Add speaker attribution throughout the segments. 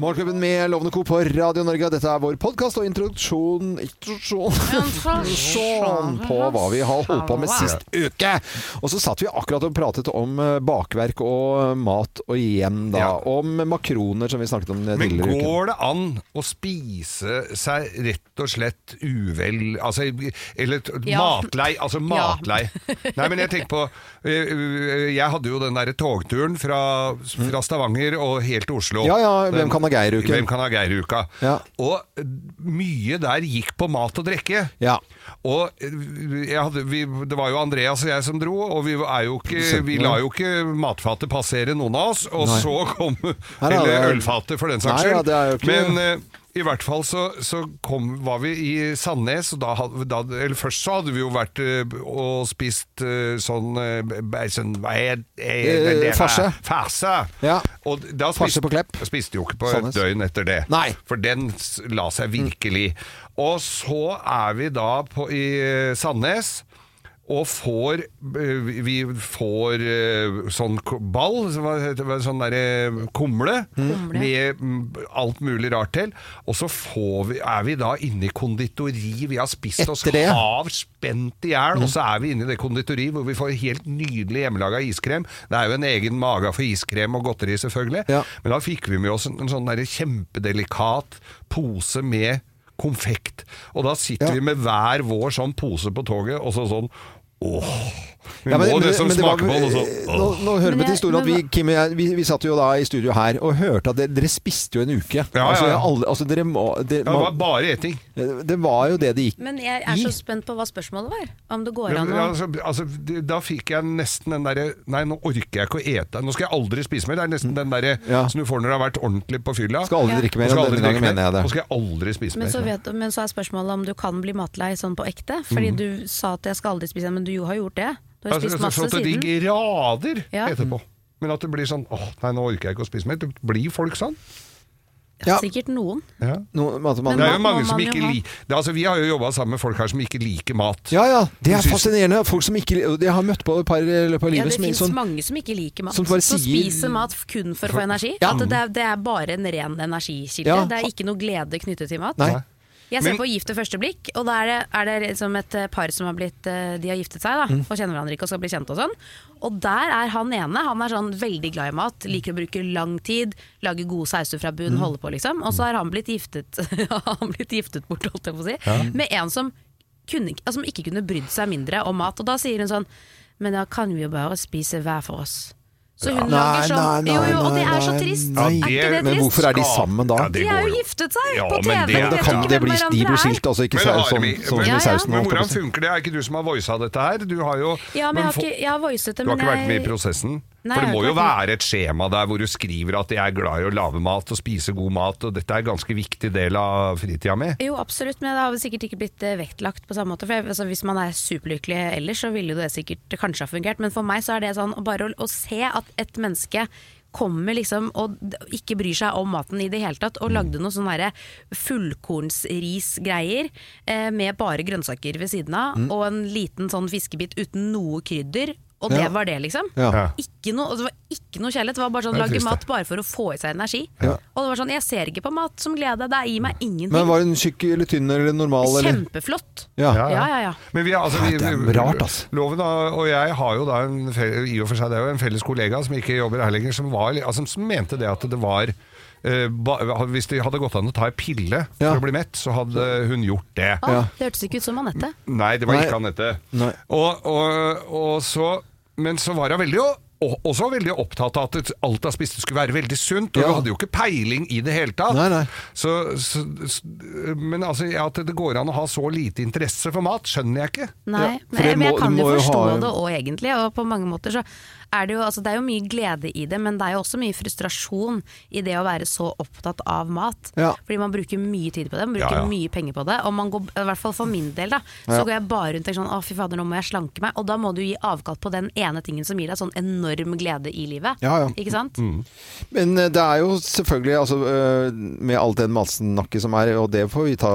Speaker 1: Morgenklubben med Lovende Co. på Radio Norge. Dette er vår podkast og introduksjon Introduksjon på hva vi har holdt på med sist uke. Og så satt vi akkurat og pratet om eh, bakverk og eh, mat og igjen da.
Speaker 2: Ja.
Speaker 1: Om makroner som vi snakket om eh,
Speaker 2: Men
Speaker 1: tidligere i uken.
Speaker 2: går det an å spise seg rett og slett uvel altså, Eller t-
Speaker 3: Ja.
Speaker 2: matlei. Altså matlei. Nei, men jeg tenker på øh, øh, Jeg hadde jo den derre togturen fra, fra Stavanger og helt til Oslo.
Speaker 1: Ja, ja, Hvem
Speaker 2: Den-
Speaker 1: kan ha Geir-uken?
Speaker 2: Hvem kan ha Geir-uka?
Speaker 1: Ja.
Speaker 2: Og øh, mye der gikk på mat og drikke.
Speaker 1: Ja.
Speaker 2: Og øh, jeg hadde, vi, det var jo Andreas og jeg som dro, og vi, er jo ikke, vi la jo ikke matfatet passere noen av oss. Og
Speaker 1: Nei.
Speaker 2: så kom
Speaker 1: Nei, nei,
Speaker 2: Eller
Speaker 1: det er-
Speaker 2: ølfatet, for den
Speaker 1: Nei,
Speaker 2: saks
Speaker 1: ja,
Speaker 2: skyld.
Speaker 1: det er jo ikke-
Speaker 2: Men eh, i hvert fall så, så kom, var vi i Sandnes, og da, had- da Eller først så hadde vi jo vært eh, og spist eh, sånn, eh, b- sånn Hva er er det?
Speaker 1: Eh,
Speaker 2: der?
Speaker 1: farse.
Speaker 2: Farse.
Speaker 1: Ja.
Speaker 2: Og da
Speaker 1: Farse på Klepp.
Speaker 2: jeg spiste jo ikke på
Speaker 1: Sandnes.
Speaker 2: et døgn etter det.
Speaker 1: Nei.
Speaker 2: For den s- la seg virkelig. Og så er vi da på, i eh, Sandnes. Og får eh, Vi får eh, sånn ko- ball, så hva heter det, sånn derre kumle, med mm, alt mulig rart til. Og så får vi, er vi da inne i konditori. Vi har spist oss
Speaker 1: Etter det?
Speaker 2: av spent i hjel, og så er vi inne i det konditori hvor vi får helt nydelig hjemmelaga iskrem. Det er jo en egen mage for iskrem og godteri, selvfølgelig.
Speaker 1: Ja.
Speaker 2: Men da fikk vi med oss en, en sånn der kjempedelikat pose med konfekt. Og da sitter
Speaker 1: Ja.
Speaker 2: vi med hver vår sånn pose på toget, og så sånn Åh! Vi
Speaker 1: Ja, men-
Speaker 2: må
Speaker 1: men-
Speaker 2: liksom
Speaker 1: men det var- eh,
Speaker 2: smake på det, og så
Speaker 1: Nå,
Speaker 2: åh.
Speaker 1: nå hører
Speaker 3: Men
Speaker 1: vi til
Speaker 3: jeg-
Speaker 1: historien at
Speaker 3: men
Speaker 1: vi,
Speaker 3: hva-
Speaker 1: Kim og jeg, vi, vi satt jo da i studio her og hørte at dere, dere spiste jo en uke.
Speaker 2: ja,
Speaker 1: Altså,
Speaker 2: ja.
Speaker 1: alle, altså dere må dere,
Speaker 2: Ja, Det var
Speaker 1: må-
Speaker 2: bare eting.
Speaker 1: Det var jo det det gikk
Speaker 3: Men jeg er så spent på hva spørsmålet var. Om det går
Speaker 2: Ja,
Speaker 3: an å
Speaker 2: altså, altså, det- da fikk jeg nesten den derre Nei, nå orker jeg ikke å ete. Nå skal jeg aldri spise mer. Det er nesten den derre
Speaker 1: Ja.
Speaker 2: som du får når du har vært ordentlig på fylla.
Speaker 1: Skal aldri
Speaker 3: Ja.
Speaker 1: drikke
Speaker 2: Nå
Speaker 1: mer
Speaker 2: skal
Speaker 1: enn
Speaker 2: jeg
Speaker 1: denne
Speaker 2: aldri drikke
Speaker 1: gangen,
Speaker 2: mer.
Speaker 1: mener jeg det.
Speaker 2: Nå skal jeg aldri spise
Speaker 3: men
Speaker 2: mer.
Speaker 3: så, vet, men så er spørsmålet om du kan bli matlei sånn på ekte. Fordi
Speaker 1: Mhm.
Speaker 3: du sa at jeg skal aldri spise, men du jo har gjort det. Du har jo
Speaker 2: Altså,
Speaker 3: spist
Speaker 2: altså,
Speaker 3: masse
Speaker 2: sånn at det
Speaker 3: siden.
Speaker 2: ikke rader
Speaker 3: Ja.
Speaker 2: etterpå. Men at det blir sånn åh, nei, nå orker jeg ikke å spise mer. Det Blir folk sånn?
Speaker 1: Ja.
Speaker 3: Sikkert noen.
Speaker 2: Ja.
Speaker 1: Noe- at man-
Speaker 2: Det
Speaker 3: mat
Speaker 2: er jo
Speaker 3: må
Speaker 2: mange som
Speaker 3: man jo
Speaker 2: ikke
Speaker 3: ha.
Speaker 2: liker det, er altså, Vi har jo jobba sammen med folk her som ikke liker mat.
Speaker 1: Ja, ja. Det er
Speaker 2: Syns-
Speaker 1: fascinerende. Folk som ikke Jeg har møtt på et par i løpet av
Speaker 3: Ja,
Speaker 1: livet
Speaker 3: det
Speaker 1: som er
Speaker 3: finnes
Speaker 1: sånn
Speaker 3: mange som ikke liker mat.
Speaker 1: som
Speaker 3: Som,
Speaker 1: bare sier-
Speaker 3: spiser mat kun for å få energi.
Speaker 1: Ja.
Speaker 3: At det, er, det er bare en ren energikilde.
Speaker 1: Ja.
Speaker 3: Det er ikke noe glede knyttet til mat.
Speaker 1: Nei.
Speaker 3: Jeg ser
Speaker 2: Men-
Speaker 3: på Gift ved første blikk, og da er det, er det liksom et eh, par som har blitt eh, De har giftet seg, da,
Speaker 1: Mm.
Speaker 3: og kjenner hverandre ikke og skal bli kjent og sånn. Og der er han ene. Han er sånn veldig glad i mat, liker å bruke lang tid, lage gode sauser fra
Speaker 1: Mm.
Speaker 3: bunn, holde på, liksom. Og så har han blitt giftet Han blitt giftet bort, holdt jeg på å si, med en som, kunne, ikke- altså, som ikke kunne brydd seg mindre om mat. Og da sier hun sånn Men da kan vi jo bare spise hver for oss. Så hun lager sånn Jo, jo, og det er så trist. er
Speaker 1: nei,
Speaker 3: ikke det
Speaker 1: Men
Speaker 3: trist?
Speaker 1: hvorfor er de sammen da?
Speaker 2: Ja,
Speaker 3: De
Speaker 2: går
Speaker 3: er jo
Speaker 2: jo.
Speaker 3: giftet seg
Speaker 2: Ja,
Speaker 3: på TV!
Speaker 2: men det-
Speaker 1: Men
Speaker 2: Ja,
Speaker 1: da
Speaker 2: jeg
Speaker 1: kan
Speaker 2: vet
Speaker 1: det bli, de blir skilt, altså. Ikke
Speaker 2: Men
Speaker 1: sau,
Speaker 2: har
Speaker 1: sånn,
Speaker 2: vi-
Speaker 1: sånn
Speaker 2: men-
Speaker 1: i
Speaker 3: ja, ja.
Speaker 1: sausen. holdt jeg
Speaker 2: Men
Speaker 1: på å
Speaker 2: hvordan
Speaker 1: si.
Speaker 2: funker det? Er ikke du som har voisa dette her? Du har jo
Speaker 3: Ja, men jeg har,
Speaker 2: fo-
Speaker 3: ikke, jeg har voicet det,
Speaker 2: du har
Speaker 3: men
Speaker 2: ikke vært med
Speaker 3: jeg-
Speaker 2: i prosessen?
Speaker 3: Nei,
Speaker 2: For
Speaker 3: jeg
Speaker 2: det
Speaker 3: har
Speaker 2: må
Speaker 3: ikke
Speaker 2: jo
Speaker 3: vært
Speaker 2: være et skjema der hvor du skriver at 'jeg er glad i å lage mat og spise god mat', og dette er en ganske viktig del av fritida mi.
Speaker 3: Jo, absolutt, men det har vel sikkert ikke blitt eh, vektlagt på samme måte. For jeg, altså, Hvis man er superlykkelig ellers, så ville jo det sikkert kanskje ha fungert. Men for meg så er det sånn bare å, å se at et menneske kommer liksom og d- ikke bryr seg om maten i det hele tatt,
Speaker 2: Mm.
Speaker 3: og lagde noe sånn derre fullkornsrisgreier eh, med bare grønnsaker ved siden av,
Speaker 2: Mm.
Speaker 3: og en liten sånn fiskebit uten noe krydder. Og det
Speaker 1: Ja.
Speaker 3: var det, liksom.
Speaker 1: Ja.
Speaker 2: Ja.
Speaker 3: Ikke noe, og det var ikke noe kjærlighet. Det var bare sånn
Speaker 2: Det er
Speaker 3: lage
Speaker 2: trist, det.
Speaker 3: mat bare for å få i seg energi.
Speaker 1: Ja.
Speaker 3: Og det var sånn, jeg ser ikke på mat som glede, det gir meg ingenting.
Speaker 1: Men var hun tjukk eller tynn eller normal? Eller?
Speaker 3: Kjempeflott.
Speaker 1: Ja.
Speaker 2: Ja,
Speaker 3: Ja, ja, ja.
Speaker 2: Men vi, altså, vi,
Speaker 1: Ja, det er rart, altså.
Speaker 2: Loven og og jeg har jo da en, fe- i og for seg, det er jo en felles kollega som ikke jobber her lenger, som, var, altså, som mente det at det var eh, ba, Hvis det hadde gått an å ta en pille
Speaker 1: Ja.
Speaker 2: for å bli mett, så hadde hun gjort det.
Speaker 3: Ah,
Speaker 1: Ja.
Speaker 3: Det hørtes ikke ut som Anette.
Speaker 2: Nei, det var
Speaker 1: Nei.
Speaker 2: ikke Anette.
Speaker 1: Nei.
Speaker 2: Og, og, og så, men så var hun veldig og- også veldig opptatt av at alt hun spiste skulle være veldig sunt, og
Speaker 1: Ja.
Speaker 2: hun hadde jo ikke peiling i det hele tatt.
Speaker 1: Nei, nei.
Speaker 2: Så, så, s- men altså, at det går an å ha så lite interesse for mat, skjønner jeg ikke.
Speaker 3: Nei,
Speaker 1: Ja, for
Speaker 3: men,
Speaker 1: det
Speaker 3: jeg- men jeg
Speaker 1: må-
Speaker 3: kan
Speaker 1: det
Speaker 3: jo
Speaker 1: må
Speaker 3: forstå
Speaker 1: jo ha-
Speaker 3: det òg, egentlig. Og på mange måter så er det jo altså, Det er jo mye glede i det, men det er jo også mye frustrasjon i det å være så opptatt av mat.
Speaker 1: Ja.
Speaker 3: Fordi man bruker mye tid på det, man bruker
Speaker 2: Ja, ja.
Speaker 3: mye penger på det. Og man går, i hvert fall for min del, da, så
Speaker 1: Ja.
Speaker 3: går jeg bare rundt og tenker sånn Å, fy fader, nå må jeg slanke meg. Og da må du gi avkall på den ene tingen som gir deg sånn enorm glede i livet.
Speaker 1: Ja, ja.
Speaker 3: Ikke sant?
Speaker 1: Mm. Men eh, det er jo selvfølgelig, altså, eh, med all den matsnakket som er, og det får vi ta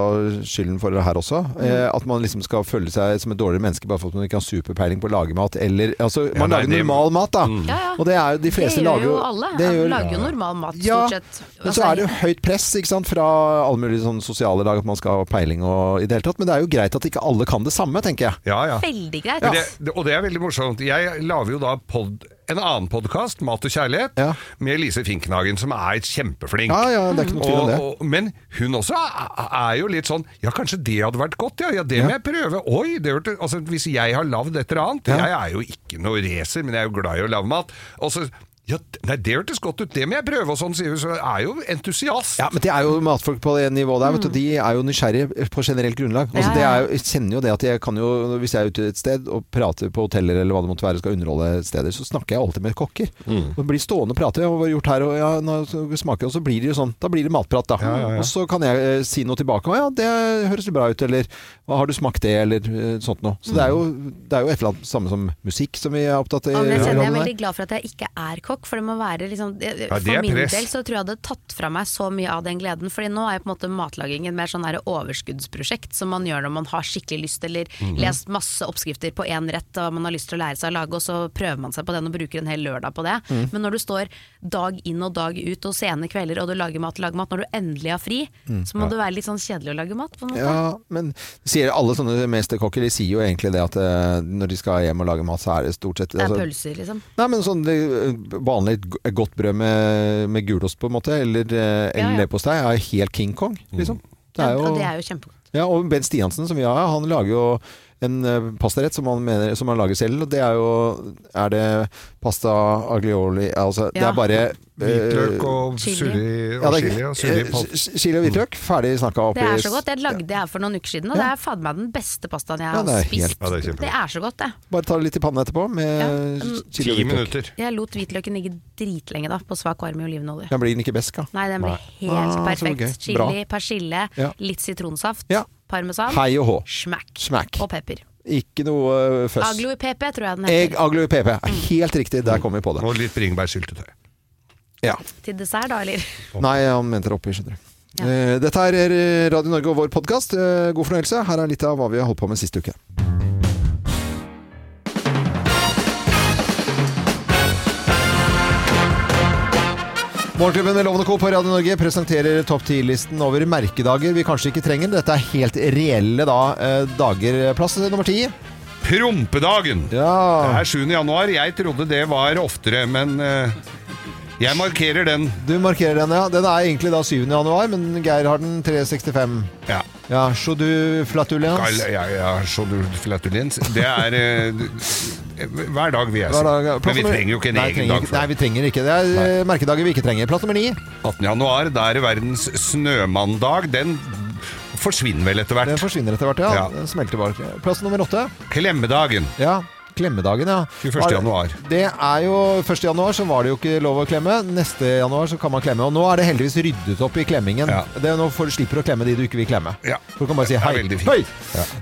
Speaker 1: skylden for her også, eh,
Speaker 3: Mm.
Speaker 1: at man liksom skal føle seg som et dårligere menneske bare for at man ikke har superpeiling på å lage mat, eller Altså, man
Speaker 2: nei,
Speaker 1: lager
Speaker 2: det-
Speaker 1: normal mat, da.
Speaker 3: Ja, ja.
Speaker 1: Og det er jo de
Speaker 3: Det
Speaker 1: fleste
Speaker 3: gjør
Speaker 1: lager
Speaker 3: jo alle.
Speaker 1: det
Speaker 3: Han
Speaker 1: gjør-
Speaker 3: lager jo normal mat,
Speaker 1: Ja,
Speaker 3: stort sett.
Speaker 1: men så er det jo høyt press ikke sant? fra alle mulige sånne sosiale lag at man skal ha peiling og i det hele tatt. Men det er jo greit at ikke alle kan det samme, tenker jeg.
Speaker 2: Ja, ja.
Speaker 3: Veldig greit.
Speaker 2: Men
Speaker 3: ass.
Speaker 2: Det, det, og det er veldig morsomt. Jeg lager jo da pod, en annen podkast, Mat og kjærlighet,
Speaker 1: Ja.
Speaker 2: med Lise Finknagen, som er kjempeflink.
Speaker 1: Ja, ja, det er ikke noe tvil om det.
Speaker 2: Og, og, men hun også er, er jo litt sånn Ja, kanskje det hadde vært godt, ja. ja det må jeg prøve. Oi, det hørte Altså, hvis jeg har lagd et eller annet
Speaker 1: Ja.
Speaker 2: Jeg er jo ikke noe racer, men jeg er jo glad i å lage mat. Og så ja, nei, det hørtes godt ut, det må jeg prøve, og sånn sier hun. Så jeg er jo entusiast.
Speaker 1: Ja, men det er jo matfolk på det nivået der, vet du. De er jo nysgjerrige på generelt grunnlag. Altså,
Speaker 3: Mm. Ja, ja.
Speaker 1: det er jo, jeg kjenner jo det at jeg kan jo, hvis jeg er ute et sted og prater på hoteller eller hva det måtte være, skal underholde steder, så snakker jeg alltid med kokker. Og blir stående og prate. Og hva har jeg gjort her, og ja, nå smaker jeg, og så blir det jo sånn. Da blir det matprat, da. Og så kan jeg eh, si noe tilbake. Å ja, det høres jo bra ut, eller «Hva, har du smakt det, eller eh, sånt noe. Så det er jo, det er jo et eller annet samme som musikk, som vi er opptatt av.
Speaker 3: Ja, men jeg, kjenner, jeg er
Speaker 1: radioen her.
Speaker 3: veldig glad for at jeg ikke er kokk, for det må være liksom jeg-
Speaker 2: Ja, det
Speaker 3: For
Speaker 2: er
Speaker 3: min
Speaker 2: press.
Speaker 3: del så tror jeg det hadde tatt fra meg så mye av den gleden, Fordi nå er jo på en måte matlaging et mer sånn her overskuddsprosjekt som man gjør når man har skikkelig lyst, eller
Speaker 1: Mhm.
Speaker 3: lest masse oppskrifter på én rett og man har lyst til å lære seg å lage, og så prøver man seg på den og bruker en hel lørdag på det.
Speaker 1: Mhm.
Speaker 3: Men når du står dag inn og dag ut og sene kvelder og du lager mat, lager mat, når du endelig har fri,
Speaker 1: Mm.
Speaker 3: så må det være litt sånn kjedelig å lage mat, på en måte.
Speaker 1: Ja, men sier alle sånne mesterkokker De sier jo egentlig det at eh, når de skal hjem og lage mat, så er det stort sett
Speaker 3: Det er
Speaker 1: altså-
Speaker 3: pølser, liksom.
Speaker 1: Nei, men sånn eh, vanlig g- godt brød med, med gulost, på en måte, eller, eh,
Speaker 3: Ja, ja.
Speaker 1: eller leverpostei, er helt King Kong, liksom.
Speaker 2: Mm.
Speaker 1: Det er
Speaker 3: Og
Speaker 1: jo,
Speaker 3: det er jo kjempegodt.
Speaker 1: ja, og Ben Stiansen, som vi har, han lager jo en eh, pastarett som han, mener, som han lager selv, og det er jo Er det pasta aglioli Altså, det
Speaker 3: Ja.
Speaker 1: er bare
Speaker 2: Hvitløk og
Speaker 3: Chili.
Speaker 2: surri
Speaker 1: ja,
Speaker 2: og
Speaker 1: det er-
Speaker 2: chili og surri
Speaker 1: eh,
Speaker 2: på
Speaker 1: s- Chili og hvitløk, ferdig snakka oppi
Speaker 3: Det er så godt. Jeg lagde det her for noen uker siden, og det er fader meg den beste pastaen jeg
Speaker 1: Ja,
Speaker 3: har
Speaker 1: det er
Speaker 3: spist.
Speaker 1: helt-
Speaker 2: Ja, det er kjempegodt.
Speaker 3: det er så godt, det.
Speaker 1: Bare ta det litt i panna etterpå med
Speaker 3: Ja. mm.
Speaker 1: chili og hvitløk.
Speaker 2: ti minutter.
Speaker 3: Jeg lot hvitløken ligge dritlenge da, på svak varme i olivenolje.
Speaker 1: Ja, blir den ikke besk, da?
Speaker 3: Nei, den ble
Speaker 2: Nei.
Speaker 3: helt
Speaker 1: Ah, så
Speaker 3: perfekt.
Speaker 1: gøy.
Speaker 3: Chili,
Speaker 1: Bra.
Speaker 3: persille,
Speaker 1: Ja.
Speaker 3: litt sitronsaft,
Speaker 1: Ja.
Speaker 3: parmesan,
Speaker 1: Hei og hå.
Speaker 3: smack.
Speaker 1: Smack.
Speaker 3: og pepper.
Speaker 1: Ikke noe eh, føss.
Speaker 3: Aglo i Mm. PP, tror jeg den
Speaker 1: Egg,
Speaker 3: heter.
Speaker 1: aglo i PP. Helt riktig, der kom vi på det.
Speaker 2: Og litt bringebærsyltetøy.
Speaker 1: Ja.
Speaker 3: Til dessert, da, eller?
Speaker 1: Nei, han mente det oppi, skjønner du.
Speaker 3: Ja.
Speaker 1: Eh, Dette er eh, Radio Norge og vår podkast. God fornøyelse. Her er litt av hva vi har holdt på med siste uke. Morgenklubben med Lovende Co. på Radio Norge presenterer topp 10-listen over merkedager vi kanskje ikke trenger. Dette er helt reelle da, eh, dager. Plass nummer ti.
Speaker 2: Prompedagen! Det
Speaker 1: Ja,
Speaker 2: er 7. januar. Jeg trodde det var oftere, men eh, jeg markerer den.
Speaker 1: du markerer den, ja. Den er egentlig da 7. januar, men Geir har den 365.
Speaker 2: Ja.
Speaker 1: Ja, så du flatulians.
Speaker 2: Gal- ja, ja, så du flatulens. Det er eh, hver dag, vil jeg si.
Speaker 1: Hver dag-
Speaker 2: Men
Speaker 1: plass
Speaker 2: vi
Speaker 1: nummer-
Speaker 2: trenger jo ikke en
Speaker 1: Nei, trenger
Speaker 2: egen dag
Speaker 1: ikke-
Speaker 2: for
Speaker 1: Nei,
Speaker 2: det.
Speaker 1: vi trenger ikke. Det er eh, merkedager vi ikke trenger. Plass nummer ni.
Speaker 2: 18. januar, da er det verdens snømanndag. Den forsvinner vel etter
Speaker 1: Den
Speaker 2: hvert.
Speaker 1: forsvinner etter hvert, ja.
Speaker 2: Ja.
Speaker 1: Den smelter bare. Plass nummer åtte.
Speaker 2: Klemmedagen.
Speaker 1: Ja. Klemmedagen, ja.
Speaker 2: 21. januar.
Speaker 1: Det er jo 1. januar, så var det jo ikke lov å klemme. Neste januar så kan man klemme. Og nå er det heldigvis ryddet opp i klemmingen.
Speaker 2: Ja.
Speaker 1: Det er nå får du slipper å klemme de du ikke vil klemme.
Speaker 2: Ja.
Speaker 1: Du kan bare si
Speaker 2: Det er
Speaker 1: hei.
Speaker 2: veldig fint.
Speaker 1: hei.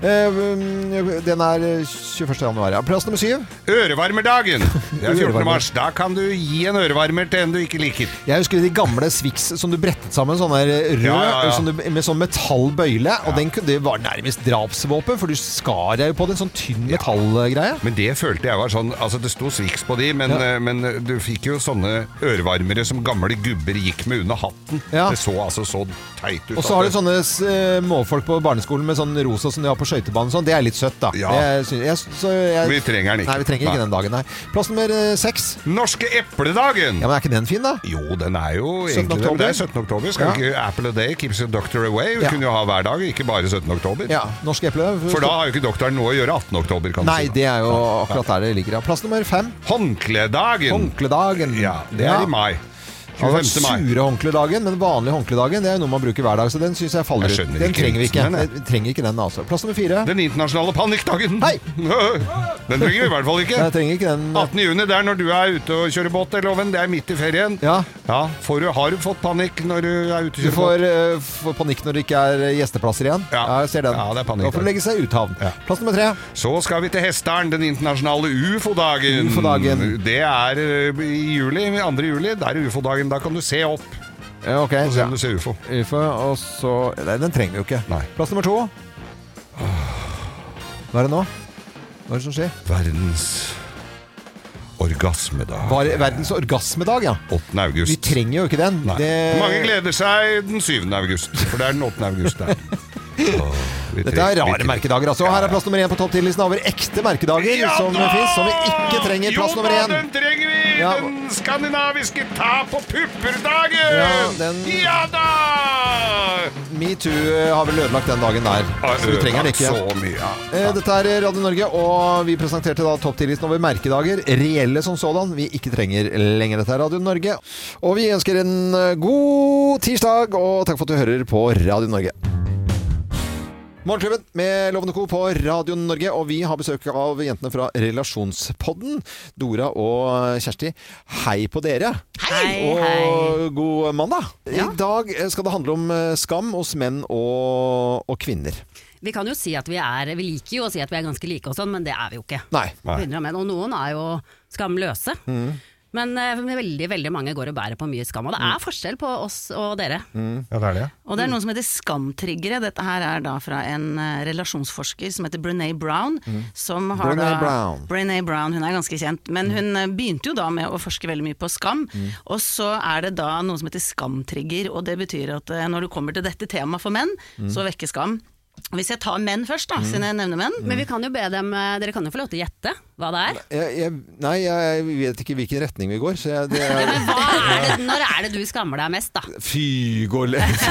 Speaker 1: Eh, um, den er eh, 21. januar, ja. Plass nummer syv.
Speaker 2: Ørevarmerdagen. Det er 14.
Speaker 1: Ørevarmer.
Speaker 2: mars. Da kan du gi en ørevarmer til en du ikke liker.
Speaker 1: Jeg husker de gamle Swix som du brettet sammen sånn der rød,
Speaker 2: Ja, ja, ja.
Speaker 1: sånn du- med sånn metallbøyle. Og den, kunne- det var nærmest drapsvåpen, for du skar deg jo på det. En sånn tynn metallgreie.
Speaker 2: Men det følte jeg var sånn Altså det sto Swix på de, men,
Speaker 1: Ja.
Speaker 2: eh, men du fikk jo sånne ørevarmere som gamle gubber gikk med under hatten.
Speaker 1: Ja.
Speaker 2: Det så altså så teit ut.
Speaker 1: Og så har du sånne eh, målfolk på barneskolen med sånn rosa som de har på skøytebanen. og Sånn. Det er litt søtt, da.
Speaker 2: Ja.
Speaker 1: Det syns- jeg, så jeg,
Speaker 2: Vi trenger den ikke.
Speaker 1: Nei, vi trenger ikke
Speaker 2: Nei.
Speaker 1: den dagen, nei. Plass nummer eh, seks.
Speaker 2: Norske epledagen!
Speaker 1: Ja, men er ikke den fin, da?
Speaker 2: Jo, den er jo
Speaker 1: 17.
Speaker 2: egentlig det. men Det er
Speaker 1: oktober.
Speaker 2: 17. oktober. Skal
Speaker 1: Ja.
Speaker 2: ikke Apple a day keeps your doctor away? Vi
Speaker 1: Ja.
Speaker 2: kunne jo ha hver dag, ikke bare 17. oktober.
Speaker 1: Ja. Norsk eple.
Speaker 2: For da har jo ikke doktoren noe å gjøre 18. oktober, kan
Speaker 1: Nei,
Speaker 2: du si.
Speaker 1: det er jo akkurat der det ligger. Ja. Plass nummer fem.
Speaker 2: Håndkledagen!
Speaker 1: Håndkledagen.
Speaker 2: Ja, det er i mai.
Speaker 1: Det har vært
Speaker 2: 25. mai.
Speaker 1: Altså, sure håndkledagen, men vanlig håndkledagen det er jo noe man bruker hver dag. Så den syns jeg faller
Speaker 2: Jeg
Speaker 1: ut.
Speaker 2: skjønner
Speaker 1: Den
Speaker 2: ikke
Speaker 1: trenger vi ikke.
Speaker 2: vitsen, men-
Speaker 1: Vi trenger ikke den, altså. Plass nummer fire.
Speaker 2: Den internasjonale panikkdagen.
Speaker 1: Hei!
Speaker 2: Den trenger vi i hvert fall ikke.
Speaker 1: Nei, Jeg trenger ikke den.
Speaker 2: 18. juni, det er når du er ute og kjører båt, eller Loven. Det er midt i ferien.
Speaker 1: Ja.
Speaker 2: får du, har du fått panikk når du er ute og
Speaker 1: Du
Speaker 2: kjører båt?
Speaker 1: får, eh, får panikk når det ikke er eh, gjesteplasser igjen.
Speaker 2: Ja.
Speaker 1: jeg ser den.
Speaker 2: Ja, det er panikk.
Speaker 1: Da får du legge seg i uthavn.
Speaker 2: Ja.
Speaker 1: Plass nummer tre.
Speaker 2: Så skal vi til Hesteren, den internasjonale ufo-dagen.
Speaker 1: UFO-dagen.
Speaker 2: Det er eh, i juli, 2. juli. Det er ufo-dagen. Da kan du se opp
Speaker 1: Ja, ok.
Speaker 2: og se om du ser ufo.
Speaker 1: Ufo, og så Nei, den trenger vi jo ikke.
Speaker 2: Nei.
Speaker 1: Plass nummer to. Hva er det nå? Hva er det som skjer?
Speaker 2: Verdens orgasmedag.
Speaker 1: Var verdens orgasmedag, ja.
Speaker 2: 8. august.
Speaker 1: Vi trenger jo ikke den.
Speaker 2: Nei.
Speaker 1: Det-
Speaker 2: Mange gleder seg den 7. august, for det er den 8. august der. Åh, vi
Speaker 1: Dette er
Speaker 2: tre- vi
Speaker 1: rare
Speaker 2: tre-
Speaker 1: merkedager. altså. Her er plass nummer én på topp 10-listen over ekte merkedager som finnes, som vi ikke trenger. Plass nummer
Speaker 2: Jo da,
Speaker 1: én.
Speaker 2: den trenger vi!
Speaker 1: Ja.
Speaker 2: Den skandinaviske ta på pupper-dagen!
Speaker 1: Ja, den-
Speaker 2: Ja da!
Speaker 1: Metoo eh, har vel ødelagt den dagen der. Så vi trenger den ikke.
Speaker 2: altså, Så mye, ja.
Speaker 1: Eh, Dette er Radio Norge, og vi presenterte da topp 10-listen over merkedager. Reelle som sådan. Vi ikke trenger lenger. Dette er Radio Norge. Og vi ønsker en eh, god tirsdag, og takk for at du hører på Radio Norge. Morgenklubben med Lovende Co. på Radio Norge, og vi har besøk av jentene fra Relasjonspodden. Dora og Kjersti, hei på dere.
Speaker 3: Hei,
Speaker 1: Og god mandag. I dag eh, skal det handle om eh, skam hos menn og, og kvinner.
Speaker 4: Vi kan jo si at vi er Vi liker jo å si at vi er ganske like og sånn, men det er vi jo ikke.
Speaker 1: Nei.
Speaker 2: Nei.
Speaker 4: Hundre av menn, Og noen er jo skamløse.
Speaker 1: Mm,
Speaker 4: Men eh, veldig veldig mange går og bærer på mye skam. Og det
Speaker 2: Mm.
Speaker 4: er forskjell på oss og dere.
Speaker 1: mm.
Speaker 2: ja, det er det.
Speaker 5: Og det er noen som heter skamtriggere. Dette her er da fra en eh, relasjonsforsker som heter Brené Brown.
Speaker 2: Mm.
Speaker 5: Som har
Speaker 1: Brené
Speaker 5: da,
Speaker 1: Brown.
Speaker 5: Brené Brown, hun er ganske kjent. Men hun eh, begynte jo da med å forske veldig mye på skam.
Speaker 2: Mm.
Speaker 5: Og så er det da noe som heter skamtrigger, og det betyr at eh, når du kommer til dette temaet for menn,
Speaker 1: Mm.
Speaker 5: så vekker skam. Hvis jeg tar menn først, da, siden jeg nevner menn.
Speaker 4: Men vi kan jo be dem eh, Dere kan jo få lov til å gjette hva det er.
Speaker 1: Jeg, jeg, nei, jeg vet ikke hvilken retning vi går, så jeg, det
Speaker 4: Ja,
Speaker 1: er
Speaker 4: men hva er det, når er det du skammer deg mest, da?
Speaker 1: Fy, gå lett.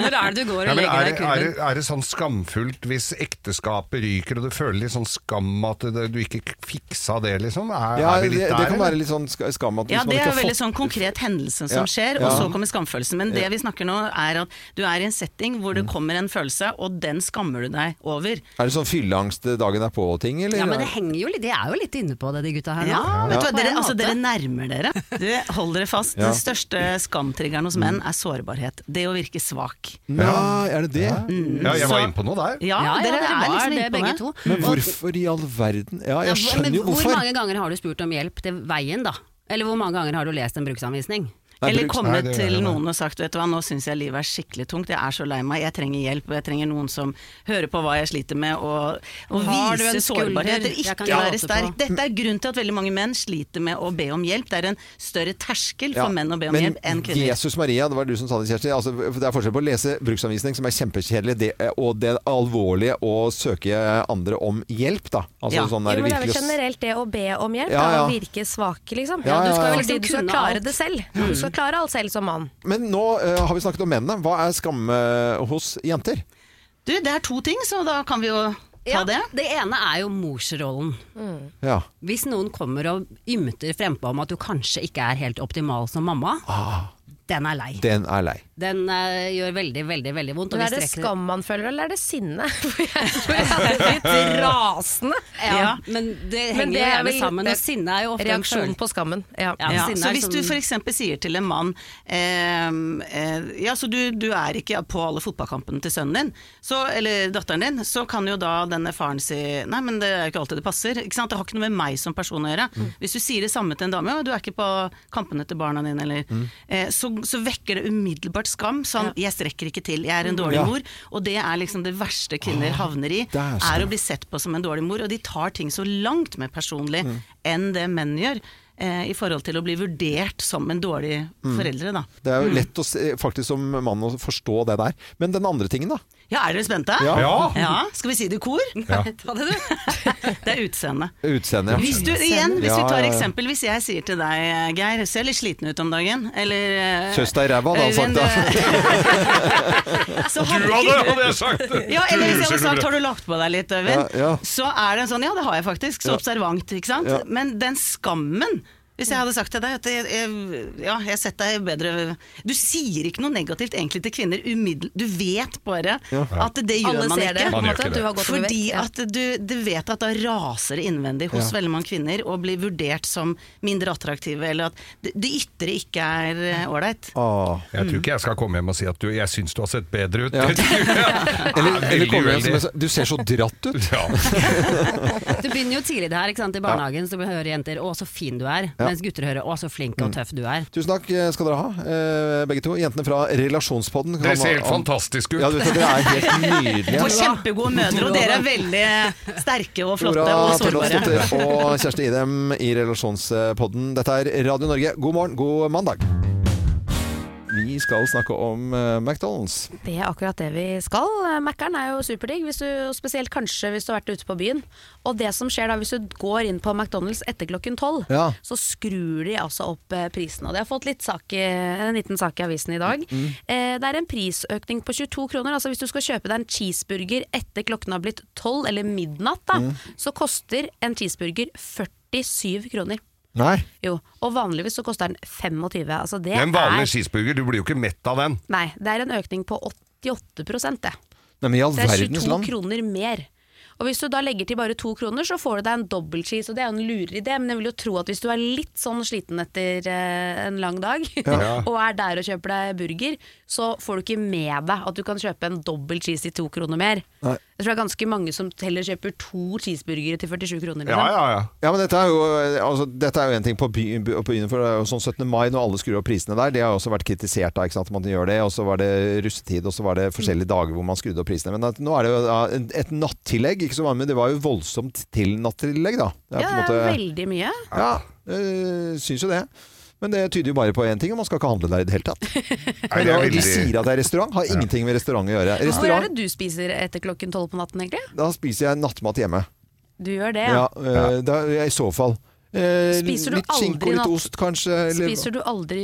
Speaker 4: Når er det du går og
Speaker 2: Nei, men
Speaker 4: legger deg
Speaker 2: er,
Speaker 4: i
Speaker 2: det- er,
Speaker 4: kurven?
Speaker 2: det- er det sånn skamfullt hvis ekteskapet ryker, og du føler litt sånn skam at det, du ikke fiksa det, liksom? Er,
Speaker 1: Ja,
Speaker 2: er vi
Speaker 1: det,
Speaker 2: litt
Speaker 1: det
Speaker 2: der?
Speaker 1: kan
Speaker 2: eller?
Speaker 1: være litt sånn sk- skam at
Speaker 5: Ja,
Speaker 1: hvis man
Speaker 5: det
Speaker 1: ikke
Speaker 5: er
Speaker 1: har
Speaker 5: veldig
Speaker 1: fått
Speaker 5: sånn konkret hendelsen som
Speaker 1: Ja,
Speaker 5: skjer,
Speaker 1: ja.
Speaker 5: og så kommer skamfølelsen. Men det vi snakker nå er at du er i en setting hvor det
Speaker 1: Mm.
Speaker 5: kommer en følelse, og den skammer du deg over.
Speaker 1: Er det sånn fylleangst dagen er på-ting, eller?
Speaker 4: Ja, men det henger jo litt De er jo litt inne på det, de gutta her nå.
Speaker 5: Ja, vet du hva,
Speaker 4: På en
Speaker 5: dere, altså,
Speaker 4: måte.
Speaker 5: dere nærmer dere. Du holder dere fast.
Speaker 1: Ja.
Speaker 5: Den største skamtriggeren hos menn er sårbarhet. Det å virke svak.
Speaker 1: Nei, er det det?
Speaker 2: Ja, jeg var
Speaker 5: Så-
Speaker 2: inne på noe der.
Speaker 5: Ja,
Speaker 4: ja, ja,
Speaker 5: dere, er liksom
Speaker 4: det,
Speaker 5: inne på
Speaker 4: begge
Speaker 5: det.
Speaker 4: to.
Speaker 1: Men
Speaker 4: Og-
Speaker 1: hvorfor i all verden? Ja, jeg
Speaker 4: Ja,
Speaker 1: skjønner jo
Speaker 4: Hvor
Speaker 1: hvorfor.
Speaker 4: mange ganger har du spurt om hjelp til veien, da? Eller hvor mange ganger har du lest en bruksanvisning?
Speaker 1: Nei,
Speaker 5: Eller
Speaker 1: bruk-
Speaker 2: Nei,
Speaker 5: kommet
Speaker 2: det gjør
Speaker 5: til
Speaker 2: jeg
Speaker 5: noen og sagt vet du hva, nå syns jeg livet er skikkelig tungt, jeg er så lei meg, jeg trenger hjelp, og jeg trenger noen som hører på hva jeg sliter med, og, og
Speaker 4: Har du
Speaker 5: vise
Speaker 4: en skulder
Speaker 5: sårbarhet.
Speaker 4: jeg
Speaker 5: Ikke
Speaker 4: kan
Speaker 5: være
Speaker 4: gråte
Speaker 5: sterk.
Speaker 4: på?
Speaker 5: Dette er grunnen til at veldig mange menn sliter med å be om hjelp. Det er en større terskel for
Speaker 1: Ja,
Speaker 5: menn å be om
Speaker 1: men
Speaker 5: hjelp enn kvinner.
Speaker 1: Jesus Maria, det var du som sa det, Kjersti. Altså, det er forskjell på å lese bruksanvisning, som er kjempekjedelig, det, og det alvorlige å søke andre om hjelp, da. Altså
Speaker 5: Ja.
Speaker 1: sånn
Speaker 3: Jo,
Speaker 1: der
Speaker 3: men det er vel
Speaker 1: virkelig å s-
Speaker 3: generelt det å be om hjelp,
Speaker 1: Ja, ja.
Speaker 3: da, å virke svake, liksom.
Speaker 1: Ja,
Speaker 3: Du skal
Speaker 1: ja, Mm. ja.
Speaker 3: jo liksom du skal
Speaker 4: Kunne
Speaker 3: klare
Speaker 4: alt.
Speaker 3: det selv. Du skal klare alt selv som mann.
Speaker 1: Men nå eh, har vi snakket om mennene. Hva er skamme eh, hos jenter?
Speaker 5: Du, det er to ting, så da kan vi jo ta
Speaker 4: Ja,
Speaker 5: det.
Speaker 4: det ene er jo morsrollen.
Speaker 1: Ja.
Speaker 4: Hvis noen kommer og ymter frempå om at du kanskje ikke er helt optimal som mamma,
Speaker 2: Ah.
Speaker 4: den er lei.
Speaker 1: Den er lei.
Speaker 4: Den eh, gjør veldig, veldig veldig vondt. og
Speaker 3: Men
Speaker 4: vi
Speaker 3: er det
Speaker 4: strekker-
Speaker 3: skam man føler, eller er det sinne? For jeg tror jeg er litt rasende.
Speaker 4: Ja, men det henger
Speaker 3: Men det
Speaker 4: jo
Speaker 3: er
Speaker 4: gjerne
Speaker 3: vel-
Speaker 4: sammen. Og sinne er jo ofte en
Speaker 3: Reaksjon
Speaker 4: følelse.
Speaker 3: på skammen. Ja.
Speaker 4: Ja.
Speaker 5: Ja,
Speaker 4: sinne
Speaker 5: så
Speaker 4: er
Speaker 5: hvis du
Speaker 4: sånn-
Speaker 5: f.eks. sier til en mann ehm, eh, Ja, så du, du er ikke på alle fotballkampene til sønnen din, så, eller datteren din, så kan jo da denne faren si Nei, men det er jo ikke alltid det passer. Ikke sant? Det har ikke noe med meg som person å gjøre.
Speaker 3: Mm.
Speaker 5: Hvis du sier det samme til en dame, ja, du er ikke på kampene til barna dine, eller
Speaker 3: Mm.
Speaker 5: eh, så, så vekker det umiddelbart skam. Sånn, jeg strekker ikke til, jeg er
Speaker 3: Mm.
Speaker 5: en dårlig
Speaker 1: Ja.
Speaker 5: mor. Og det er liksom det verste kvinner havner i,
Speaker 1: der
Speaker 5: er,
Speaker 1: skal
Speaker 5: å bli sett på som en dårlig mor, og de tar ting så langt mer personlig
Speaker 1: Mm.
Speaker 5: enn det menn gjør. Eh, I forhold til å bli vurdert som en dårlig foreldre, da.
Speaker 1: Mm.
Speaker 5: Mm.
Speaker 1: Det er jo lett å se, faktisk som mann å forstå det der. Men den andre tingen, da?
Speaker 5: Ja, er dere spente?
Speaker 1: Ja.
Speaker 2: Ja.
Speaker 5: Skal vi si det i kor?
Speaker 4: Ta det, du.
Speaker 5: Det er utseendet.
Speaker 1: Utseendet.
Speaker 5: Hvis du, igjen, hvis
Speaker 1: Ja,
Speaker 5: vi tar
Speaker 1: ja, ja.
Speaker 5: eksempel, hvis jeg sier til deg, Geir, ser litt sliten ut om dagen, eller eh,
Speaker 1: Kjøss deg i ræva, hadde han
Speaker 5: Øyvind,
Speaker 1: sagt
Speaker 5: eh, så
Speaker 2: Du
Speaker 5: hadde ikke
Speaker 2: hadde, hadde jeg sagt!
Speaker 5: Ja, eller hvis jeg
Speaker 2: Du
Speaker 5: hadde sagt
Speaker 2: ser
Speaker 5: 'har du lagt på deg litt, Øyvind',
Speaker 1: Ja, ja.
Speaker 5: så er det en sånn 'ja, det har jeg faktisk', så observant, ikke sant.
Speaker 1: Ja.
Speaker 5: Men den skammen Hvis jeg hadde sagt til deg at jeg, jeg, ja, jeg har sett deg bedre Du sier ikke noe negativt egentlig til kvinner umiddelbart. Du vet bare at det gjør
Speaker 3: Alle
Speaker 5: man
Speaker 3: ser
Speaker 5: ikke.
Speaker 3: det. på en
Speaker 2: Man gjør
Speaker 3: måte,
Speaker 2: ikke
Speaker 3: at du har gått over
Speaker 5: Fordi
Speaker 3: vekt. Ja.
Speaker 5: at du, du vet at da raser det innvendig hos
Speaker 1: Ja.
Speaker 5: veldig mange kvinner og blir vurdert som mindre attraktive, eller at det det ytre ikke er eh, ålreit.
Speaker 1: Åh.
Speaker 2: Jeg tror ikke jeg skal komme hjem og si at du, jeg syns du har sett bedre ut.
Speaker 1: Ja.
Speaker 2: Det tror
Speaker 1: Eller,
Speaker 2: jeg. Ja,
Speaker 1: eller
Speaker 2: veldig
Speaker 1: kommer det en
Speaker 2: uheldig.
Speaker 1: som er sånn, Du ser så dratt ut.
Speaker 2: Ja.
Speaker 4: Du begynner jo tidlig det her, ikke sant? i barnehagen så hører jenter 'å, så fin du er', mens gutter hører 'å, så flink og tøff du er'.
Speaker 1: Tusen takk eh, skal dere ha, eh, begge to. Jentene fra Relasjonspodden. kan-
Speaker 2: Dere ser helt fantastiske ut.
Speaker 1: Ja, du vet, at dere er helt nydelige.
Speaker 5: Og kjempegode mødre, og dere er veldig sterke og flotte og
Speaker 1: Tora
Speaker 5: sårbare.
Speaker 1: Tellefsdotter og Kjersti Idem i Relasjonspodden. Dette er Radio Norge. God morgen, god mandag. Vi skal snakke om eh, McDonald's.
Speaker 3: Det er akkurat det vi skal. Mækkern er jo superdigg, hvis du, og spesielt kanskje hvis du har vært ute på byen. Og det som skjer da, hvis du går inn på McDonald's etter klokken tolv,
Speaker 1: Ja.
Speaker 3: så skrur de altså opp eh, prisen. Og de har fått litt sak, i- en liten sak i avisen i dag. Eh, det er en prisøkning på 22 kroner. Altså hvis du skal kjøpe deg en cheeseburger etter klokken har blitt tolv, eller midnatt, da,
Speaker 2: Mm.
Speaker 3: så koster en cheeseburger 47 kroner.
Speaker 1: Nei.
Speaker 3: Jo, og vanligvis så koster den 25. Altså det
Speaker 2: Det er en vanlig
Speaker 3: er,
Speaker 2: cheeseburger, du blir jo ikke mett av den.
Speaker 3: nei, det er en økning på 88 det.
Speaker 1: Nei, men i all
Speaker 3: Det er
Speaker 1: verdens
Speaker 3: 22
Speaker 1: land.
Speaker 3: kroner mer. Og hvis du da legger til bare to kroner, så får du deg en dobbel cheese, og det er jo en lurer idé, men jeg vil jo tro at hvis du er litt sånn sliten etter eh, en lang dag, og er der og kjøper deg burger, så får du ikke med deg at du kan kjøpe en dobbel cheese til to kroner mer.
Speaker 1: Nei.
Speaker 3: Jeg tror det er ganske mange som heller kjøper to cheeseburgere til 47 kroner.
Speaker 2: Ja,
Speaker 3: Liksom.
Speaker 2: ja, ja.
Speaker 1: Ja, men dette er jo altså, Dette er jo en ting på, by, på byen, for det er jo sånn 17. mai når alle skrur opp prisene der. Det har jo også vært kritisert da, ikke sant, at man gjør det. Og så var det russetid, og så var det forskjellige dager hvor man skrudde opp prisene. Men at, nå er det jo da, en- et nattillegg, ikke så mange, men det var jo voldsomt til nattillegg, da. Det
Speaker 3: Ja,
Speaker 1: er på en
Speaker 3: det er
Speaker 1: måte-
Speaker 3: veldig mye.
Speaker 1: Ja, øh, syns jo det. Men det tyder jo bare på én ting, og man skal ikke handle der i det hele tatt.
Speaker 2: Nei, det
Speaker 1: De
Speaker 2: er veldig...
Speaker 1: sier at det er restaurant, har ingenting med restaurant å gjøre.
Speaker 3: Hvor er
Speaker 1: Restaurant,
Speaker 3: det du spiser etter klokken tolv på natten, egentlig?
Speaker 1: da spiser jeg nattmat hjemme.
Speaker 3: Du gjør det,
Speaker 1: Ja,
Speaker 3: ja.
Speaker 1: øh, da, I så fall. Eh,
Speaker 3: Spiser du
Speaker 1: litt skinke
Speaker 3: aldri
Speaker 1: og litt
Speaker 3: natt-
Speaker 1: ost, kanskje. Eller,
Speaker 3: Spiser du aldri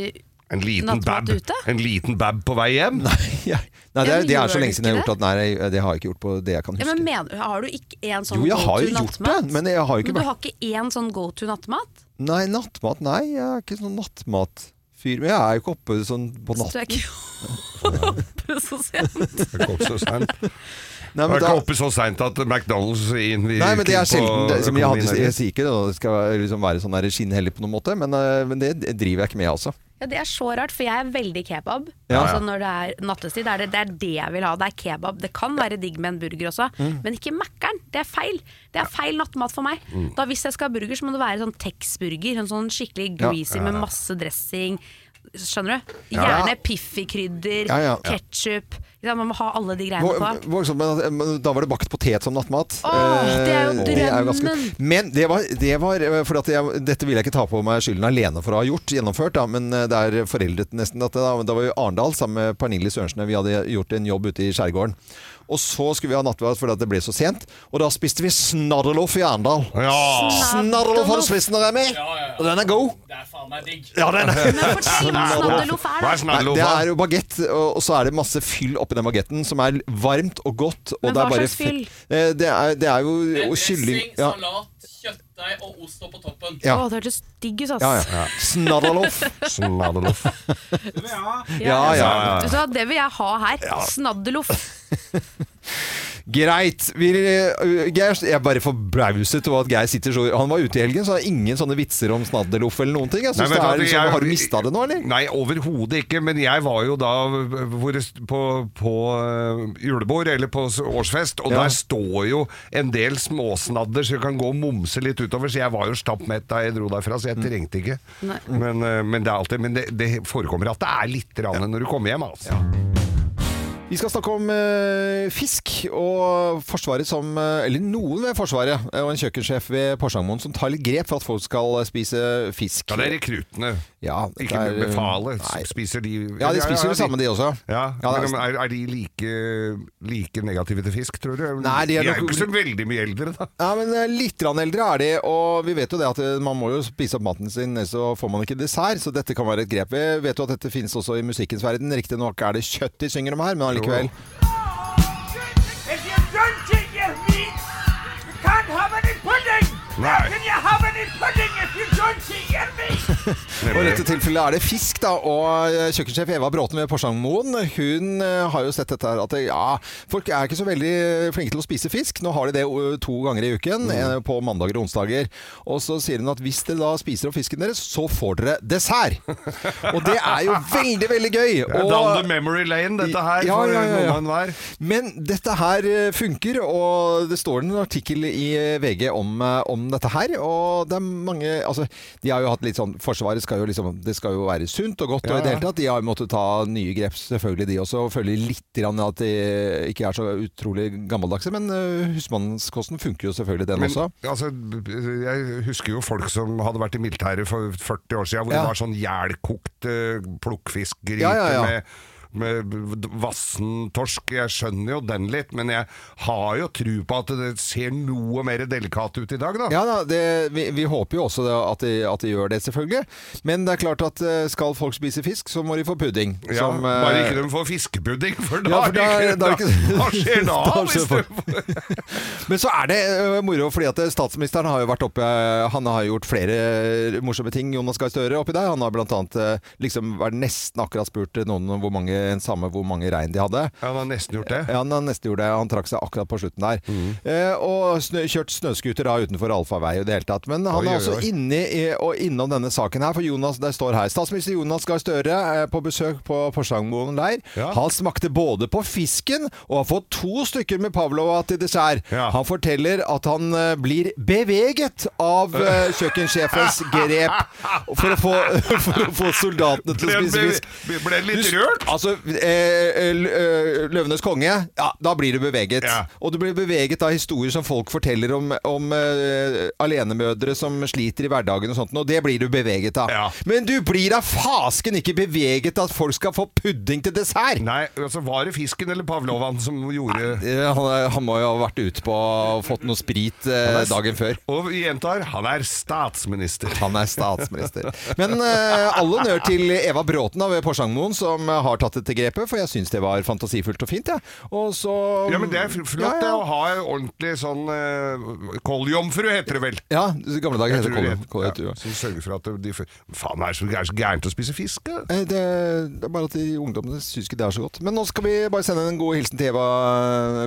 Speaker 2: En liten
Speaker 3: Nattmat
Speaker 2: bab.
Speaker 3: ute?
Speaker 2: En liten bab på vei hjem.
Speaker 1: Ja. Nei, det
Speaker 3: Ja,
Speaker 1: er,
Speaker 3: men
Speaker 1: det er
Speaker 3: gjør
Speaker 1: så
Speaker 3: du
Speaker 1: lenge siden jeg har
Speaker 3: ikke
Speaker 1: gjort at Nei, det har jeg ikke gjort på det jeg kan
Speaker 3: Ja,
Speaker 1: huske.
Speaker 3: men mener, har du ikke en sånn
Speaker 1: jo, jeg har
Speaker 3: go
Speaker 1: jo
Speaker 3: to
Speaker 1: gjort det,
Speaker 3: nattmat?
Speaker 1: men jeg har jo
Speaker 3: Men
Speaker 1: ikke
Speaker 3: du
Speaker 1: vært
Speaker 3: har ikke én sånn go to nattmat?
Speaker 1: Nei, nattmat Nei, jeg er ikke sånn nattmatfyr. Men jeg er jo ikke oppe sånn på
Speaker 3: Så du
Speaker 1: natten.
Speaker 3: er ikke oppe så sent.
Speaker 1: Nei,
Speaker 2: Jeg er ikke oppe så sent. Jeg
Speaker 1: men da-
Speaker 2: er ikke oppe så seint at McDonald's innvirker
Speaker 1: Nei, men det er sjelden. Det, som jeg,
Speaker 2: økonomien
Speaker 1: hadde,
Speaker 2: her.
Speaker 1: jeg sier ikke at det skal være- liksom være sånn der skinnhellig på noen måte, men, eh, men det driver jeg ikke med, altså.
Speaker 3: Ja, Det er så rart, for jeg er veldig kebab.
Speaker 1: Ja.
Speaker 3: Altså Når det er nattestid, er det, det er det jeg vil ha. Det er kebab. Det kan være digg med en burger også,
Speaker 1: Mm.
Speaker 3: men ikke Mækkern. Det er feil. Det er feil nattmat for meg.
Speaker 1: Mm.
Speaker 3: Da Hvis jeg skal ha burger, så må det være sånn Tex-burger. En sånn skikkelig
Speaker 1: Ja.
Speaker 3: greasy med masse dressing. Skjønner du?
Speaker 1: Ja.
Speaker 3: Gjerne Piffi-krydder,
Speaker 1: Ja, ja.
Speaker 3: ketsjup. Man må ha alle de greiene
Speaker 1: Hvor,
Speaker 3: på.
Speaker 1: hvor, men, at- men da var det bakt potet som nattmat.
Speaker 3: Åh, det er jo
Speaker 1: Eh, det er jo ganske-
Speaker 3: drømmen.
Speaker 1: men det var, det var eh, fordi at jeg, Dette vil jeg ikke ta på meg skylden alene for å ha gjort, gjennomført, da, men eh, det er foreldret nesten dette. Da, Men da var vi i Arendal sammen med Pernille Sørensen. Vi hadde gjort en jobb ute i skjærgården. Og så skulle vi ha nattverd fordi at det ble så sent. Og da spiste vi snarreloff i Arendal.
Speaker 2: Ja.
Speaker 1: Snarreloff har du spist når jeg er med, og den er god.
Speaker 6: Det er faen meg digg.
Speaker 1: Ja, den er
Speaker 3: Men fortell hva snaddeloff er, da.
Speaker 2: Hva er
Speaker 1: Nei, det
Speaker 2: snaddelofa?
Speaker 1: er jo bagett, og og så er det masse fyll oppi den bagetten, som er varmt og godt. Og
Speaker 3: Men
Speaker 1: det er
Speaker 3: hva
Speaker 1: bare
Speaker 3: slags fyll?
Speaker 1: fe- Eh, Det er, det er jo og kylling
Speaker 6: Dressing,
Speaker 1: ja,
Speaker 6: Eh, salat, kjøttdeig og ost oppå toppen.
Speaker 1: Ja.
Speaker 3: Å, det hørtes digg ut, ass.
Speaker 1: ja, ja. Snarraloff.
Speaker 2: Snaddeloff.
Speaker 1: Ja, ja.
Speaker 3: Du sa, det vil jeg ha her. Snaddeloff.
Speaker 1: Greit. Vi, eh, Geir, jeg er bare forbauset over at Geir sitter så Han var ute i helgen, så har ingen sånne vitser om snadderloff eller noen ting. Jeg
Speaker 2: Nei,
Speaker 1: synes
Speaker 2: men
Speaker 1: det
Speaker 2: vet
Speaker 1: er
Speaker 2: du,
Speaker 1: liksom,
Speaker 2: jeg-
Speaker 1: Har du mista det nå, eller?
Speaker 2: Nei, overhodet ikke. Men jeg var jo da hvor, på, på øh, julebord, eller på s- årsfest, og
Speaker 1: Ja.
Speaker 2: der står jo en del småsnadder, så jeg kan gå og momse litt utover. Så jeg var jo stappmett da jeg dro derfra, så
Speaker 1: Mm.
Speaker 2: jeg trengte ikke. Men, øh, men det er alltid Men det, det forekommer at det er litt rann når du kommer hjem, altså.
Speaker 1: Vi skal snakke om eh, fisk og Forsvaret som eh, Eller noen ved Forsvaret eh, og en kjøkkensjef ved Porsangmoen som tar litt grep for at folk skal eh, spise fisk.
Speaker 2: Ja, det er rekruttene.
Speaker 1: Ja, dette
Speaker 2: Ikke
Speaker 1: er- eh,
Speaker 2: befalet.
Speaker 1: Nei.
Speaker 2: Spiser de
Speaker 1: Ja, de spiser det samme, de også.
Speaker 2: Ja,
Speaker 1: Ja, det er-
Speaker 2: men er, er de like, like negative til fisk, tror du?
Speaker 1: Nei, de er
Speaker 2: jo
Speaker 1: nok-
Speaker 2: ikke så veldig mye eldre, da.
Speaker 1: Ja, men eh, Litt grann eldre er de, og vi vet jo det at eh, man må jo spise opp maten sin, ellers så får man ikke dessert, så dette kan være et grep. Vi vet jo at dette finnes også i musikkens verden. Riktignok er det kjøtt de synger om her, men allikevel.
Speaker 7: If you don't eat your meat, you can't have any pudding.
Speaker 2: Right.
Speaker 7: How can you have any pudding if you don't see envy!
Speaker 1: Og I dette tilfellet er det fisk, da. Og eh, kjøkkensjef Eva Bråten ved Porsangmoen hun eh, har jo sett dette her at eh, ja, folk er ikke så veldig flinke til å spise fisk. Nå har de det eh, to ganger i
Speaker 2: Mm.
Speaker 1: uken, eh, på mandager og onsdager. Og så sier hun at hvis dere da spiser opp fisken deres, så får dere dessert! Og det er jo veldig, veldig gøy.
Speaker 2: Det er down the memory lane, dette her.
Speaker 1: Ja,
Speaker 2: for
Speaker 1: ja, ja, ja.
Speaker 2: noen og enhver.
Speaker 1: Men dette her eh, funker, og det står en artikkel i eh, VG om, eh, om dette her. Og det er mange Altså, de har jo hatt litt sånn Forsvaret skal jo liksom Det skal jo være sunt og godt,
Speaker 2: Ja,
Speaker 1: og i det
Speaker 2: ja.
Speaker 1: hele tatt. De har jo måttet ta nye grep, selvfølgelig de også. Og føler litt grann at de ikke er så utrolig gammeldagse. Men eh, husmannskosten funker jo selvfølgelig, den
Speaker 2: Men,
Speaker 1: også.
Speaker 2: altså, b- b- jeg husker jo folk som hadde vært i militæret for 40 år siden, hvor
Speaker 1: Ja.
Speaker 2: det var sånn jælkokt eh, plukkfiskgryte
Speaker 1: Ja, ja, ja.
Speaker 2: med, med vassen torsk. Jeg skjønner jo den litt, men jeg har jo tru på at det ser noe mer delikat ut i dag, da.
Speaker 1: Ja, da, det, vi, vi håper jo også det, at, de, at de gjør det, selvfølgelig. Men det er klart at eh, skal folk spise fisk, så må de få pudding.
Speaker 2: Ja,
Speaker 1: som, eh,
Speaker 2: bare ikke de får fiskepudding, for da,
Speaker 1: Ja, for da-
Speaker 2: er det ikke-
Speaker 1: da er det ikke-
Speaker 2: Hva skjer da?
Speaker 1: Da
Speaker 2: hvis
Speaker 1: skjer
Speaker 2: du-
Speaker 1: Men så er det ø, moro, fordi at eh, statsministeren har jo vært oppe eh, Han har gjort flere eh, morsomme ting, Jonas Gahr Støre, oppi der. Han har blant annet ø, liksom vært nesten akkurat spurt noen om hvor mange, en same hvor mange rein de hadde.
Speaker 2: Ja, han har nesten gjort det. Mm.
Speaker 1: Ja, han han nesten gjorde det. Han trakk seg akkurat på slutten der. Eh, og snø, kjørt snøskuter da utenfor allfarvei og det hele tatt. Men han
Speaker 2: Oi,
Speaker 1: er
Speaker 2: oi,
Speaker 1: også
Speaker 2: oi.
Speaker 1: inne i, og innom denne saken her, for Jonas, det står her. Statsminister Jonas Gahr Støre er på besøk på Porsangmoen leir.
Speaker 2: Ja.
Speaker 1: Han smakte både på fisken og har fått to stykker med Pavlova til dessert.
Speaker 2: Ja.
Speaker 1: Han forteller at han eh, blir beveget av eh, kjøkkensjefens grep for å, få, for å få soldatene til å
Speaker 2: Ble-
Speaker 1: spise
Speaker 2: ble-
Speaker 1: fisk.
Speaker 2: ble litt
Speaker 1: Du-
Speaker 2: rørt?
Speaker 1: Altså, eh, l- eh, Løvenes konge, ja, da blir du beveget.
Speaker 2: Ja.
Speaker 1: Og du blir beveget av historier som folk forteller om, om eh, alenemødre som sliter i hverdagen og sånt, og det blir du beveget av.
Speaker 2: Ja.
Speaker 1: Men du blir av fasken ikke beveget av at folk skal få pudding til dessert!
Speaker 2: Nei, altså var det fisken eller Pavlovan som gjorde
Speaker 1: Eh, Han, er- han må jo ha vært ute på og fått noe sprit eh, dagen før.
Speaker 2: Og vi gjentar, han er statsminister.
Speaker 1: Han er statsminister. Men eh, all honnør til Eva Bråten da ved Porsangmoen, som eh, har tatt dette grepet, for jeg syns det var fantasifullt og fint, jeg. Og så
Speaker 2: Ja, men det er fl- flott det å ha en ordentlig sånn uh, Kolljomfru heter det vel.
Speaker 1: Ja, i gamle dager het det
Speaker 2: Tror jeg.
Speaker 1: Kolum. Kolum, tror
Speaker 2: Ja,
Speaker 1: jeg.
Speaker 2: som sørger for at de f- Faen, er det så gæ- så gærent å spise fisk? da?
Speaker 1: Eh, Det, det er bare at de ungdommene syns ikke det er så godt. Men nå skal vi bare sende en god hilsen til Eva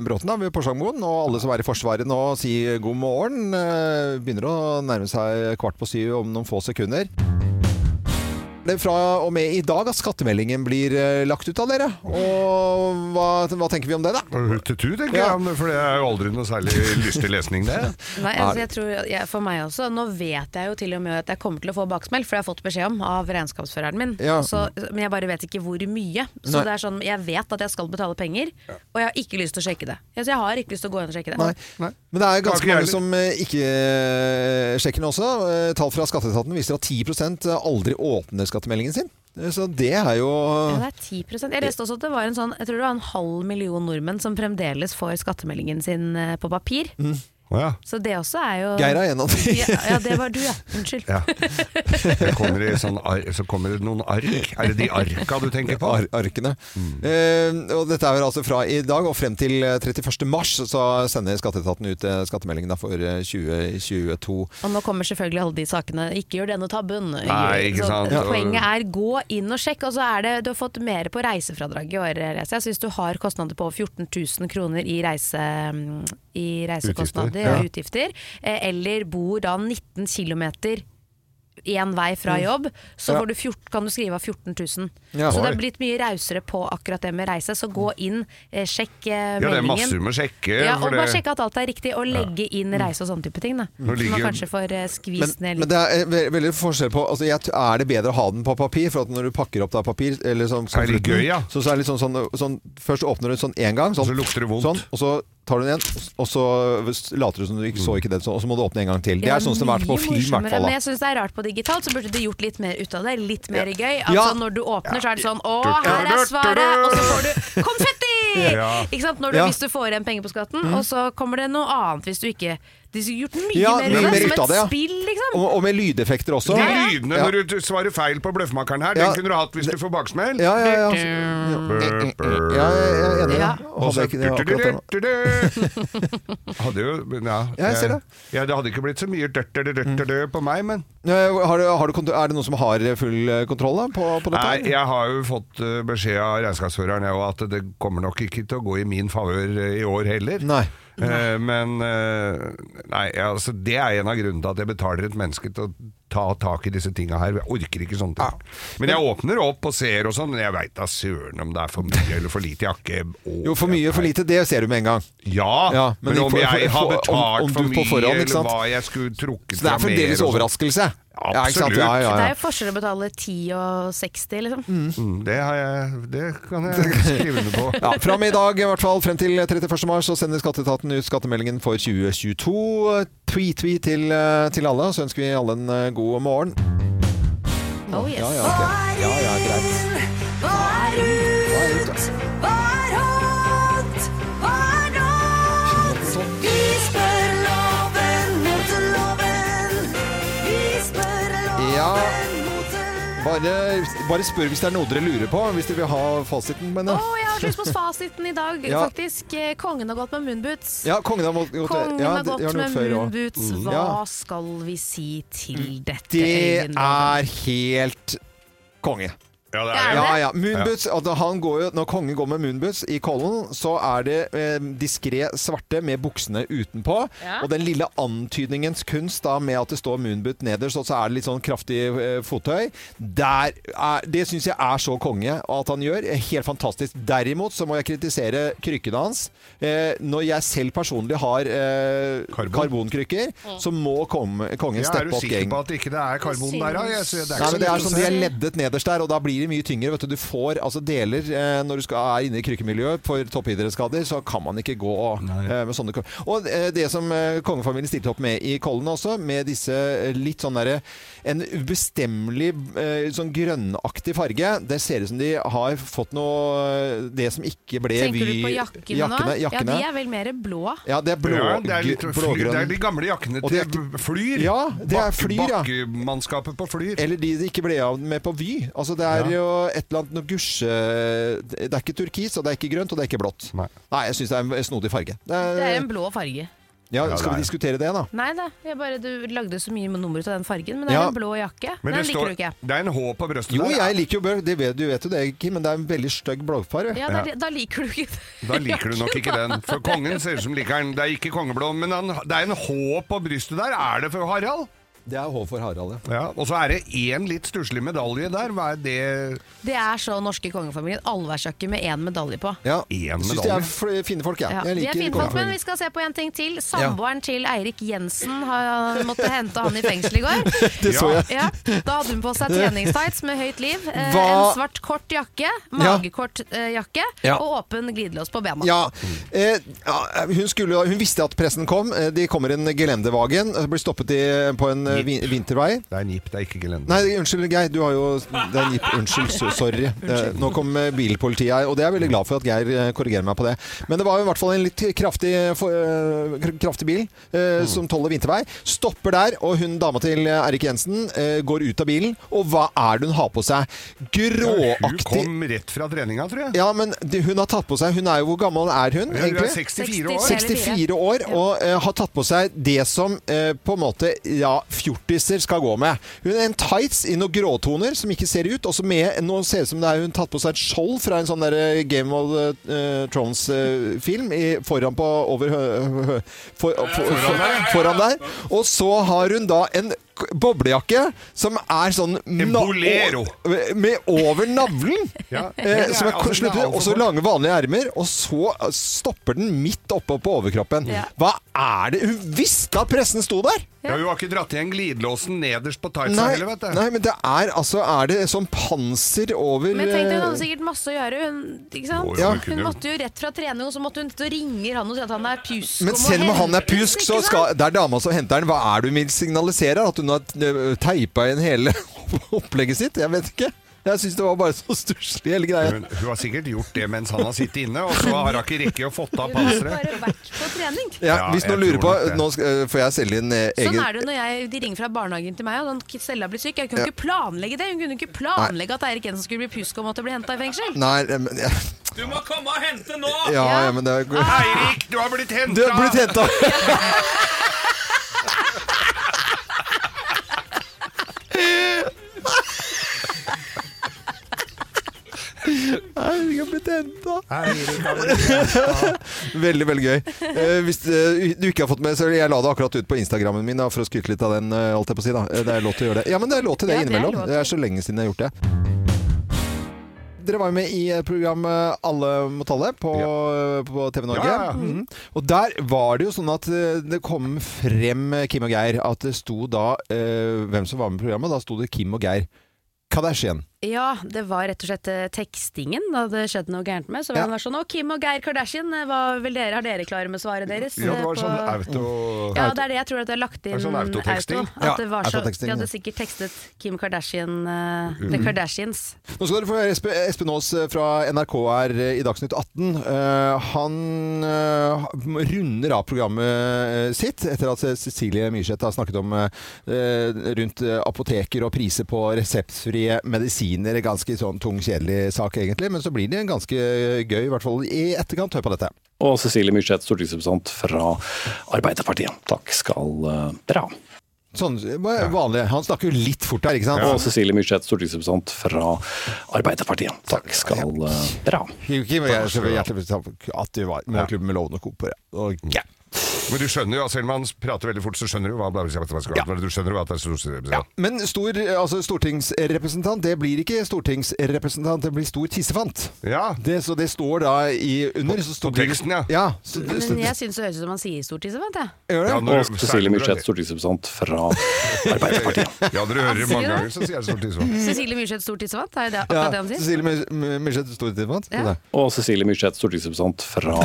Speaker 1: Bråten da, ved Porsangmoen. Og alle som er i Forsvaret nå, si god morgen. Eh, Begynner å nærme seg kvart på syv om noen få sekunder. Det er fra og med i dag at skattemeldingen blir eh, lagt ut av dere. Og hva, hva tenker vi om det, da?
Speaker 2: Huttetu, tenker
Speaker 1: Ja.
Speaker 2: jeg, for det er jo aldri noe særlig lystig lesning, det.
Speaker 3: Nei, altså jeg tror, jeg, for meg også, nå vet jeg jo til og med at jeg kommer til å få baksmell, for jeg har fått beskjed om av regnskapsføreren min.
Speaker 1: Ja.
Speaker 3: Så, men jeg bare vet ikke hvor mye. Så
Speaker 1: Nei.
Speaker 3: det er sånn, jeg vet at jeg skal betale penger, og jeg har ikke lyst til å sjekke det. Altså, jeg har ikke lyst til å gå inn og sjekke det.
Speaker 1: Nei. Men det er
Speaker 2: Har ikke
Speaker 1: ganske
Speaker 2: jeg
Speaker 1: mange
Speaker 2: heller.
Speaker 1: som eh, ikke eh, sjekker den også. Eh, Tall fra Skatteetaten viser at 10 aldri åpner skattemeldingen sin. Eh, Så det er jo
Speaker 3: Ja, det er 10 Jeg leste også at det var en sånn Jeg tror det var en halv million nordmenn som fremdeles får skattemeldingen sin eh, på papir.
Speaker 2: Å ja.
Speaker 3: Så det også er jo
Speaker 1: Mm. Geir er en av de.
Speaker 3: Ja, ja, det var du, ja. Unnskyld.
Speaker 2: ja. Det kommer i sånn ar så kommer det noen ark. Er det de arka du tenker på? Mm.
Speaker 1: Ar arkene. Eh, og dette er altså fra i dag og frem til eh, 31. mars så sender Skatteetaten ut eh, skattemeldingen da for eh, 2022.
Speaker 3: Og nå kommer selvfølgelig alle de sakene. Ikke gjør denne tabben.
Speaker 2: Nei, ikke sant.
Speaker 3: Så poenget er gå inn og sjekk. Og så er det, du har fått mer på reisefradrag i år. Reza. Så hvis du har kostnader på over 14 000 kroner i, reise, i reisekostnader
Speaker 2: Utgifter, ja.
Speaker 3: og utgifter, eh, eller bor da 19 km én vei fra jobb, så
Speaker 1: Mm. Ja.
Speaker 3: får du 14, kan du skrive av 14 000.
Speaker 1: Ja.
Speaker 3: så det
Speaker 1: Oi.
Speaker 3: er blitt mye rausere på akkurat det med reise. Så gå inn, eh, sjekk eh,
Speaker 2: Ja, det er masse
Speaker 3: meldingen.
Speaker 2: du må sjekke.
Speaker 3: Ja,
Speaker 2: for Mm.
Speaker 3: og bare sjekke at alt er riktig, og legge inn reise og sånne type ting. Da. Så man
Speaker 2: ligger-
Speaker 3: kanskje får eh,
Speaker 1: Men,
Speaker 3: skvist ned
Speaker 1: men
Speaker 3: litt.
Speaker 1: det er eh, ve- veldig forskjell på altså, jeg, t- Er det bedre å ha den på papir? For at når du pakker opp da papir eller sånn, sånn
Speaker 2: Er det
Speaker 1: slutten,
Speaker 2: gøy, ja?
Speaker 1: så, så er det litt sånn, sånn, sånn Først åpner du den sånn én gang, sånn,
Speaker 2: Så lukter det vondt.
Speaker 1: sånn, og så tar du den igjen, og så later du som du ikke så ikke den, sånn, og så må du åpne en gang til. Det er sånn som det har vært på
Speaker 3: mye
Speaker 1: film, i hvert
Speaker 3: morsommere,
Speaker 1: fall.
Speaker 3: Men
Speaker 1: da.
Speaker 3: jeg syns det er rart på digitalt, så burde de gjort litt mer ut av det. Litt mer gøy. Altså
Speaker 1: Ja.
Speaker 3: Når du åpner, så er det sånn Å, her er svaret! Og så får du konfetti!
Speaker 2: Ja.
Speaker 3: Ikke sant? Når du,
Speaker 1: Ja. Mm.
Speaker 3: Hvis du får igjen penger på skatten, og så kommer det noe annet hvis du ikke De skulle gjort mye
Speaker 1: Ja,
Speaker 3: mer
Speaker 1: mye
Speaker 3: ut av
Speaker 1: mer
Speaker 3: det,
Speaker 1: ut
Speaker 3: som et
Speaker 1: av det, ja.
Speaker 3: spill, liksom.
Speaker 1: Og, og med lydeffekter også.
Speaker 2: De lydene
Speaker 1: Ja.
Speaker 2: når du svarer feil på bløffmakeren her,
Speaker 1: Ja. altså,
Speaker 2: den kunne du hatt hvis du får baksmell.
Speaker 1: Ja, ja, ja. Ja, jeg jeg er enig.
Speaker 3: Ja,
Speaker 2: Og
Speaker 1: Hadde jeg
Speaker 2: så
Speaker 1: ikke- det var akkurat det.
Speaker 2: du-du-du-du-du. Hadde jo Ja, eh,
Speaker 1: Ja, jeg ser det.
Speaker 2: Ja, det hadde ikke blitt så mye dørt-dørt-dørt på meg, men
Speaker 1: Eh, Har du, har du, kont- er det noen som har full eh, kontroll da, på, på dette?
Speaker 2: Nei,
Speaker 1: her?
Speaker 2: jeg har jo fått eh, beskjed av regnskapsføreren jeg, også, at det kommer nok ikke til å gå i min favør eh, i år heller.
Speaker 1: Nei.
Speaker 2: Eh, men eh, nei, ja, altså, det er en av grunnene til at jeg betaler et menneske til å ta tak i disse tinga her. Jeg orker ikke sånne ting. Men jeg åpner opp og ser og sånn, men jeg veit da søren om det er for mye eller for lite jakke. Å,
Speaker 1: Jo, for mye, for lite, det ser du med en gang.
Speaker 2: Ja,
Speaker 1: Ja, men
Speaker 2: men,
Speaker 1: i
Speaker 2: om
Speaker 1: for-
Speaker 2: jeg har
Speaker 1: for- om-
Speaker 2: betalt
Speaker 1: om du
Speaker 2: for
Speaker 1: på
Speaker 2: mye,
Speaker 1: forhånd, ikke sant?
Speaker 2: eller hva jeg skulle trukket
Speaker 1: Så det er
Speaker 2: fra mer
Speaker 1: fremdeles
Speaker 2: og sånn.
Speaker 1: overraskelse. Ja, ikke sant?
Speaker 2: Absolutt.
Speaker 1: Ja, ja,
Speaker 3: Det er
Speaker 1: ja.
Speaker 3: jo forskjell å betale 10 og 60, liksom.
Speaker 2: Mm, Det, har jeg, det kan jeg skrive under på.
Speaker 1: Ja, fram i dag, i hvert fall frem til 31. mars, så sender Skatteetaten ut skattemeldingen for 2022. Tweet-tweet til, eh, til alle, så ønsker vi alle en eh, god morgen.
Speaker 3: Oh, yes.
Speaker 1: Ja, ja, ok. ja, ja greit. Hva er ut? Ja. Bare, bare spør hvis det er noe dere lurer på, hvis dere vil ha fasiten. Men, eh,
Speaker 3: Å, jeg har så lyst på fasiten i dag,
Speaker 1: Ja.
Speaker 3: faktisk. Eh, Kongen har gått med munnboots.
Speaker 1: ja, kongen har gått,
Speaker 3: Kongen
Speaker 1: ja,
Speaker 3: har
Speaker 1: det-
Speaker 3: gått
Speaker 1: det har den gjort
Speaker 3: med
Speaker 1: før også. Mm.
Speaker 3: munnboots. Hva
Speaker 1: Ja. Mm.
Speaker 3: skal vi si til dette?
Speaker 1: Det
Speaker 3: Øyvind Loven?
Speaker 1: er helt konge.
Speaker 2: Ja, det
Speaker 3: Ja,
Speaker 2: er,
Speaker 1: Ja, ja. Moonboots, altså han går jo, når kongen går med moonboots i Kollen, så er det eh, diskré svarte med buksene utenpå.
Speaker 3: Ja.
Speaker 1: Og den lille antydningens kunst da, med at det står moonboot nederst, og så er det litt sånn kraftig eh, fottøy. Der er, det syns jeg er så konge at han gjør. Helt fantastisk. Derimot så må jeg kritisere krykkene hans. Eh, når jeg selv personlig har eh,
Speaker 2: Karbon.
Speaker 1: karbonkrykker, så må kom, kongen
Speaker 2: Ja, er
Speaker 1: steppe
Speaker 2: du
Speaker 1: opp
Speaker 2: sikker
Speaker 1: gang.
Speaker 2: på at det ikke er karbon der, da? Jeg ser-
Speaker 1: Nei, men det er sånn
Speaker 2: så lett
Speaker 1: De
Speaker 2: å se.
Speaker 1: er leddet nederst der, og da blir det mye tyngre. Vet du. du får altså deler eh, når du skal, er inne i krykkemiljøet for toppidrettsskader, så kan man ikke gå eh, med sånne kor- Og eh, det som eh, kongefamilien stilte opp med i Kollen også, med disse eh, litt sånn derre En ubestemmelig eh, sånn grønnaktig farge. Det ser ut som de har fått noe eh, Det som ikke ble
Speaker 3: Tenker du
Speaker 1: vi-
Speaker 3: på jakkene,
Speaker 1: jakkene,
Speaker 3: nå? Ja,
Speaker 1: jakkene.
Speaker 3: de er vel mer blå.
Speaker 1: Ja, det er blå,
Speaker 2: Ja, det, er litt, fly,
Speaker 1: blågrønn.
Speaker 2: det er de gamle jakkene
Speaker 1: Og
Speaker 2: til
Speaker 1: det er ikke-
Speaker 2: Flyr.
Speaker 1: Ja, det er Flyr, ja.
Speaker 2: Bakkemannskapet på Flyr.
Speaker 1: Eller de det ikke ble av med på Vy. Altså Det er
Speaker 2: Ja.
Speaker 1: jo et eller annet noe gusje Det er ikke turkis, og det er ikke grønt, og det er ikke blått.
Speaker 2: Nei.
Speaker 1: jeg syns det er en snodig farge. Det er-
Speaker 3: Det er en blå farge.
Speaker 1: ja,
Speaker 2: Ja,
Speaker 1: skal vi
Speaker 2: det er.
Speaker 1: diskutere det, da?
Speaker 3: Nei da, jeg bare, du lagde så mye nummer ut av den fargen, men det er
Speaker 1: Ja.
Speaker 3: en blå jakke.
Speaker 2: Men
Speaker 3: Den
Speaker 2: det, står,
Speaker 3: liker du ikke.
Speaker 2: det er en H på brøstet
Speaker 1: Jo,
Speaker 2: der.
Speaker 1: jeg liker jo bør, det vet, du vet jo det, Kim, men det er en veldig stygg blåfarge.
Speaker 3: Ja, da, da liker du ikke
Speaker 2: Da liker du nok ikke den. For kongen ser ut som liker den. Det er ikke kongeblå, men han, det er en H på brystet der. Er det for Harald?
Speaker 1: Det er H for Harald, ja.
Speaker 2: Ja, og så er det én litt stusslig medalje der. Hva er det
Speaker 3: Det er så norske kongefamilien. Allværsjakke med én medalje på.
Speaker 1: ja.
Speaker 2: Én
Speaker 1: Syns de
Speaker 2: medalje.
Speaker 1: er fl- fine folk, jeg.
Speaker 3: Ja,
Speaker 1: jeg
Speaker 3: de er
Speaker 1: liker
Speaker 3: fine folk, men vi skal se på en ting til. Samboeren til Eirik Jensen har måtte hente han i fengsel i går.
Speaker 1: Det så jeg.
Speaker 3: Ja, da hadde hun på seg treningstights med høyt liv, eh,
Speaker 1: Hva-
Speaker 3: en svart kort jakke, magekort eh, jakke
Speaker 1: Ja.
Speaker 3: og åpen glidelås på bena.
Speaker 1: Ja. Eh, ja, hun, skulle, da- hun visste at pressen kom. Eh, De kommer en gelendervagen. eh, Blir stoppet i, på en eh, vin vintervei.
Speaker 2: Det er en jeep, det er ikke gelender.
Speaker 1: Nei, unnskyld Geir, du har jo det er en jipp- Unnskyld, så- sorry. Eh, Nå kom eh, bilpolitiet her, og det er jeg veldig glad for at Geir eh, korrigerer meg på det. Men det var jo i hvert fall en litt kraftig, eh, for, eh, kr- kraftig bil eh, som tåler vintervei. Stopper der, og hun dama til eh, Erik Jensen eh, går ut av bilen, og hva er det hun har på seg?
Speaker 2: Hun
Speaker 1: Gråaktig
Speaker 2: kom rett fra treninga, tror jeg.
Speaker 1: Ja, men det- hun har tatt på seg Hun er jo Hvor gammel er hun,
Speaker 2: Hun er
Speaker 1: egentlig?
Speaker 2: 64 år.
Speaker 3: 60.
Speaker 1: 64 år og eh, har tatt på seg det som eh, på en måte ja, fjortiser skal gå med. Hun er en tights i noen gråtoner som ikke ser ut, og så med nå ser det ut som det er hun tatt på seg et skjold fra en sånn der eh, Game of eh, Thrones-film foran på over hø, hø, for, for, for, foran der. Og så har hun da en k- boblejakke som er sånn
Speaker 2: En
Speaker 1: na-
Speaker 2: bolero.
Speaker 1: o- med over navlen.
Speaker 2: Ja.
Speaker 1: Eh, som er,
Speaker 2: Altså, den er
Speaker 1: slutter,
Speaker 2: altfor
Speaker 1: og så
Speaker 2: kort.
Speaker 1: lange, vanlige ermer, og så eh, stopper den midt oppe på overkroppen.
Speaker 3: Ja.
Speaker 1: Hva er det? Hun visste at pressen sto der!
Speaker 2: Ja, hun har ikke dratt igjen glidelåsen nederst på tightsa
Speaker 1: Nei,
Speaker 2: heller, vet du.
Speaker 1: nei, men det er altså Er det sånn panser over
Speaker 3: Men tenk deg, hun hadde
Speaker 1: eh,
Speaker 3: sikkert masse å gjøre. Hun, ikke sant?
Speaker 2: Jo,
Speaker 1: Ja.
Speaker 2: jo, hun
Speaker 3: hun
Speaker 2: kunne jo
Speaker 3: måtte jo rett fra trening, og så måtte hun ut og ringer han og sier at han er pjusk.
Speaker 1: men
Speaker 3: og må
Speaker 1: selv om han er
Speaker 3: hentes,
Speaker 1: pjusk, så
Speaker 3: ikke sant?
Speaker 1: skal, det er dama som henter den. Hva er det hun vil signalisere? At hun har teipa inn hele opplegget sitt? Jeg vet ikke. Jeg syns det var bare så stusslig, hele greia.
Speaker 2: Hun, hun har sikkert gjort det mens han har sittet inne, og så har hun ikke rekket å fått av
Speaker 3: Hun har jo
Speaker 2: panseret.
Speaker 3: bare vært på trening.
Speaker 1: Ja,
Speaker 2: Ja,
Speaker 1: hvis noen
Speaker 2: jeg
Speaker 1: lurer på
Speaker 2: tror nok det.
Speaker 1: Nå skal, eh, får jeg selge inn eh, egen
Speaker 3: Sånn er det jo når jeg, de ringer fra barnehagen til meg, og den Stella blir syk. Jeg kunne ikke planlegge det. Hun kunne ikke planlegge at Eirik Jensen skulle bli pjusk og måtte bli henta i fengsel.
Speaker 1: Nei, eh, men jeg,
Speaker 6: Du må komme og hente nå!
Speaker 1: Ja, ja, men det er
Speaker 2: Eirik, du har blitt henta!
Speaker 1: Du er blitt henta! Eirik har blitt henta. Veldig, veldig gøy. Eh, hvis eh, du ikke har fått med så Jeg la det akkurat ut på Instagrammen min da, for å skryte litt av den. eh, holdt jeg på å si da. Eh, Det er lov til å gjøre det. Ja, men det er lov til det
Speaker 3: Ja, det er
Speaker 1: innimellom.
Speaker 3: lov til.
Speaker 1: Det er så lenge siden jeg har gjort det. Dere var jo med i eh, programmet Alle mot alle på, eh, på TV Norge.
Speaker 2: Ja, ja.
Speaker 1: Mhm. Og der var det jo sånn at eh, det kom frem eh, Kim og Geir. At det sto da eh, hvem som var med i programmet. Da sto det Kim og Geir Kardashian.
Speaker 3: Ja, det var rett og slett eh, tekstingen det hadde skjedd noe gærent med. Så var
Speaker 1: Ja.
Speaker 3: det var sånn Å, Kim og Geir Kardashian, eh, hva vil dere, har dere klare med svaret deres?
Speaker 2: Ja, det
Speaker 3: eh,
Speaker 2: var sånn
Speaker 3: på-
Speaker 2: auto...
Speaker 3: Ja, det er det jeg tror at det er lagt inn
Speaker 2: Det er sånn autoteksting.
Speaker 3: auto,
Speaker 1: Ja,
Speaker 3: at det var så,
Speaker 1: autoteksting,
Speaker 3: de
Speaker 1: ja.
Speaker 3: hadde sikkert tekstet Kim Kardashian eh,
Speaker 2: Mm.
Speaker 3: The Kardashians.
Speaker 1: Nå skal dere få høre Espen, Espen Aas eh, fra NRK her i Dagsnytt 18. Eh, han eh, runder av programmet eh, sitt etter at Cecilie Myrseth har snakket om eh, rundt eh, apoteker og priser på reseptfrie medisiner. Ganske sånn tung, kjedelig sak egentlig, men så blir det en ganske eh, gøy, i hvert fall i etterkant. Hør på dette.
Speaker 8: og Cecilie Myrseth, stortingsrepresentant fra Arbeiderpartiet. Takk skal eh, dere ha.
Speaker 1: Sånn eh, vanlig. Han snakker jo litt fort der, ikke sant?
Speaker 8: Og Cecilie Myrseth, stortingsrepresentant fra Arbeiderpartiet. Takk skal eh, dere ha.
Speaker 1: Kim og jeg er selvfølgelig hjertelig velkommen at du var med klubben med Loven og Co. på det. Og- ja.
Speaker 2: Men du skjønner jo, selv om han prater veldig fort, så skjønner du hva du skjønner jo at det er stor
Speaker 1: Ja, men stor, altså stortingsrepresentant, det blir ikke stortingsrepresentant, det blir stor tissefant.
Speaker 2: Ja.
Speaker 1: Det, så det står da i under så står
Speaker 2: på teksten, ja.
Speaker 1: ja så, det- så,
Speaker 3: Men jeg syns det høres ut som han sier stort i seg, jeg.
Speaker 1: gjør det?
Speaker 2: Ja, når-
Speaker 8: Og Cecilie Myrseth, stortingsrepresentant fra Arbeiderpartiet.
Speaker 2: Ja, dere hører det
Speaker 3: Sier
Speaker 2: mange
Speaker 3: du
Speaker 2: ganger,
Speaker 3: det?
Speaker 2: så sier jeg stort tissefant.
Speaker 3: Cecilie Myrseth stort i seg, er det
Speaker 1: Ja,
Speaker 3: akkurat det han sier?
Speaker 1: Cecilie Myrs- My- Myrseth, stor tissefant.
Speaker 3: Ja.
Speaker 1: Ja.
Speaker 8: Og Cecilie Myrseth, stortingsrepresentant fra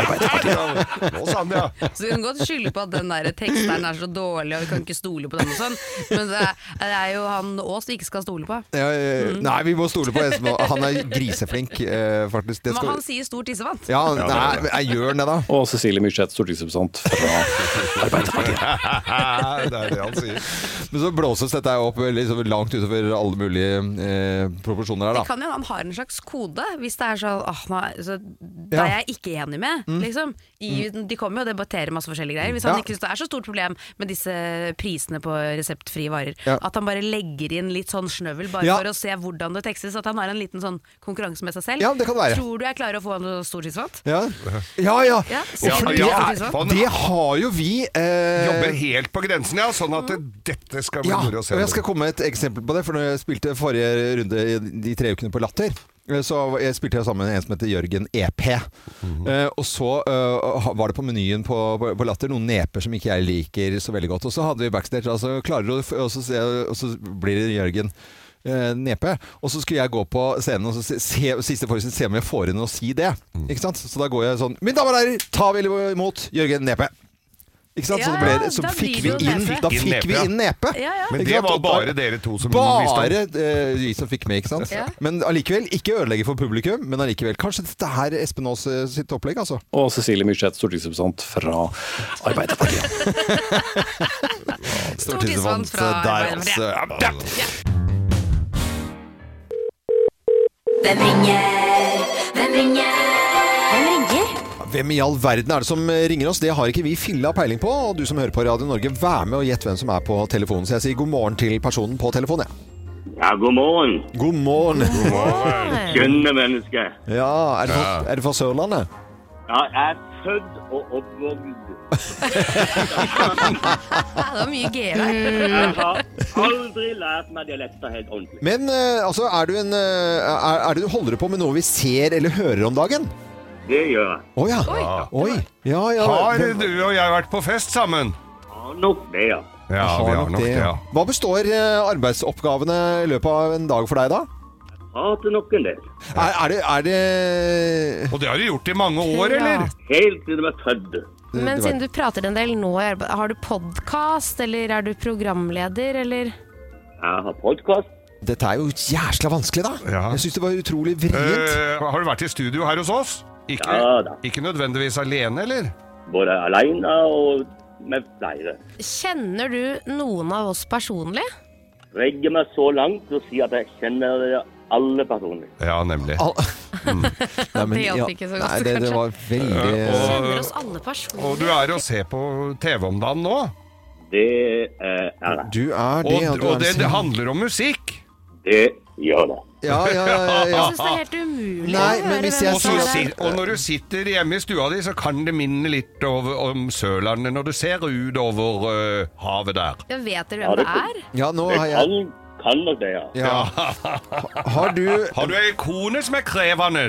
Speaker 8: Arbeiderpartiet.
Speaker 2: Nå sa han det, ja.
Speaker 3: Så vi kan godt skylde på at den der teksteren er så dårlig og vi kan ikke stole på den og sånn, men det er, det er jo han Aas vi ikke skal stole på.
Speaker 1: Ja, eh,
Speaker 3: Mm.
Speaker 1: Nei, vi må stole på Espen. Han er griseflink, eh, faktisk. Det
Speaker 3: Men
Speaker 1: skal,
Speaker 3: han sier stor tissefant.
Speaker 1: ja, nei, jeg gjør han det, da.
Speaker 8: Og Cecilie Myrseth, stortingsrepresentant fra Arbeiderpartiet.
Speaker 2: Det er det han sier.
Speaker 1: Men så blåses dette opp liksom, langt utover alle mulige eh, proporsjoner her, da.
Speaker 3: Det kan jo hende han har en slags kode, hvis det er sånn åh, nei, så, Det
Speaker 1: Ja. Mm.
Speaker 3: er jeg ikke enig med, liksom. I, De kommer jo og debatterer masse forskjellige greier. Hvis han
Speaker 1: Ja.
Speaker 3: ikke syns det er så stort problem med disse prisene på reseptfrie varer,
Speaker 1: Ja.
Speaker 3: at han bare legger inn litt sånn snøvel bare
Speaker 1: Ja.
Speaker 3: for å se hvordan det tekstes, at han har en liten sånn konkurranse med seg selv.
Speaker 1: Ja, det kan være.
Speaker 3: Tror du jeg klarer å få noe stort tidsfatt?
Speaker 1: Ja, ja. ja.
Speaker 3: Ja,
Speaker 1: ja,
Speaker 3: sier du
Speaker 1: det,
Speaker 3: stort
Speaker 1: er,
Speaker 3: tidsfatt?
Speaker 2: Sånn.
Speaker 1: det har jo vi eh,
Speaker 2: Jobber helt på grensen, ja, sånn at det- dette skal bli
Speaker 1: Ja,
Speaker 2: moro å se.
Speaker 1: og jeg skal komme med et eksempel på det. For når jeg spilte forrige runde i de tre ukene på Latter, eh, så jeg spilte jeg sammen med en som heter Jørgen EP. Eh, og så eh, var det på menyen på, på, på Latter noen neper som ikke jeg liker så veldig godt. Og så hadde vi backstage, altså klarer du å f- og, så ser jeg- og så blir det Jørgen. eh, Nepe. Og så skulle jeg gå på scenen og så se, se, siste forrige, se om jeg får inn å si det. Ikke sant? Så da går jeg sånn Mine damer og herrer, ta vel imot Jørgen Nepe! Ikke sant? så,
Speaker 3: Ja,
Speaker 1: det ble, så
Speaker 3: da
Speaker 1: fikk
Speaker 3: blir det
Speaker 1: vi
Speaker 3: jo
Speaker 1: inn,
Speaker 3: nepe.
Speaker 1: da
Speaker 2: Inn
Speaker 1: fikk
Speaker 2: nepe,
Speaker 1: vi
Speaker 2: ja.
Speaker 1: inn nepe.
Speaker 3: Ja, ja.
Speaker 2: Men
Speaker 1: Ikke
Speaker 2: det
Speaker 1: sant?
Speaker 2: var
Speaker 1: Og da-
Speaker 2: bare dere to som visste om.
Speaker 1: bare eh, vi som fikk med, ikke sant?
Speaker 3: Ja.
Speaker 1: Men allikevel, ikke ødelegge for publikum, men allikevel. Kanskje dette her er Espen Aas eh, sitt opplegg, altså.
Speaker 8: Og Cecilie Myrseth, stortingsrepresentant fra Arbeiderpartiet.
Speaker 3: Stort tidsfatt fra
Speaker 1: Der,
Speaker 3: Arbeiderpartiet.
Speaker 1: altså. Ja, ja.
Speaker 9: Hvem ringer? Hvem ringer? Hvem ringer?
Speaker 1: Hvem i all verden er det som eh, ringer oss? Det har ikke vi filla peiling på. Og du som hører på Radio Norge, vær med og gjett hvem som er på telefonen. Så jeg sier god morgen til personen på telefonen, jeg.
Speaker 10: Ja, god morgen,
Speaker 1: God morgen.
Speaker 10: skjønne menneske.
Speaker 1: Ja, er det fra, er det fra Sørlandet?
Speaker 10: Ja, jeg er født og oppvokst.
Speaker 3: Ja, det var mye gøy der.
Speaker 10: Jeg har aldri lært meg dialekter helt ordentlig.
Speaker 1: Men eh, altså, er du en eh, er, er det du holder på med noe vi ser eller hører om dagen?
Speaker 10: Det gjør jeg.
Speaker 1: Å ja. Oi. Ja, ja.
Speaker 2: Har
Speaker 1: Hvem-
Speaker 2: du og jeg vært på fest sammen?
Speaker 10: Har nok det, ja.
Speaker 1: Jeg
Speaker 2: Ja, vi har nok det, ja.
Speaker 1: Hva består eh, arbeidsoppgavene i løpet av en dag for deg, da?
Speaker 10: Hater nok en del.
Speaker 1: Er, er det, er det eh,
Speaker 2: Og det har du gjort i mange år, eller?
Speaker 10: Helt siden jeg var født.
Speaker 1: det var-
Speaker 11: du prater en del nå, har du podkast, eller er du programleder, eller
Speaker 10: Jeg har podkast.
Speaker 1: Dette er jo jæsla vanskelig, da.
Speaker 2: Ja.
Speaker 1: Jeg syns det var utrolig vrient.
Speaker 2: Eh, har du vært i studio her hos oss? Ikke,
Speaker 10: Ja da.
Speaker 2: ikke nødvendigvis alene, eller?
Speaker 10: Både aleine og med flere.
Speaker 11: Kjenner du noen av oss personlig?
Speaker 10: Legger meg så langt og sier at jeg kjenner alle personlig.
Speaker 2: Ja, nemlig.
Speaker 1: Al- Mm. men
Speaker 11: det
Speaker 1: ja,
Speaker 11: hjalp ikke så godt,
Speaker 1: nei, det- det
Speaker 11: kanskje.
Speaker 1: var veldig-
Speaker 11: Du kjenner oss alle personlig.
Speaker 2: Og Eh, du er og ser på TV om dagen nå?
Speaker 10: Det eh, er det.
Speaker 1: Du er det, ja,
Speaker 2: og,
Speaker 1: du er
Speaker 2: og det,
Speaker 1: det.
Speaker 2: det handler om musikk.
Speaker 10: Det gjør det.
Speaker 1: Ja, ja, ja, ja.
Speaker 11: Jeg synes det er helt umulig
Speaker 1: Nei,
Speaker 11: å
Speaker 1: men
Speaker 11: høre
Speaker 1: hvis
Speaker 11: hvem
Speaker 1: jeg
Speaker 2: Og,
Speaker 11: som
Speaker 2: så,
Speaker 11: er
Speaker 2: si- og når du sitter hjemme i stua di, så kan det minne litt over, om Sørlandet når du ser ut over eh, havet der.
Speaker 11: Jeg vet dere
Speaker 10: Ja,
Speaker 11: hvem
Speaker 10: det
Speaker 11: det er?
Speaker 1: Ja, nå
Speaker 10: Det
Speaker 1: har jeg
Speaker 10: kan, kan nok det, ja.
Speaker 1: Har du
Speaker 2: Har du ei kone som er krevende?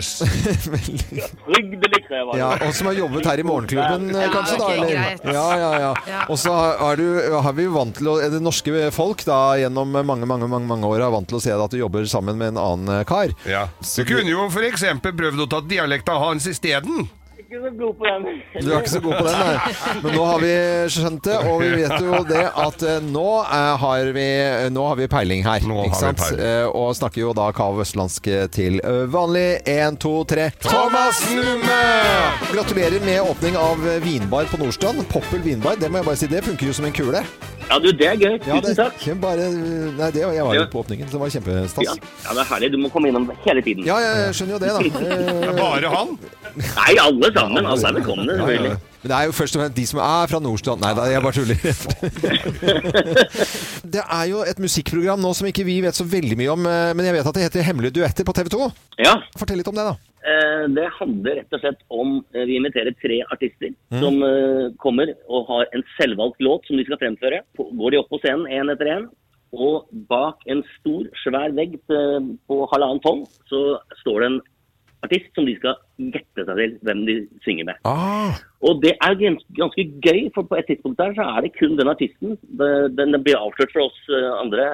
Speaker 10: Trygdelig krever
Speaker 1: ja, Og som har jobbet her i morgenklubben, eh, kanskje? da,
Speaker 11: ok,
Speaker 1: eller?
Speaker 11: greit.
Speaker 1: Ja, ja, ja.
Speaker 11: Ja.
Speaker 1: Og så har, har du- har vi jo vant til å Det norske folk da, gjennom mange mange, mange, mange år har vant til å se at du jobber sammen med en annen eh, kar.
Speaker 2: Ja. Du
Speaker 1: Så du-
Speaker 2: kunne jo f.eks. prøvd å ta dialekta hans isteden.
Speaker 10: Ikke så god på den.
Speaker 1: Du er ikke så god på den, nei. Men nå har vi skjønt det, og vi vet jo det at eh, nå, eh, har, vi, nå har vi peiling her.
Speaker 2: Nå har vi
Speaker 1: ikke sant?
Speaker 2: peiling.
Speaker 1: Eh, og snakker jo da kav østlandsk eh, til eh, vanlig. Én, to, tre Thomas Numme! Gratulerer med åpning av eh, vinbar på Nordstrand. Poppel vinbar, det må jeg bare si. Det funker jo som en kule.
Speaker 10: Ja, du, det er gøy.
Speaker 1: Ja, det,
Speaker 10: Tusen takk.
Speaker 1: bare, eh, nei, det, jeg var jo på åpningen, så det var
Speaker 10: Ja.
Speaker 1: kjempestas.
Speaker 10: ja, det er herlig. Du må komme innom hele tiden.
Speaker 1: Ja, jeg skjønner jo det, da. Eh,
Speaker 2: Bare han.
Speaker 10: Nei, alle sammen. Alle er velkomne, altså. selvfølgelig.
Speaker 1: Men det er jo først og fremst de som er fra Nordstrand. Nei da, jeg bare tuller. det er jo et musikkprogram nå som ikke vi vet så veldig mye om, eh, men jeg vet at det heter Hemmelige duetter på TV 2.
Speaker 10: Ja,
Speaker 1: Fortell litt om det, da.
Speaker 10: eh, Det handler rett og slett om eh, Vi inviterer tre artister som eh, kommer og har en selvvalgt låt som de skal fremføre. På- Går de opp på scenen én etter én, og bak en stor, svær vegg eh, på halvannen tonn, så står det en artist som de skal gjette seg til hvem de synger med. Og det er gans- ganske gøy, for på et tidspunkt der så er det kun den artisten. Det- Den blir avslørt for oss eh, andre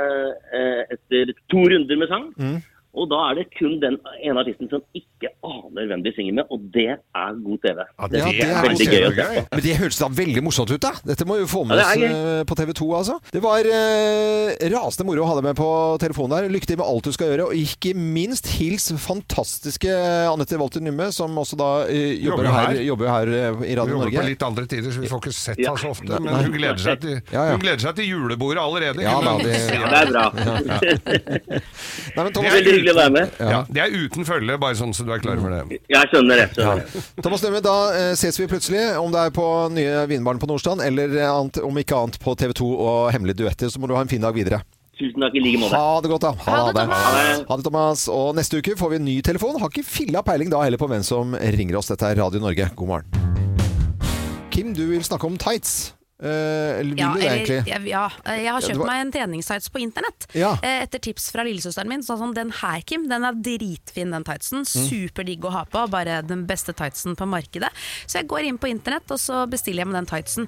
Speaker 10: eh, etter to runder med sang.
Speaker 1: Mm.
Speaker 10: Og da er det kun den ene artisten som ikke aner hvem de synger med, og det er god TV.
Speaker 1: det Ja, det er
Speaker 10: veldig
Speaker 1: også
Speaker 10: gøy å se på.
Speaker 1: Men det hørtes da veldig morsomt ut, da. Dette må vi få med
Speaker 10: Ja,
Speaker 1: oss
Speaker 10: det er
Speaker 1: eh, på TV 2, altså. Det var eh, rasende moro å ha deg med på telefonen der. Lykke til med alt du skal gjøre, og ikke minst hils fantastiske Anette Walter Numme, som også da eh, jobber,
Speaker 2: Jobber
Speaker 1: her,
Speaker 2: her.
Speaker 1: jobber her eh, i
Speaker 2: Vi
Speaker 1: Radio
Speaker 2: jobber på
Speaker 1: Norge.
Speaker 2: litt andre tider, så vi får ikke sett
Speaker 10: Ja.
Speaker 2: henne så ofte. Men
Speaker 1: Nei.
Speaker 2: hun gleder seg til,
Speaker 1: Ja, ja.
Speaker 2: hun gleder seg til julebordet allerede.
Speaker 1: Ja, da, det-
Speaker 10: Ja, det er bra.
Speaker 1: Nei, men
Speaker 2: Det
Speaker 1: Thomas,
Speaker 2: er
Speaker 10: Veldig hyggelig å være med.
Speaker 2: Ja, det er uten følge, bare sånn så du er klar for det.
Speaker 10: Jeg skjønner det. skjønner det.
Speaker 1: Thomas Nømme, da eh, ses vi plutselig, om det er på nye Vinbaren på Nordstrand, eller eh, annet, om ikke annet på TV 2 og Hemmelige duetter, så må du ha en fin dag videre.
Speaker 10: Tusen takk i like måte.
Speaker 1: Ha det godt, da. Ha, det.
Speaker 10: Thomas.
Speaker 1: Ha det, Thomas. Og neste uke får vi en ny telefon. Har ikke filla peiling da heller på hvem som ringer oss. Dette er Radio Norge. God morgen. Kim, du vil snakke om tights. Eh, eller vil
Speaker 3: Ja,
Speaker 1: du det, egentlig?
Speaker 3: eller, ja, ja, eh, jeg har
Speaker 1: Ja, det
Speaker 3: kjøpt
Speaker 1: var-
Speaker 3: meg en treningstights på internett
Speaker 1: Ja.
Speaker 3: eh, etter tips fra lillesøsteren min. Sånn som den her, Kim, den er dritfin, den tightsen.
Speaker 1: Mm.
Speaker 3: Superdigg å ha på. Bare den beste tightsen på markedet. Så jeg går inn på internett og så bestiller jeg meg den tightsen.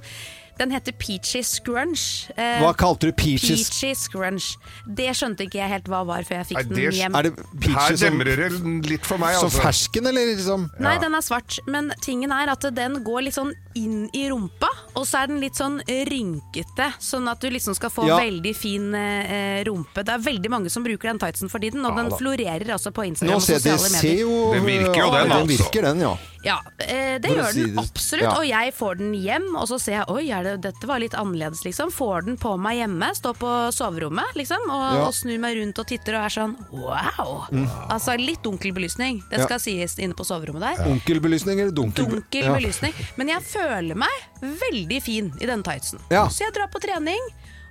Speaker 3: Den heter Peachy Scrunch. Eh,
Speaker 1: Hva kalte du peaches?
Speaker 3: Peachy Scrunch. Det skjønte ikke jeg helt hva var før jeg
Speaker 2: Nei,
Speaker 3: fikk
Speaker 2: det-
Speaker 3: den hjem.
Speaker 1: Er det
Speaker 2: Her
Speaker 1: peaches som,
Speaker 2: demrer det litt for meg,
Speaker 1: som
Speaker 2: altså.
Speaker 1: fersken, eller liksom?
Speaker 3: Nei, den er svart, men tingen er at den går litt sånn inn i rumpa, og så er den litt sånn rynkete, sånn at du liksom skal få
Speaker 1: Ja.
Speaker 3: veldig fin eh, rumpe. Det er veldig mange som bruker den tightsen for tiden, og den florerer også på Instagram
Speaker 1: Nå
Speaker 3: og
Speaker 1: ser
Speaker 3: sosiale
Speaker 1: det ser
Speaker 3: medier.
Speaker 1: jo
Speaker 2: Den virker jo, den, altså.
Speaker 1: Den virker, den, ja.
Speaker 3: Ja, eh, det
Speaker 1: For å
Speaker 3: gjør
Speaker 1: si
Speaker 3: den
Speaker 1: det-
Speaker 3: absolutt,
Speaker 1: ja.
Speaker 3: og jeg får den hjem, og så ser jeg oi, er det, dette var litt annerledes, liksom. Får den på meg hjemme, står på soverommet, liksom, og,
Speaker 1: Ja.
Speaker 3: og snur meg rundt og titter og er sånn wow.
Speaker 1: Mm.
Speaker 3: Altså litt dunkel belysning, det
Speaker 1: Ja.
Speaker 3: skal sies inne på soverommet der.
Speaker 1: Onkelbelysning eller dunkel...
Speaker 3: dunkel
Speaker 1: Ja.
Speaker 3: belysning. Men jeg føler meg veldig fin i den tightsen.
Speaker 1: Ja.
Speaker 3: Så jeg drar på trening,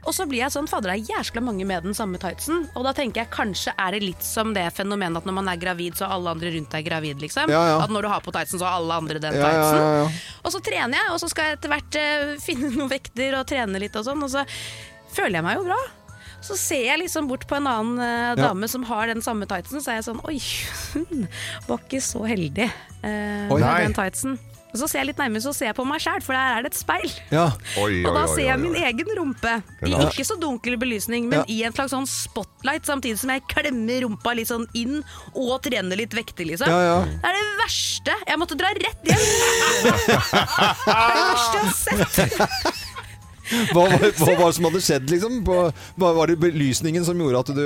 Speaker 3: og så blir jeg sånn Fader, det er jæskla mange med den samme tightsen. Og da tenker jeg kanskje er det litt som det fenomenet at når man er gravid, så er alle andre rundt deg gravid, liksom.
Speaker 1: Ja, ja.
Speaker 3: At når du har på tightsen, så har alle andre den
Speaker 1: Ja, ja,
Speaker 3: tightsen.
Speaker 1: ja, ja.
Speaker 3: Og så trener jeg, og så skal jeg etter hvert eh, finne noen vekter og trene litt og sånn, og så føler jeg meg jo bra. Så ser jeg liksom bort på en annen eh,
Speaker 1: Ja.
Speaker 3: dame som har den samme tightsen, så er jeg sånn Oi, hun var ikke så heldig eh, med
Speaker 1: Oi.
Speaker 2: Nei.
Speaker 3: den tightsen. Og så ser jeg litt nærmere, så ser jeg på meg sjæl, for der er det et speil.
Speaker 1: Ja.
Speaker 2: Oi,
Speaker 3: Og da
Speaker 2: oi, oi,
Speaker 3: ser jeg
Speaker 2: oi,
Speaker 3: min
Speaker 2: oi.
Speaker 3: egen rumpe. I
Speaker 2: Ja.
Speaker 3: ikke så dunkel belysning, men i en slags sånn spotlight, samtidig som jeg klemmer rumpa litt sånn inn og trener litt vekter, liksom.
Speaker 1: Ja, ja.
Speaker 3: Det er det verste. Jeg måtte dra rett hjem. det er det verste jeg har sett.
Speaker 1: Hva var, hva var det som hadde skjedd, liksom? På, hva var det belysningen som gjorde at du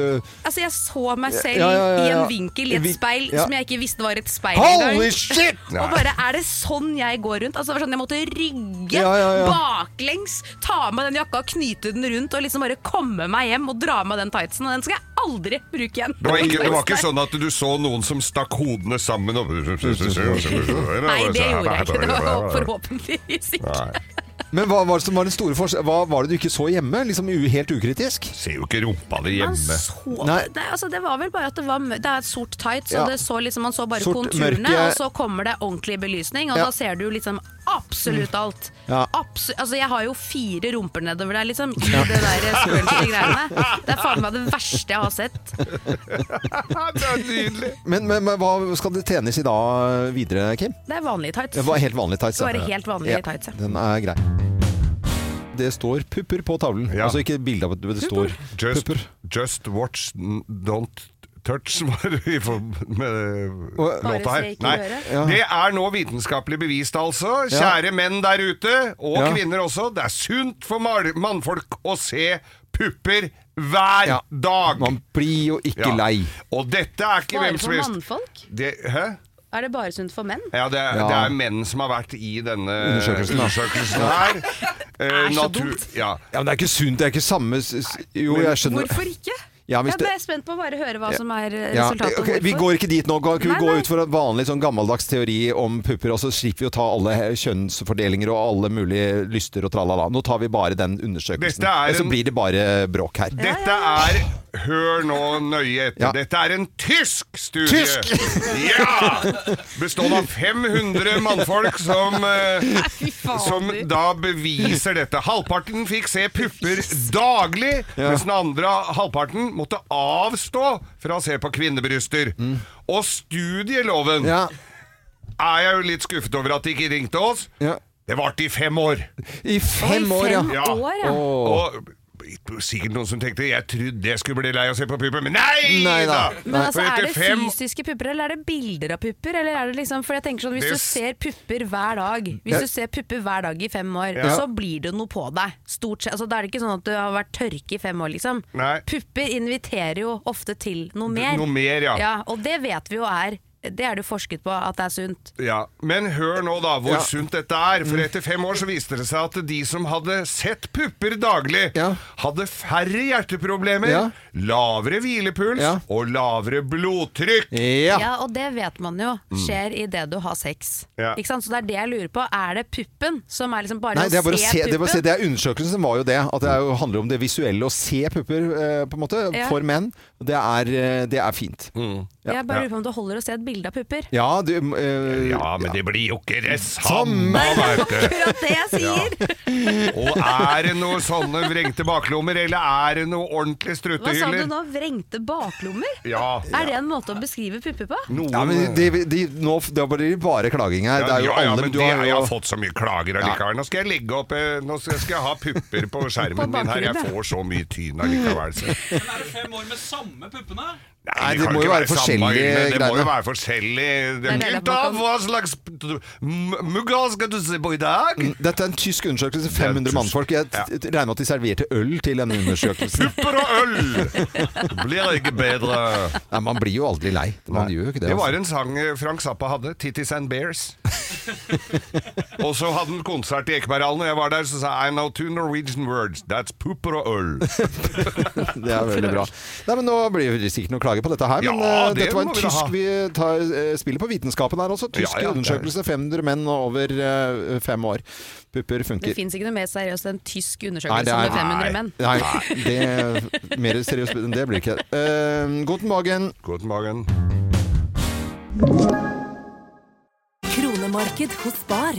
Speaker 3: Altså, jeg så meg selv
Speaker 1: Ja, ja, ja,
Speaker 3: i en
Speaker 1: ja.
Speaker 3: vinkel i et
Speaker 1: Vi-
Speaker 3: speil
Speaker 1: ja.
Speaker 3: som jeg ikke visste var et speil
Speaker 1: Holy
Speaker 3: engang.
Speaker 1: shit! Nei.
Speaker 3: Og bare, er det sånn jeg går rundt? Altså, det var sånn, jeg måtte rygge
Speaker 1: Ja, ja, ja.
Speaker 3: baklengs, ta av meg den jakka, knyte den rundt og liksom bare komme meg hjem og dra av meg den tightsen, og den skal jeg aldri bruke igjen.
Speaker 2: Det var, ikke, det var ikke sånn at du så noen som stakk hodene sammen og Nei, det
Speaker 3: Nei, det gjorde
Speaker 2: gjorde
Speaker 3: jeg ikke. Det var forhåpentligvis ikke.
Speaker 1: Men hva var det som var den store forskjellen? Hva var det du ikke så hjemme? Liksom u helt ukritisk?
Speaker 2: Ser jo ikke rumpa di
Speaker 3: Man
Speaker 2: hjemme.
Speaker 3: så,
Speaker 1: Nei.
Speaker 3: det, altså, det var vel bare at det var mø- Det er et sort tight, så
Speaker 1: Ja.
Speaker 3: det så liksom, man så bare
Speaker 1: Sort,
Speaker 3: konturene,
Speaker 1: mørke-
Speaker 3: og så kommer det ordentlig belysning, og
Speaker 1: Ja.
Speaker 3: da ser du liksom absolutt alt.
Speaker 1: Ja.
Speaker 3: Absu altså, jeg har jo fire rumper nedover der, liksom, i det der squirty greiene. Det er faen meg det verste jeg har sett.
Speaker 2: det er nydelig.
Speaker 1: Men, men, men hva skal det trenes i da videre, Kim?
Speaker 3: Det er vanlige tights.
Speaker 1: Det var helt vanlige tights. ja.
Speaker 3: Bare helt vanlige tights, ja.
Speaker 1: Den er grei. Det står pupper på tavlen. Altså ikke bilde av at det står
Speaker 2: Just,
Speaker 1: pupper.
Speaker 2: just watch, n- don't touch, var det vi får med
Speaker 1: Bare
Speaker 2: låta
Speaker 1: se,
Speaker 2: her.
Speaker 1: ikke
Speaker 2: Nei.
Speaker 1: røre.
Speaker 2: Det er nå vitenskapelig bevist, altså.
Speaker 1: Ja.
Speaker 2: Kjære menn der ute, og
Speaker 1: Ja.
Speaker 2: kvinner også. Det er sunt for mal- mannfolk å se pupper hver dag.
Speaker 1: Man blir jo ikke
Speaker 2: Ja.
Speaker 1: lei.
Speaker 2: Og dette er ikke
Speaker 3: Bare
Speaker 2: hvem som
Speaker 3: for
Speaker 2: helst.
Speaker 3: mannfolk?
Speaker 2: Det, hæ?
Speaker 3: Er det bare sunt for menn?
Speaker 2: Ja, det er,
Speaker 1: Ja.
Speaker 2: det er menn som har vært i denne
Speaker 1: Undersøkelsen, da.
Speaker 2: undersøkelsen her. Det
Speaker 3: er så dumt.
Speaker 2: Ja.
Speaker 1: Ja, men det er ikke sunt. Det er ikke samme s- s- Jo, jeg skjønner
Speaker 3: Hvorfor ikke?
Speaker 1: Ja, hvis
Speaker 3: jeg ble
Speaker 1: det-
Speaker 3: spent på å bare høre hva
Speaker 1: Ja.
Speaker 3: som er eh,
Speaker 1: Ja,
Speaker 3: resultatet. og
Speaker 1: ok, vi
Speaker 3: hvorfor.
Speaker 1: går ikke dit nå. Kan vi
Speaker 3: Nei,
Speaker 1: gå
Speaker 3: nei.
Speaker 1: ut for en vanlig sånn gammeldags teori om pupper, og så slipper vi å ta alle he- kjønnsfordelinger og alle mulige lyster og tralala. Nå tar vi bare den undersøkelsen.
Speaker 2: Dette er
Speaker 1: Ellers Så
Speaker 2: en-
Speaker 1: blir det bare bråk her.
Speaker 2: Dette er Hør nå nøye etter. Dette er en tysk studie!
Speaker 1: Tysk!
Speaker 2: ja! Bestående av 500 mannfolk som, eh, som da beviser dette. Halvparten fikk se pupper daglig, mens den andre halvparten måtte avstå fra å se på kvinnebryster.
Speaker 1: Mm.
Speaker 2: Og studieloven er jeg jo litt skuffet over at de ikke ringte oss. Det varte i fem år.
Speaker 1: I fem Oi, år, ja. fem år, ja. Åh.
Speaker 2: Og sikkert noen som tenkte jeg trodde jeg skulle bli lei av å se på pupper, men nei,
Speaker 1: Nei
Speaker 2: da!
Speaker 1: da.
Speaker 3: Men altså,
Speaker 2: For
Speaker 3: Er
Speaker 2: etter
Speaker 3: det
Speaker 2: fem-
Speaker 3: fysiske pupper, eller er det bilder av pupper? Eller er det liksom, for jeg tenker sånn, Hvis
Speaker 2: Det
Speaker 3: du
Speaker 2: s-
Speaker 3: ser pupper hver dag Hvis
Speaker 2: Ja.
Speaker 3: du ser pupper hver dag i fem år,
Speaker 2: Ja.
Speaker 3: så blir det noe på deg. Stort sett, altså, Da er det ikke sånn at du har vært tørke i fem år, liksom.
Speaker 2: Nei.
Speaker 3: Pupper inviterer jo ofte til noe mer.
Speaker 2: noe mer, ja.
Speaker 3: Og det vet vi jo er Det er det jo forsket på at det er sunt.
Speaker 2: Ja, Men hør nå, da, hvor
Speaker 3: Ja.
Speaker 2: sunt dette er.
Speaker 1: Mm.
Speaker 2: For etter fem år så viste det seg at de som hadde sett pupper daglig, hadde færre hjerteproblemer,
Speaker 1: Ja.
Speaker 2: lavere hvilepuls og lavere blodtrykk.
Speaker 3: Og det vet man jo skjer idet du har sex.
Speaker 2: Mm. Ja.
Speaker 3: Ikke sant? Så det er det jeg lurer på. Er det puppen som er liksom bare
Speaker 1: Nei, det er bare å se, det er
Speaker 3: puppen?
Speaker 1: bare å se. Det er undersøkelsen som var jo det. At det er jo, handler om det visuelle. Å se pupper eh, på en måte
Speaker 3: Ja.
Speaker 1: for menn, det er, eh, det er fint.
Speaker 2: Mm.
Speaker 3: Jeg bare lurer på om det holder å se et bilde av pupper.
Speaker 1: Ja, du, eh,
Speaker 2: Ja, men det blir jo ikke det
Speaker 1: Samme.
Speaker 2: samme,
Speaker 1: Nei, det er
Speaker 2: vet du.
Speaker 3: akkurat det jeg
Speaker 2: Ja. Og er det noe sånne vrengte baklommer, eller er det noe
Speaker 3: Hva
Speaker 2: ordentlig
Speaker 3: sa du
Speaker 2: struttehyller?
Speaker 3: nå? Vrengte baklommer?
Speaker 2: Ja.
Speaker 3: Er det en måte å beskrive pupper på?
Speaker 1: Ja, men de, de, nå, det blir bare klaging her. Det er jo
Speaker 2: ja, ja,
Speaker 1: alle,
Speaker 2: men
Speaker 1: men du
Speaker 2: det,
Speaker 1: har
Speaker 2: Jeg
Speaker 1: jo
Speaker 2: har fått så mye klager allikevel. Nå skal jeg legge opp eh, Nå skal skal jeg ha pupper på
Speaker 6: På
Speaker 2: skjermen min her. Jeg
Speaker 6: bakgrunnen.
Speaker 2: får så mye tyn allikevel. så-
Speaker 6: Men er det fem år med samme puppene?
Speaker 2: Nei,
Speaker 1: det
Speaker 2: kan
Speaker 1: må jo
Speaker 2: ikke
Speaker 1: være
Speaker 2: samme
Speaker 1: forskjellige
Speaker 2: øyne, Det må
Speaker 1: greiene.
Speaker 2: jo være forskjellig
Speaker 1: Det er det
Speaker 2: Gutta,
Speaker 1: man kan-
Speaker 2: hva slags m- mugga skal du se på i dag?
Speaker 1: Mm, Dette er en tysk undersøkelse. 500
Speaker 2: tysk.
Speaker 1: mannfolk. Jeg t- regner med at de serverte øl til denne undersøkelsen.
Speaker 2: Pupper og øl! Blir ikke bedre.
Speaker 1: Nei, man blir jo aldri lei. Man gjør jo ikke det. altså.
Speaker 2: Det var en sang eh, Frank Zappa hadde, 'Titties and Bears'. og så hadde han konsert i Ekeberghallen, og jeg var der, så sa jeg I know two Norwegian words. That's pupper og øl.
Speaker 1: altså. Det er veldig bra. Nei, men Nå blir det sikkert noen klager på dette her, men
Speaker 2: Ja,
Speaker 1: eh,
Speaker 2: det
Speaker 1: dette var en
Speaker 2: må vi da ha.
Speaker 1: tysk Vi tar, eh, spiller på vitenskapen her også. Tysk
Speaker 2: Ja, ja, det er-
Speaker 1: undersøkelse. 500 menn over eh, fem år. Pupper
Speaker 3: Det
Speaker 1: funker.
Speaker 3: fins ikke noe mer seriøst enn tysk
Speaker 1: Nei, det
Speaker 3: undersøkelse
Speaker 1: er-
Speaker 3: med 500 menn.
Speaker 1: Nei, det, mer seriøst enn det blir det ikke. Uh, guten Morgen.
Speaker 2: Guten Morgen.
Speaker 12: Kronemarked hos Spar.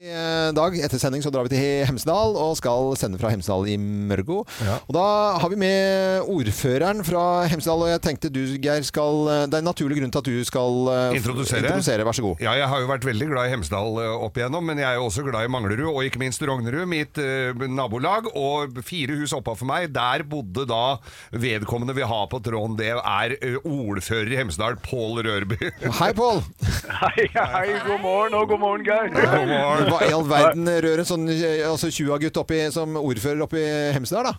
Speaker 1: I eh, dag etter sending så drar vi til Hemsedal og skal sende fra Hemsedal i Mørgo. Og da har vi med ordføreren fra Hemsedal, og jeg tenkte du, Geir, skal eh, Det er en naturlig grunn til at du skal eh,
Speaker 2: Introdusere.
Speaker 1: introdusere. Vær så god.
Speaker 2: Ja, jeg har jo vært veldig glad i Hemsedal eh, opp igjennom, men jeg er jo også glad i Manglerud, og ikke minst Rognrud, mitt eh, nabolag. Og fire hus oppa for meg, der bodde da vedkommende vi har på tråden, det er eh, ordfører i Hemsedal, Pål Rørby.
Speaker 1: Hei, Pål!
Speaker 13: Hei, hei, god morgen og god morgen, Geir.
Speaker 1: Hva i all verden rører en sånn eh, altså 20-gutt oppi- som ordfører oppe i Hemsedal, da?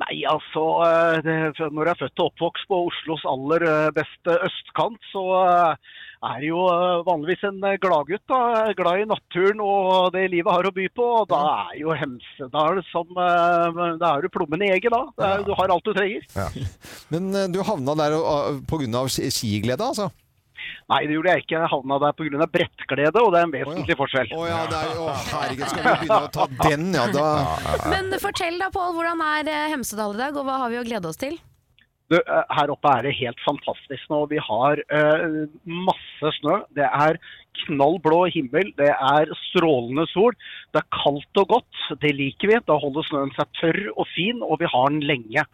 Speaker 13: Nei, altså, eh, det, fra når jeg er født og oppvokst på Oslos aller eh, beste østkant, så eh, er det jo eh, vanligvis en eh, gladgutt, da. Glad i naturen og det livet har å by på. Og da er jo Hemsedal som eh, Da er du plommen i egget, da. Det er, du har alt du trenger.
Speaker 1: Men eh, du havna der eh, på grunn av ski- skiglede, altså?
Speaker 13: Nei, det gjorde jeg ikke. Jeg havna der pga. brettglede, og det er en vesentlig forskjell.
Speaker 1: Å ja, det er jo herregud, skal vi begynne å ta den, ja da.
Speaker 3: Men fortell da, Pål, hvordan er eh, Hemsedal i dag, og hva har vi å glede oss til?
Speaker 13: Du, eh, her oppe er det helt fantastisk nå. Vi har eh, masse snø. Det er knallblå himmel, det er strålende sol. Det er kaldt og godt, det liker vi. Da holder snøen seg tørr og fin, og vi har den lenge.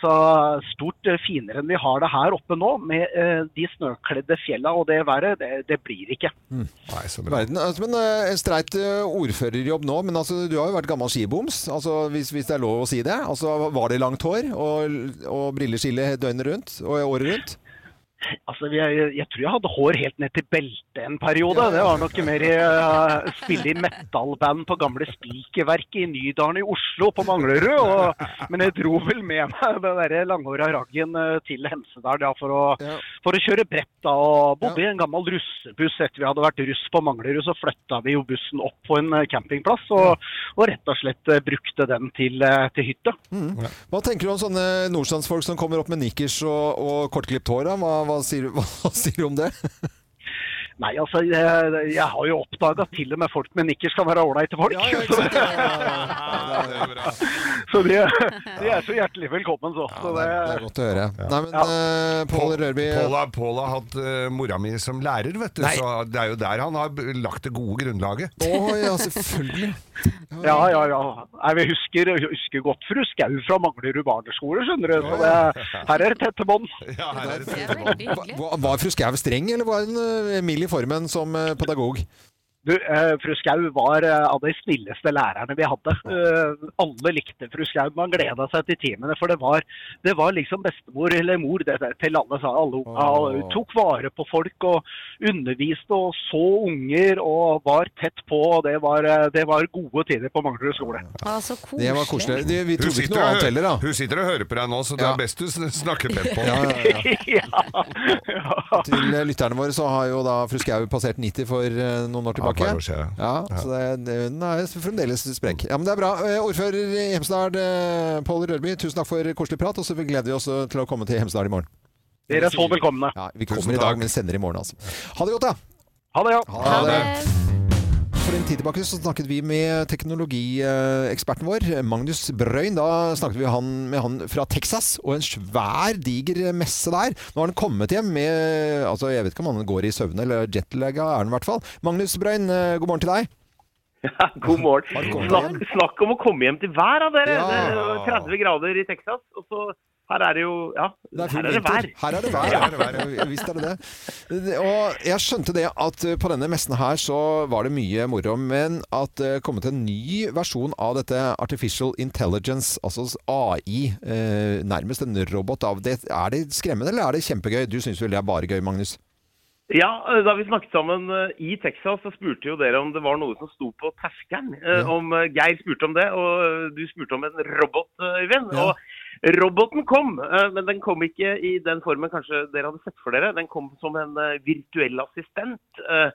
Speaker 13: Så stort eh, finere enn vi har det her oppe nå, med eh, de snøkledde fjella og det været, det, det blir ikke.
Speaker 2: Nei, så
Speaker 1: Mm. Verden, altså, men eh, Streit eh, ordførerjobb nå, men altså, du har jo vært gammel skiboms, altså, hvis, hvis det er lov å si det. Altså, var det langt hår og, og brilleskille døgnet rundt og året rundt?
Speaker 13: Altså, vi er, jeg tror jeg hadde hår helt ned til beltet en periode. Det var nok mer i eh, spille i metal-band på gamle Spikerverket i Nydalen i Oslo, på Manglerud. Og, men jeg dro vel med meg den der langhåra raggen eh, til Hemsedal ja, for, å, for å kjøre brett. da, og Bodde i en gammel russebuss etter vi hadde vært russ på Manglerud. Så flytta vi jo bussen opp på en eh, campingplass, og, og rett og slett eh, brukte den til, eh, til hytta.
Speaker 1: Mm. Hva tenker du om sånne nordstandsfolk som kommer opp med nikkers og, og kortklipt hår? Da? Hva, hva, sier, hva, sier du om det?
Speaker 13: Nei, altså, jeg, jeg har jo oppdaga til og med folk med nikkers kan være ålreite folk. så det, så de, de er så hjertelig velkommen, så. så det,
Speaker 1: Det er godt å høre. Nei, men eh, Pål Rørby
Speaker 2: Pål har- Pål har hatt eh, mora mi som lærer, vet du, så det er jo der han har b- lagt det gode grunnlaget.
Speaker 1: Å ja, selvfølgelig.
Speaker 13: ja, ja, ja. Nei, vi husker, husker godt fru Skau fra Manglerud barneskole, skjønner du. Så det, her er det tette bånd.
Speaker 1: Hva- hva- Var fru Skau streng, eller var hun eh, mild i formen som eh, pedagog?
Speaker 13: Du, eh, fru Skau var eh, av de snilleste lærerne vi hadde. Eh, alle likte fru Skau. Man gleda seg til timene, for det var, det var liksom bestemor eller mor det, det, til alle, sa alle unga. Og Hun tok vare på folk og underviste og så unger og var tett på. og Det var, eh, det var gode tider på Manglerud skole.
Speaker 3: Altså, koselig.
Speaker 1: Det var koselig. Det- vi
Speaker 2: Hun
Speaker 1: trodde ikke
Speaker 2: sitter
Speaker 1: noe
Speaker 2: og
Speaker 1: annet
Speaker 2: hø-
Speaker 1: heller, da.
Speaker 2: Hun sitter og hører på deg nå, så det
Speaker 1: Ja.
Speaker 2: er best du sn- snakker pent på.
Speaker 1: Ja, ja, Til lytterne våre så har jo da fru Skau passert 90 for eh, noen år tilbake.
Speaker 2: par år siden.
Speaker 1: Ja, så det, det, hun er fremdeles sprek. Ja, men det er bra. Eh, Ordfører i Hemsedal, eh, Pål Rørby, tusen takk for koselig prat, og så gleder vi oss eh, til å komme til Hemsedal i morgen.
Speaker 13: Dere er så velkomne.
Speaker 1: Ja, vi kommer i dag, men sender i morgen, altså. Ha det godt, da!
Speaker 13: Ha det, ja.
Speaker 1: Ha det. For en tid tilbake så snakket vi med teknologieksperten vår, Magnus Brøyn. Da snakket vi han, med han fra Texas og en svær, diger messe der. Nå har han kommet hjem med altså Jeg vet ikke om han går i søvne eller jetlagga, er han i hvert fall. Magnus Brøyn, eh, god morgen til deg.
Speaker 14: God morgen. Snakk, snakk om å komme hjem til vær av dere! Det er jo 30 grader i Texas. Og så her er det jo Ja,
Speaker 1: Det er full
Speaker 14: her er det
Speaker 1: vinter.
Speaker 14: vær.
Speaker 1: Her er det vær, her er det vær. ja, Visst er det det. Det- Og jeg skjønte det at eh, på denne messen her så var det mye moro, men at det kommet en ny versjon av dette Artificial Intelligence, altså AI, eh, nærmest en robot av det. Er det skremmende, eller er det kjempegøy? Du syns vel det er bare gøy, Magnus?
Speaker 14: Ja, Da vi snakket sammen eh, i Texas, så spurte jo dere om det var noe som sto på terskelen. Eh, Om eh, Geir spurte om det, og eh, du spurte om en robot, eh, Øyvind. Og roboten kom, eh, men den kom ikke i den formen kanskje dere hadde sett for dere. Den kom som en eh, virtuell assistent. eh,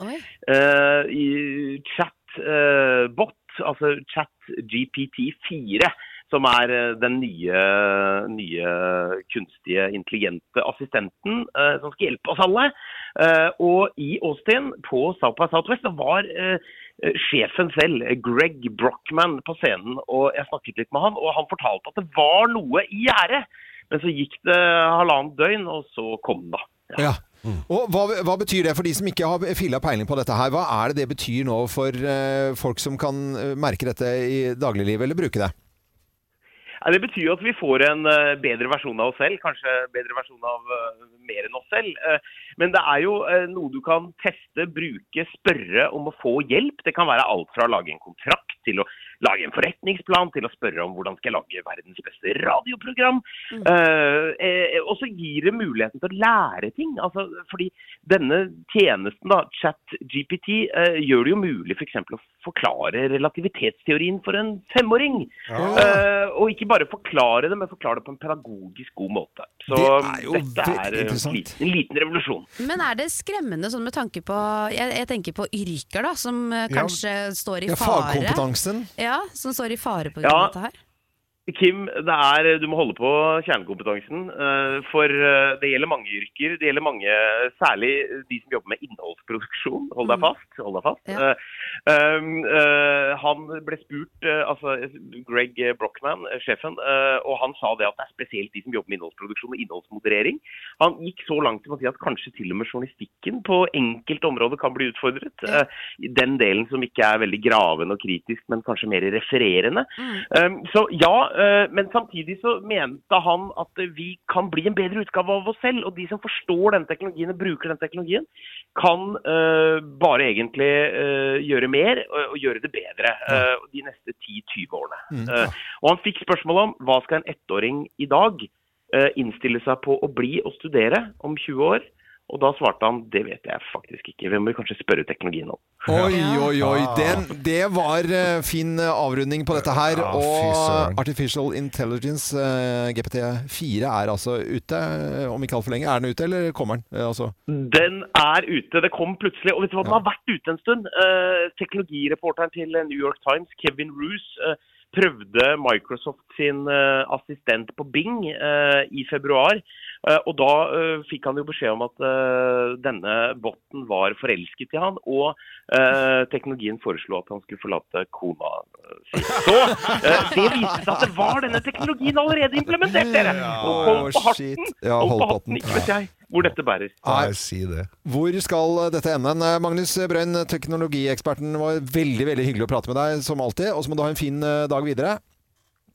Speaker 14: eh, I chat eh, bot, altså chat GPT4. Som er eh, den nye, nye kunstige, intelligente assistenten eh, som skal hjelpe oss alle. Eh, og i Austin, på South by Southwest, så var eh, sjefen selv, Greg Brochman, på scenen. Og jeg snakket litt med han, og han fortalte at det var noe i gjære. Men så gikk det halvannet døgn, og så kom det.
Speaker 1: Ja. Og hva, hva betyr det for de som ikke har filla peiling på dette her? Hva er det det betyr nå for eh, folk som kan eh, merke dette i dagliglivet eller bruke det?
Speaker 14: Nei, Det betyr jo at vi får en eh, bedre versjon av oss selv, kanskje bedre versjon av eh, mer enn oss selv. Eh, Men det er jo eh, noe du kan teste, bruke, spørre om å få hjelp. Det kan være alt fra å lage en kontrakt til å lage en forretningsplan, til å spørre om hvordan skal jeg lage verdens beste radioprogram. Eh, eh, Og så gir det muligheten til å lære ting. Altså, fordi denne tjenesten, da, ChatGPT, eh, gjør det jo mulig f.eks. For å forklare relativitetsteorien for en femåring.
Speaker 1: Ja.
Speaker 14: Eh, og ikke bare forklare det, men forklare det på en pedagogisk god måte. Så
Speaker 1: Det er jo
Speaker 14: dette
Speaker 1: veldig
Speaker 14: er eh,
Speaker 1: interessant.
Speaker 14: en liten, en liten revolusjon.
Speaker 3: Men er det skremmende sånn med tanke på Jeg, jeg tenker på yrker da, som eh,
Speaker 14: Ja.
Speaker 3: kanskje står i
Speaker 14: Ja,
Speaker 3: fare.
Speaker 14: fagkompetansen.
Speaker 3: Ja, som står i fare på grunn av
Speaker 14: Ja.
Speaker 3: dette her.
Speaker 14: Kim, det er, du må holde på kjernekompetansen. eh, For eh, det gjelder mange yrker. Det gjelder mange, særlig de som jobber med innholdsproduksjon. Hold deg fast. Hold deg fast.
Speaker 15: Ja.
Speaker 14: Eh, um, eh, han ble spurt, eh, altså Greg Brochman, eh, sjefen, eh, og han sa det at det er spesielt de som jobber med innholdsproduksjon og innholdsmoderering. Han gikk så langt som å si at kanskje til og med journalistikken på enkelte områder kan bli utfordret. Eh, Den delen som ikke er veldig graven og kritisk, men kanskje mer refererende. Um, så ja, eh, men samtidig så mente han at eh, vi kan bli en bedre utgave av oss selv. Og de som forstår den teknologien og bruker den teknologien, kan eh, bare egentlig eh, gjøre mer og, og gjøre det bedre eh, de neste 10-20 årene.
Speaker 15: Mm,
Speaker 14: Eh, og han fikk spørsmål om hva skal en ettåring i dag eh, innstille seg på å bli og studere om 20 år? Og da svarte han det vet jeg faktisk ikke, vi må kanskje spørre teknologien om.
Speaker 1: Oi, oi, oi.
Speaker 14: Ah.
Speaker 1: Den, det var eh, fin eh, avrunding på dette her.
Speaker 14: Ja, fy
Speaker 1: og
Speaker 14: søren.
Speaker 1: Artificial Intelligence, eh, GPT4, er altså ute. eh, Om ikke altfor lenge. Er den ute, eller kommer den? Eh, altså.
Speaker 14: Den er ute. Det kom plutselig. Og vet du hva, den har vært ute en stund. Eh, teknologireporteren til eh, New York Times, Kevin Roos, eh, prøvde Microsoft sin eh, assistent på Bing eh, i februar. Eh, og da eh, fikk han jo beskjed om at eh, denne botten var forelsket i han, og eh, teknologien foreslo at han skulle forlate kona si. Så eh, det viste seg at det var denne teknologien allerede implementert, dere! Og hold på hatten!
Speaker 1: Ja,
Speaker 14: Hold
Speaker 1: hold
Speaker 14: på
Speaker 1: på hatten.
Speaker 14: hatten, ikke vet jeg hvor dette bærer.
Speaker 1: Nei,
Speaker 2: si det.
Speaker 1: Hvor skal eh, dette ende? Eh, Magnus Brøyn, teknologieksperten, var veldig veldig hyggelig å prate med deg, som alltid. Og så må du ha en fin eh, dag videre.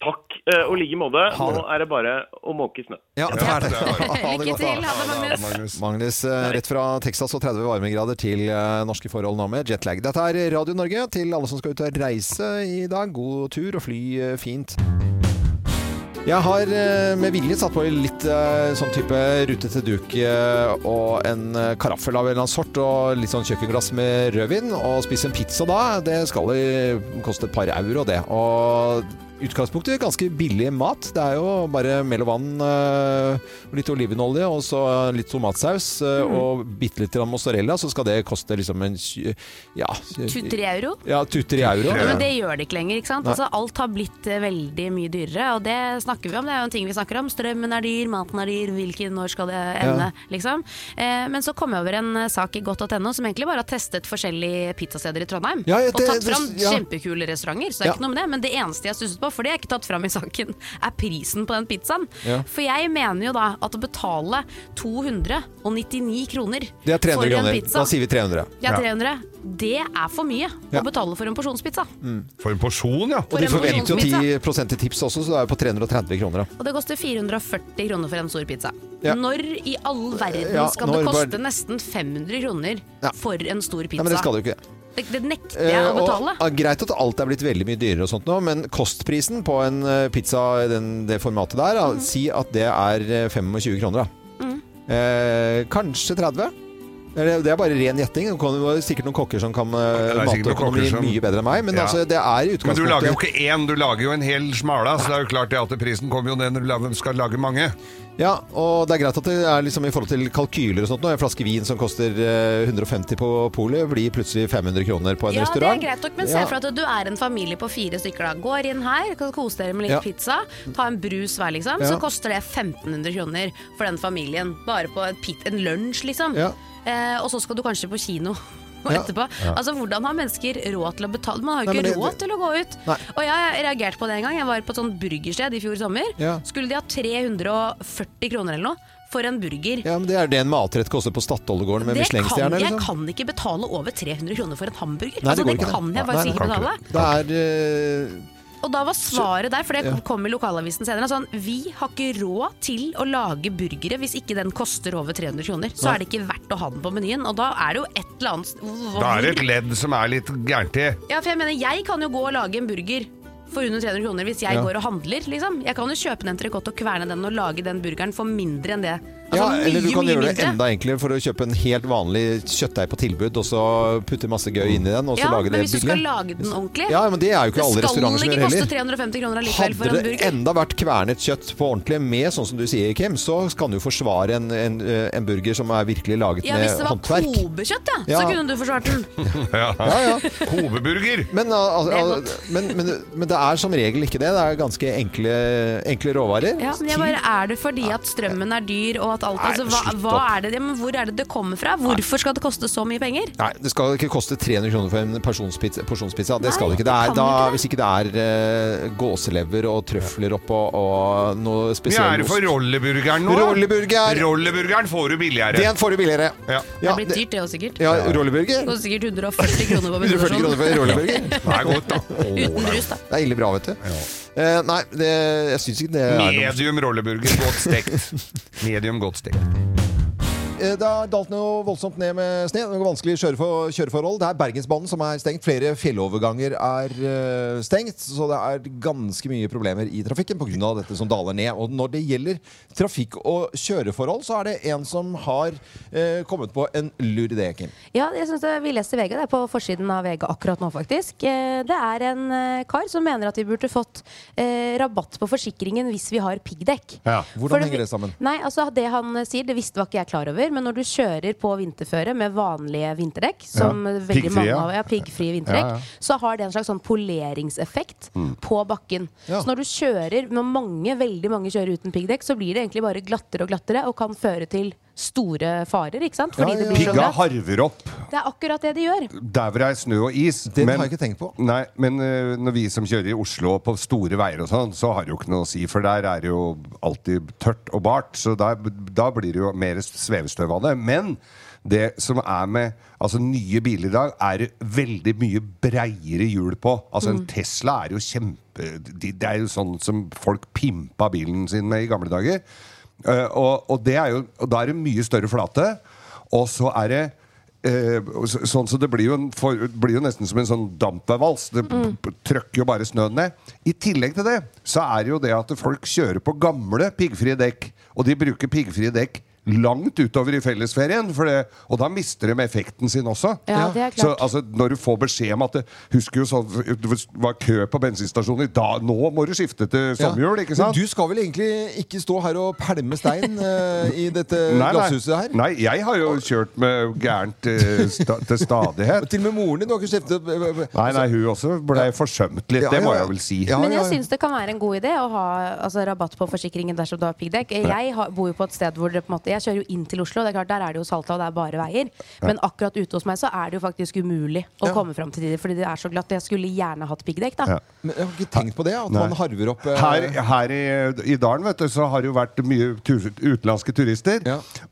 Speaker 14: Takk, eh, og i like måte. Nå er det bare å måke snø.
Speaker 1: Ja, det er det. Ha det godt,
Speaker 14: Lykke
Speaker 1: da.
Speaker 14: til. Ha det, Magnus. Ha det, Magnus.
Speaker 1: Magnus, eh, rett fra Texas og 30 varmegrader til eh, norske forhold nå med jetlag. Dette er Radio Norge til alle som skal ut og reise i dag. God tur og fly eh, fint. Jeg har eh, med vilje satt på litt eh, sånn type rutete duk eh, og en eh, karaffel av en eller annen sort og litt sånn kjøkkenglass med rødvin og spise en pizza da. Det skal eh, koste et par euro, det. Og utgangspunktet ganske billig mat. Det er jo bare mel og vann eh, og litt olivenolje og så litt tomatsaus eh, og bitte litt grann mozzarella, så skal det koste liksom en tj- ja,
Speaker 3: 23 euro?
Speaker 1: Ja, 23 euro.
Speaker 3: Ja, men det gjør det ikke lenger. ikke sant?
Speaker 1: Nei.
Speaker 3: Altså, alt har blitt eh, veldig mye dyrere, og det snakker vi om. Det er jo en ting vi snakker om. Strømmen er dyr, maten er dyr, hvilken når skal det ende? liksom. Eh, men så kom jeg over en eh, sak i godt.no som egentlig bare har testet forskjellige pizzasteder i Trondheim.
Speaker 11: Ja, ja,
Speaker 3: og
Speaker 11: det-
Speaker 3: tatt
Speaker 11: det-
Speaker 3: fram
Speaker 11: ja.
Speaker 3: kjempekule restauranter, så det er
Speaker 11: Ja.
Speaker 3: ikke noe med det. Men det eneste jeg stusset på, for det er ikke tatt fram i saken, er prisen på den pizzaen.
Speaker 1: Ja.
Speaker 3: For jeg mener jo da at å betale 299 kroner
Speaker 1: Det er 300
Speaker 3: for en
Speaker 1: kroner.
Speaker 3: pizza
Speaker 1: Da sier vi 300.
Speaker 3: ja, 300. Det er for mye
Speaker 1: Ja.
Speaker 3: å betale for en porsjonspizza.
Speaker 2: Mm. For en porsjon, ja.
Speaker 1: Og de
Speaker 3: For en
Speaker 1: forventer jo
Speaker 3: porsjonsmitte.
Speaker 1: 10 i tips også, så det er jo på 330 kroner. da.
Speaker 3: Og det koster 440 kroner for en stor pizza.
Speaker 1: Ja.
Speaker 3: Når i all verden
Speaker 1: Ja,
Speaker 3: skal
Speaker 1: når
Speaker 3: det
Speaker 1: var-
Speaker 3: koste nesten 500 kroner
Speaker 1: Ja.
Speaker 3: for en stor
Speaker 1: Nei,
Speaker 3: pizza?
Speaker 1: men det skal det jo ikke.
Speaker 3: Det, det nekter jeg å
Speaker 1: Eh, og,
Speaker 3: betale.
Speaker 1: ah, greit at alt er blitt veldig mye dyrere og sånt nå, men kostprisen på en eh, pizza i den, det formatet der,
Speaker 3: Mm.
Speaker 1: da, si at det er eh, 25 kroner, da. Eh, kanskje 30? Eller, Det er bare ren gjetting. Det kan- det er sikkert noen kokker som kan eh,
Speaker 2: Det er sikkert noen kokker
Speaker 1: matøkonomi
Speaker 2: som-
Speaker 1: mye bedre enn meg, men
Speaker 2: Ja.
Speaker 1: altså, det er i
Speaker 2: Men
Speaker 1: utgangspunktet
Speaker 2: du lager jo ikke én, du lager jo en hel smala, så det er jo klart det at prisen kommer jo ned når du lager- skal lage mange.
Speaker 1: Ja, og det er greit at det er liksom i forhold til kalkyler og sånt nå. En flaske vin som koster eh, 150 på polet, blir plutselig 500 kroner på en
Speaker 3: Ja, det er
Speaker 1: restaurant.
Speaker 3: greit nok, men se
Speaker 1: Ja.
Speaker 3: for deg at du er en familie på fire stykker. da Går inn her, kan kose dere med litt
Speaker 1: Ja.
Speaker 3: pizza, ta en brus hver, liksom.
Speaker 1: Ja.
Speaker 3: Så koster det 1500 kroner for den familien. Bare på en, pit, en lunsj, liksom.
Speaker 1: Ja.
Speaker 3: Eh, og så skal du kanskje på kino.
Speaker 1: Ja.
Speaker 3: etterpå.
Speaker 1: Ja.
Speaker 3: Altså, Hvordan har mennesker råd til å betale? Man har jo
Speaker 1: Nei,
Speaker 3: ikke
Speaker 1: men det-
Speaker 3: råd til å gå ut.
Speaker 1: Nei.
Speaker 3: Og jeg reagerte på det en gang. Jeg var på et sånt burgersted i fjor sommer.
Speaker 1: Ja.
Speaker 3: Skulle de ha 340 kroner eller noe
Speaker 16: for en burger.
Speaker 1: Ja, men Det er det en matrett koster på Statoilegården med
Speaker 16: det kan,
Speaker 1: Michelin-stjerne.
Speaker 16: jeg
Speaker 1: liksom.
Speaker 16: kan ikke betale over 300 kroner for en hamburger.
Speaker 1: Nei,
Speaker 16: altså,
Speaker 1: går
Speaker 16: det
Speaker 1: ikke,
Speaker 16: kan jeg
Speaker 1: Nei,
Speaker 16: faktisk ikke
Speaker 1: kan
Speaker 16: betale.
Speaker 1: det. Det er eh,
Speaker 16: Og da var svaret der, for det
Speaker 1: Ja.
Speaker 16: kom i lokalavisen senere, sånn Vi har ikke råd til å lage burgere hvis ikke den koster over 300 kroner. Så
Speaker 17: Nei.
Speaker 16: er det ikke verdt å ha den på menyen. Og da er det jo et eller annet hvor-
Speaker 17: Da er det et ledd som er litt gærent i.
Speaker 16: Ja, for jeg mener, jeg kan jo gå og lage en burger for under 300 kroner hvis jeg
Speaker 17: Ja.
Speaker 16: går og handler, liksom. Jeg kan jo kjøpe en entrecôte og kverne den og lage den burgeren for mindre enn det. Altså,
Speaker 1: Ja, eller du
Speaker 16: mye,
Speaker 1: kan
Speaker 16: mye
Speaker 1: gjøre det
Speaker 16: mindre.
Speaker 1: enda enklere for å kjøpe en helt vanlig kjøttdeig på tilbud, og så putte masse gøy inn i den, og så
Speaker 16: Mm. ja,
Speaker 1: lage det
Speaker 16: men hvis du skal
Speaker 1: billig.
Speaker 16: lage den ordentlig
Speaker 1: Ja, men det er jo ikke alle
Speaker 16: skal
Speaker 1: restauranter som
Speaker 16: den
Speaker 1: gjør
Speaker 16: ikke koste
Speaker 1: heller.
Speaker 16: 350 kroner allikevel for
Speaker 1: Hadde
Speaker 16: en
Speaker 1: det
Speaker 16: burger.
Speaker 1: enda vært kvernet kjøtt på ordentlig med, sånn som du sier, Kim, så kan du forsvare en, en, eh, en burger som er virkelig laget
Speaker 16: Ja, hvis
Speaker 1: med
Speaker 16: det var
Speaker 1: håndverk.
Speaker 16: kobekjøtt, ja, så
Speaker 1: Ja.
Speaker 16: kunne du forsvart den.
Speaker 17: Ja,
Speaker 1: ja.
Speaker 17: Kobeburger!
Speaker 1: Men, eh, al- al-
Speaker 16: Det er
Speaker 1: al- men, men, men det er som regel ikke det. Det er ganske enkle, enkle råvarer.
Speaker 16: Ja, men jeg bare, Er det fordi at strømmen er dyr og at alt
Speaker 1: Nei,
Speaker 16: altså, hva,
Speaker 1: slutt
Speaker 16: hva
Speaker 1: opp.
Speaker 16: er det, ja, men Hvor er det det kommer fra? Hvorfor skal det koste så mye penger?
Speaker 1: Nei, det skal ikke koste 300 kroner for en persons- porsjonspizza. Det skal det ikke. Det er,
Speaker 16: det kan ikke
Speaker 1: da,
Speaker 16: det.
Speaker 1: Hvis ikke det er eh, gåselever og trøfler oppå og noe
Speaker 17: Vi
Speaker 1: spesiell
Speaker 17: er det for rolleburgeren nå.
Speaker 1: Rolleburger.
Speaker 17: Rolleburgeren får du billigere.
Speaker 1: Den får du billigere.
Speaker 17: Ja.
Speaker 16: Det er blitt dyrt, det òg sikkert.
Speaker 1: Ja,
Speaker 16: Det
Speaker 1: rolleburger.
Speaker 16: koster sikkert 140 kroner på
Speaker 1: 140
Speaker 16: bensinstasjonen.
Speaker 1: kroner for en rolleburger.
Speaker 17: Det er godt, da.
Speaker 16: Uten brus, da.
Speaker 1: Det er ille bra, vet du. Eh, nei, det, jeg syns ikke det er noe
Speaker 17: Medium rolleburger, godt stekt. Medium godt stekt.
Speaker 1: Eh, Det har dalt noe voldsomt ned med sne. Noe vanskelig kjørefor, kjøreforhold. Det er Bergensbanen som er stengt. Flere fjelloverganger er eh, stengt. Så det er ganske mye problemer i trafikken pga. dette som daler ned. Og når det gjelder trafikk og kjøreforhold, så er det en som har eh, kommet på en lur idé, Kim.
Speaker 3: Ja, jeg synes det, vi leser VG. Det er på forsiden av VG akkurat nå, faktisk. Eh, Det er en eh, kar som mener at vi burde fått eh, rabatt på forsikringen hvis vi har piggdekk. For
Speaker 1: Hvordan henger det sammen?
Speaker 3: Nei, altså Det han eh, sier, det visste var ikke jeg klar over, men når du kjører på vinterføre med vanlige vinterdekk, som
Speaker 7: Ja.
Speaker 3: eh, veldig
Speaker 7: Piggfrie,
Speaker 3: mange
Speaker 7: ja.
Speaker 3: av ja, piggfrie vinterdekk,
Speaker 7: Ja, ja.
Speaker 3: så har det en slags sånn poleringseffekt
Speaker 7: Mm.
Speaker 3: på bakken. Så når du kjører, når mange, veldig mange kjører uten piggdekk, så blir det egentlig bare glattere og glattere og kan føre til store farer, ikke sant? Fordi det blir så
Speaker 2: Pigga
Speaker 3: glatt.
Speaker 2: harver opp
Speaker 3: Det er akkurat det de gjør.
Speaker 2: der hvor det er snø og is.
Speaker 1: Det har jeg ikke tenkt på.
Speaker 2: Nei, men eh, når vi som kjører i Oslo på store veier og sånn, så har det jo ikke noe å si, for der er det jo alltid tørt og bart, så der, da blir det jo mer svevestøv av det. Men det som er med altså nye biler i dag, er det veldig mye breiere hjul på. Altså en
Speaker 18: Mm.
Speaker 2: Tesla er jo kjempe de, Det er jo sånn som folk pimpa bilen sin med i gamle dager. Eh, og, og, det er jo, og da er det mye større flate. Og så er det eh, så, sånn så det blir jo, en, for, det blir jo nesten som en sånn dampvals. Det
Speaker 18: Mm.
Speaker 2: b- trøkker jo bare snøen ned. I tillegg til det så er det jo det at folk kjører på gamle piggfrie dekk. Og de bruker piggfrie dekk langt utover i fellesferien. For det, og da mister de effekten sin også.
Speaker 3: Ja, det er klart.
Speaker 2: Så altså, når du får beskjed om at det, Husker jo sånn Det var kø på bensinstasjonen i dag. Nå må du skifte til sommerhjul, ikke sant?
Speaker 1: Men du skal vel egentlig ikke stå her og pælme stein eh, i dette
Speaker 2: Nei, nei.
Speaker 1: glasshuset her?
Speaker 2: Nei, jeg har jo kjørt med gærent eh, sta til stadighet.
Speaker 1: Til og med moren din har ikke skiftet eh,
Speaker 2: Nei, nei, hun også ble forsømt litt,
Speaker 1: Ja,
Speaker 2: det må
Speaker 1: ja, ja.
Speaker 2: jeg vel si.
Speaker 3: Men jeg syns det kan være en god idé å ha altså, rabatt på forsikringen dersom du har piggdekk. Jeg har, bor jo på et sted hvor det på en måte Jeg kjører jo inn til Oslo, og det er klart der er det jo salta, og det er bare veier. Men akkurat ute hos meg så er det jo faktisk umulig å komme fram til de fordi det er så glatt. Jeg skulle gjerne hatt piggdekk, da.
Speaker 2: Ja.
Speaker 1: Men jeg har ikke tenkt på det, at
Speaker 2: Nei.
Speaker 1: man harver opp eh,
Speaker 2: Her, her i, i dalen vet du, så har det jo vært mye tur, utenlandske turister.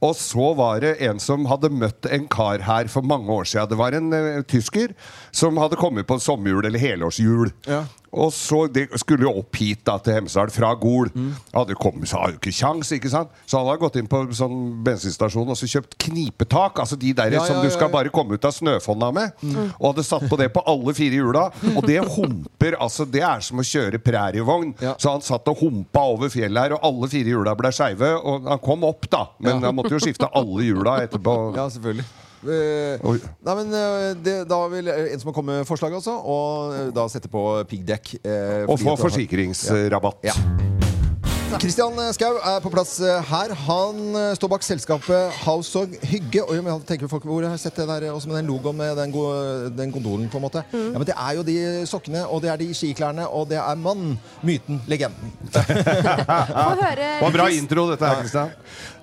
Speaker 2: Og så var det en som hadde møtt en kar her for mange år siden. Det var en eh, tysker som hadde kommet på sommerhjul eller helårshjul. Og så de skulle jo opp hit da til Hemsedal fra Gol.
Speaker 1: Mm.
Speaker 2: Hadde kommet, så hadde jo ikke kjangs, ikke sant? Så han hadde gått inn på sånn bensinstasjon og så kjøpt knipetak. Altså de der
Speaker 18: Ja, ja,
Speaker 2: som
Speaker 18: ja,
Speaker 2: du skal
Speaker 18: ja.
Speaker 2: bare komme ut av snøfonna med.
Speaker 18: Mm.
Speaker 2: Og hadde satt på det på alle fire hjula. Og det humper. altså Det er som å kjøre prærievogn. Så han satt og humpa over fjellet her, og alle fire hjula ble skeive. Og han kom opp, da, men
Speaker 1: Ja.
Speaker 2: han måtte jo skifte alle hjula etterpå.
Speaker 1: Ja, selvfølgelig. Eh,
Speaker 2: Oi.
Speaker 1: nei, men eh, det, da vil eh, en som har kommet med forslag, altså, og eh, da sette på piggdekk. eh, fordi at
Speaker 2: Og få
Speaker 1: du har-
Speaker 2: forsikringsrabatt.
Speaker 1: Ja. Kristian Skau er på plass eh, her. Han eh, står bak selskapet House og Hygge. Og jo, men jeg tenker folk, hvor har jeg sett det der, eh, også med den logoen med den, go den gondolen, på en måte? Ja, men det er jo de sokkene, og det er de skiklærne, og det er mannen, myten, legenden.
Speaker 3: Få høre
Speaker 2: Det var bra intro, dette her, Kristian.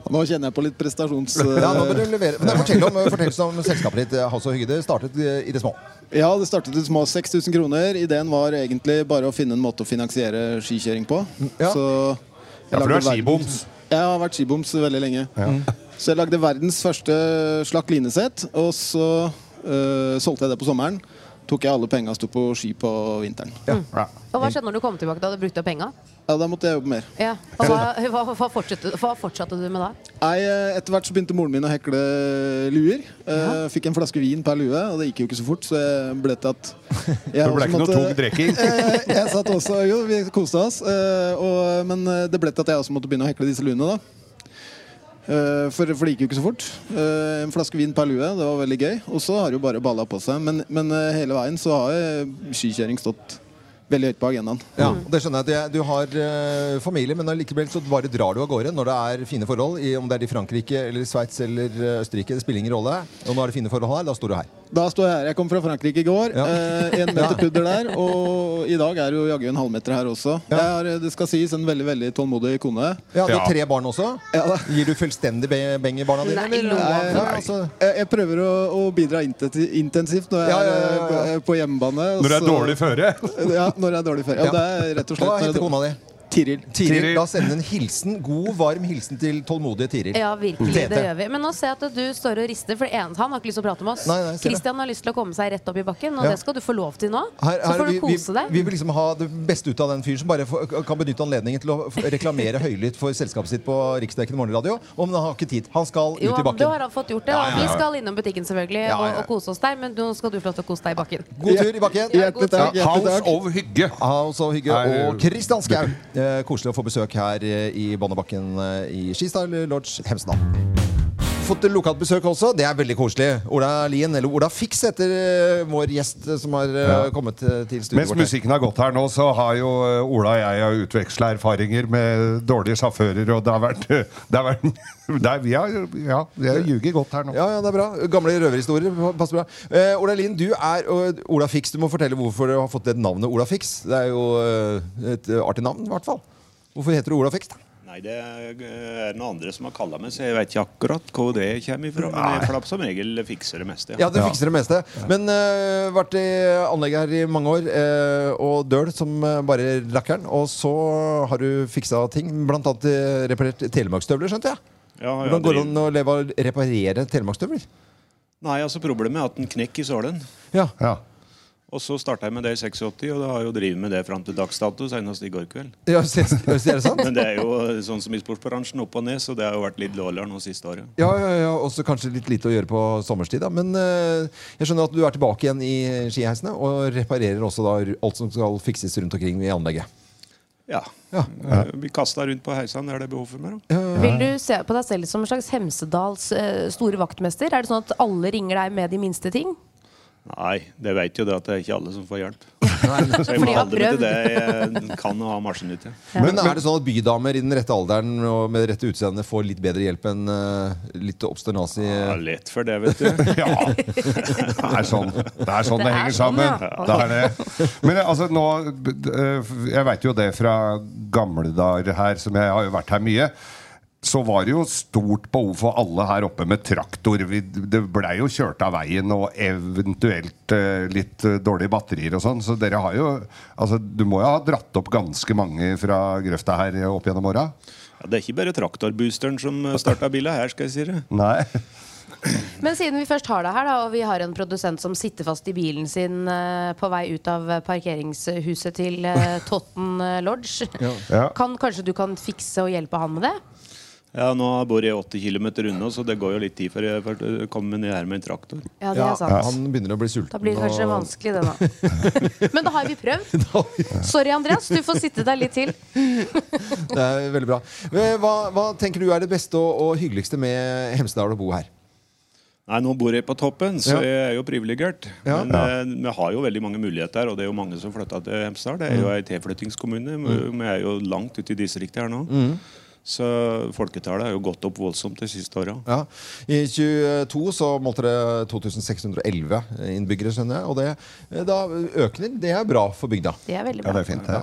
Speaker 19: Nå kjenner jeg på litt prestasjons...
Speaker 1: Ja, nå bør du levere. Men, fortell, om, fortell oss om selskapet ditt, eh, House og Hygge. Det startet eh, i det små.
Speaker 19: Ja, det startet i små 6000 kroner. Ideen var egentlig bare å finne en måte å finansiere skikjøring på. Så jeg
Speaker 2: Ja, for du
Speaker 19: lagde
Speaker 2: er
Speaker 19: verdens-
Speaker 2: skiboms.
Speaker 19: Jeg har vært skiboms veldig lenge. Så jeg lagde verdens første slakk linesett, og så øh, solgte jeg det på sommeren. Tok jeg alle penga og sto på ski på vinteren.
Speaker 3: Og hva skjedde når du kom tilbake da du brukte opp penga?
Speaker 19: Ja, da måtte jeg jobbe mer.
Speaker 3: Ja. Og hva, hva, hva, fortsatte, hva fortsatte du med da?
Speaker 19: Nei, eh, Etter hvert så begynte moren min å hekle luer. Eh, Fikk en flaske vin per lue, og det gikk jo ikke så fort, så jeg ble til at jeg
Speaker 2: Det ble
Speaker 19: også
Speaker 2: ikke noe tung drikking.
Speaker 19: Eh, jeg satt også, jo, vi koste oss, eh, og, men eh, det ble til at jeg også måtte begynne å hekle disse luene, da. Eh, For, for det gikk jo ikke så fort. Eh, En flaske vin per lue, det var veldig gøy. Og så har det jo bare balla på seg. Men, men eh, hele veien så har eh, skikjøring stått veldig høyt på agendaen.
Speaker 1: Ja, og det skjønner jeg. at jeg- Du har eh, familie, men allikevel så bare drar du av gårde når det er fine forhold. I, om det er i Frankrike eller i Sveits eller eh, Østerrike, det spiller ingen rolle. Og nå er det fine forhold her, da står du her.
Speaker 19: Da står jeg her. Jeg kom fra Frankrike i går. Eh, en meter
Speaker 1: Ja.
Speaker 19: pudder der. Og i dag er det jo jaggu en halvmeter her også. Jeg har, eh, det skal sies, en veldig veldig tålmodig kone.
Speaker 1: Ja, Du har tre barn også. Gir du fullstendig be- beng i barna dine?
Speaker 19: Nei,
Speaker 1: eller?
Speaker 19: Loa.
Speaker 1: Ja, altså.
Speaker 19: Jeg, jeg prøver å, å bidra intet- intensivt når jeg
Speaker 1: Ja, ja, ja,
Speaker 19: er
Speaker 1: ja,
Speaker 19: eh, på- på hjemmebane. og
Speaker 2: Når det er
Speaker 19: så-
Speaker 2: dårlig føre.
Speaker 19: Ja, når det er dårlig føre. Ja,
Speaker 1: Ja.
Speaker 19: det er rett og slett eh,
Speaker 1: Hva heter kona di?
Speaker 19: Tiril.
Speaker 1: Tiril, La oss sende en hilsen, god, varm hilsen til tålmodige Tiril.
Speaker 3: Ja, virkelig.
Speaker 1: Tete.
Speaker 3: Det gjør vi. Men nå ser jeg at du står og rister, for det ene, han har ikke lyst til å prate med oss.
Speaker 1: Nei, nei, jeg ser det.
Speaker 3: Christian har lyst til å komme seg rett opp i bakken, og
Speaker 1: Ja.
Speaker 3: det skal du få lov til nå.
Speaker 1: Her,
Speaker 3: så
Speaker 1: her,
Speaker 3: får
Speaker 1: vi,
Speaker 3: du kose
Speaker 1: vi,
Speaker 3: deg.
Speaker 1: vi vil liksom ha det beste ut av den fyren som bare får- kan benytte anledningen til å f- reklamere høylytt for selskapet sitt på riksdekkende morgenradio. Og men han har ikke tid. Han skal
Speaker 3: jo,
Speaker 1: ut i
Speaker 3: men da
Speaker 1: bakken.
Speaker 3: har han fått gjort det.
Speaker 1: Ja,
Speaker 3: og
Speaker 1: ja, ja.
Speaker 3: Vi skal innom butikken selvfølgelig
Speaker 1: Ja, ja, ja.
Speaker 3: Og, og kose oss der, men nå skal du få lov til å kose deg i bakken.
Speaker 1: God tur i bakken.
Speaker 3: Ja, god tur.
Speaker 1: House of
Speaker 20: Hygge.
Speaker 1: House of Hygge
Speaker 2: Nei,
Speaker 1: og Kristian Skau. Eh, koselig å få besøk her eh, i Bonnebakken eh, i Skistyle Lodge Hemsedal. Fått lokalt besøk også. Det er veldig koselig. Ola Lien, eller Ola Fix heter eh, vår gjest eh, som har eh,
Speaker 2: Ja.
Speaker 1: kommet eh, til studioet
Speaker 2: Mens
Speaker 1: vårt. her.
Speaker 2: musikken har gått her nå, så har jo eh, Ola og jeg utveksla erfaringer med dårlige sjåfører, og det har vært, det har vært det er, vi har, Ja, jeg ljuger godt her nå.
Speaker 1: Ja, ja, det er bra. Gamle røverhistorier passer bra. Eh, Ola Lien, du er og Ola Fix. Du må fortelle hvorfor du har fått det navnet Ola Fix. Det er jo eh, et eh, artig navn, i hvert fall. Hvorfor heter du Ola Fix? da?
Speaker 21: Nei, det er noen andre som har kalla meg, så jeg vet ikke akkurat hvor det kommer ifra. Men jeg klapp som regel fikser det meste.
Speaker 1: Ja, det fikser det meste. Men uh, vært i anlegget her i mange år eh, og døl som eh, bare rakkeren. Og så har du fiksa ting, blant annet eh, reparert telemarksstøvler, skjønte jeg.
Speaker 21: Ja, ja,
Speaker 1: Hvordan går det
Speaker 21: driv-
Speaker 1: an å leve av å reparere telemarksstøvler?
Speaker 21: Nei, altså problemet er at den knekker i sålen.
Speaker 1: Ja.
Speaker 21: Og så starta jeg med det i 86, og da har jeg jo drevet med det fram til dags dato, senest i går kveld.
Speaker 1: Ja, se- se- er det sant?
Speaker 21: Men det er jo sånn som i sportsbransjen, opp og ned, så det har jo vært litt dårligere nå siste året.
Speaker 1: Ja, ja, ja. Også kanskje litt lite å gjøre på sommerstid. Da. Men eh, jeg skjønner at du er tilbake igjen i skiheisene og reparerer også da alt som skal fikses rundt omkring i anlegget.
Speaker 21: Ja. Vi kasta rundt på heisene der det er behov for meg, da.
Speaker 3: Vil du se på deg selv som en slags Hemsedals eh, store vaktmester? Er det sånn at alle ringer deg med de minste ting?
Speaker 21: Nei, det vet jo det at det er ikke alle som får hjelp. Så jeg
Speaker 3: For de
Speaker 21: må
Speaker 3: har
Speaker 21: holde meg til
Speaker 3: prøvd.
Speaker 21: det jeg kan og har maskinen ut til.
Speaker 1: Men er det sånn at bydamer i den rette alderen og med det rette utseende får litt bedre hjelp enn eh, litt obsternasig
Speaker 21: Ja, lett for det, vet du.
Speaker 2: ja. Det er sånn det, er sånn det,
Speaker 21: Det er
Speaker 2: henger
Speaker 21: sånn,
Speaker 2: sammen.
Speaker 21: ja.
Speaker 2: Det er det. Men altså, nå eh, Jeg veit jo det fra gamle dager her, som jeg har jo vært her mye. Så var det jo stort behov for alle her oppe med traktor. Vi, det blei jo kjørt av veien og eventuelt eh, litt eh, dårlige batterier og sånn. Så dere har jo Altså, du må jo ha dratt opp ganske mange fra grøfta her eh, opp gjennom åra?
Speaker 21: Ja, det er ikke bare traktorboosteren som starta bila her, skal jeg si det.
Speaker 2: Nei.
Speaker 3: Men siden vi først har deg her, da, og vi har en produsent som sitter fast i bilen sin eh, på vei ut av parkeringshuset til eh, Totten eh, Lodge,
Speaker 21: Ja. Ja.
Speaker 3: Kan, kanskje du kan fikse og hjelpe han med det?
Speaker 21: Ja, Nå bor jeg 80 km unna, så det går jo litt tid før jeg får- eh, kommer ned her med en traktor.
Speaker 3: Ja, det er Ja, sant.
Speaker 1: han begynner å bli sulten.
Speaker 3: Da blir det kanskje vanskelig, det da. Men da har vi prøvd. Sorry, Andreas. Du får sitte der litt til.
Speaker 1: Det er veldig bra. Eh, Hva, hva tenker du er det beste og, og hyggeligste med Hemsedal å bo her?
Speaker 21: Nei, Nå bor jeg på toppen, så
Speaker 1: Ja.
Speaker 21: jeg er jo privilegert.
Speaker 1: Ja.
Speaker 21: Men eh, vi har jo veldig mange muligheter, og det er jo mange som flytter til Hemsedal. Det er
Speaker 1: Mm.
Speaker 21: jo ei tilflyttingskommune. Vi vi er jo langt ute i distriktet her nå.
Speaker 1: Mm.
Speaker 21: Så folketallet er jo gått opp voldsomt de siste åra.
Speaker 1: Ja. I 22 så målte det 2611 innbyggere, skjønner jeg. Og det, eh, da økner. Det er bra for bygda.
Speaker 3: Det er veldig
Speaker 2: Ja, det er fint. Ja.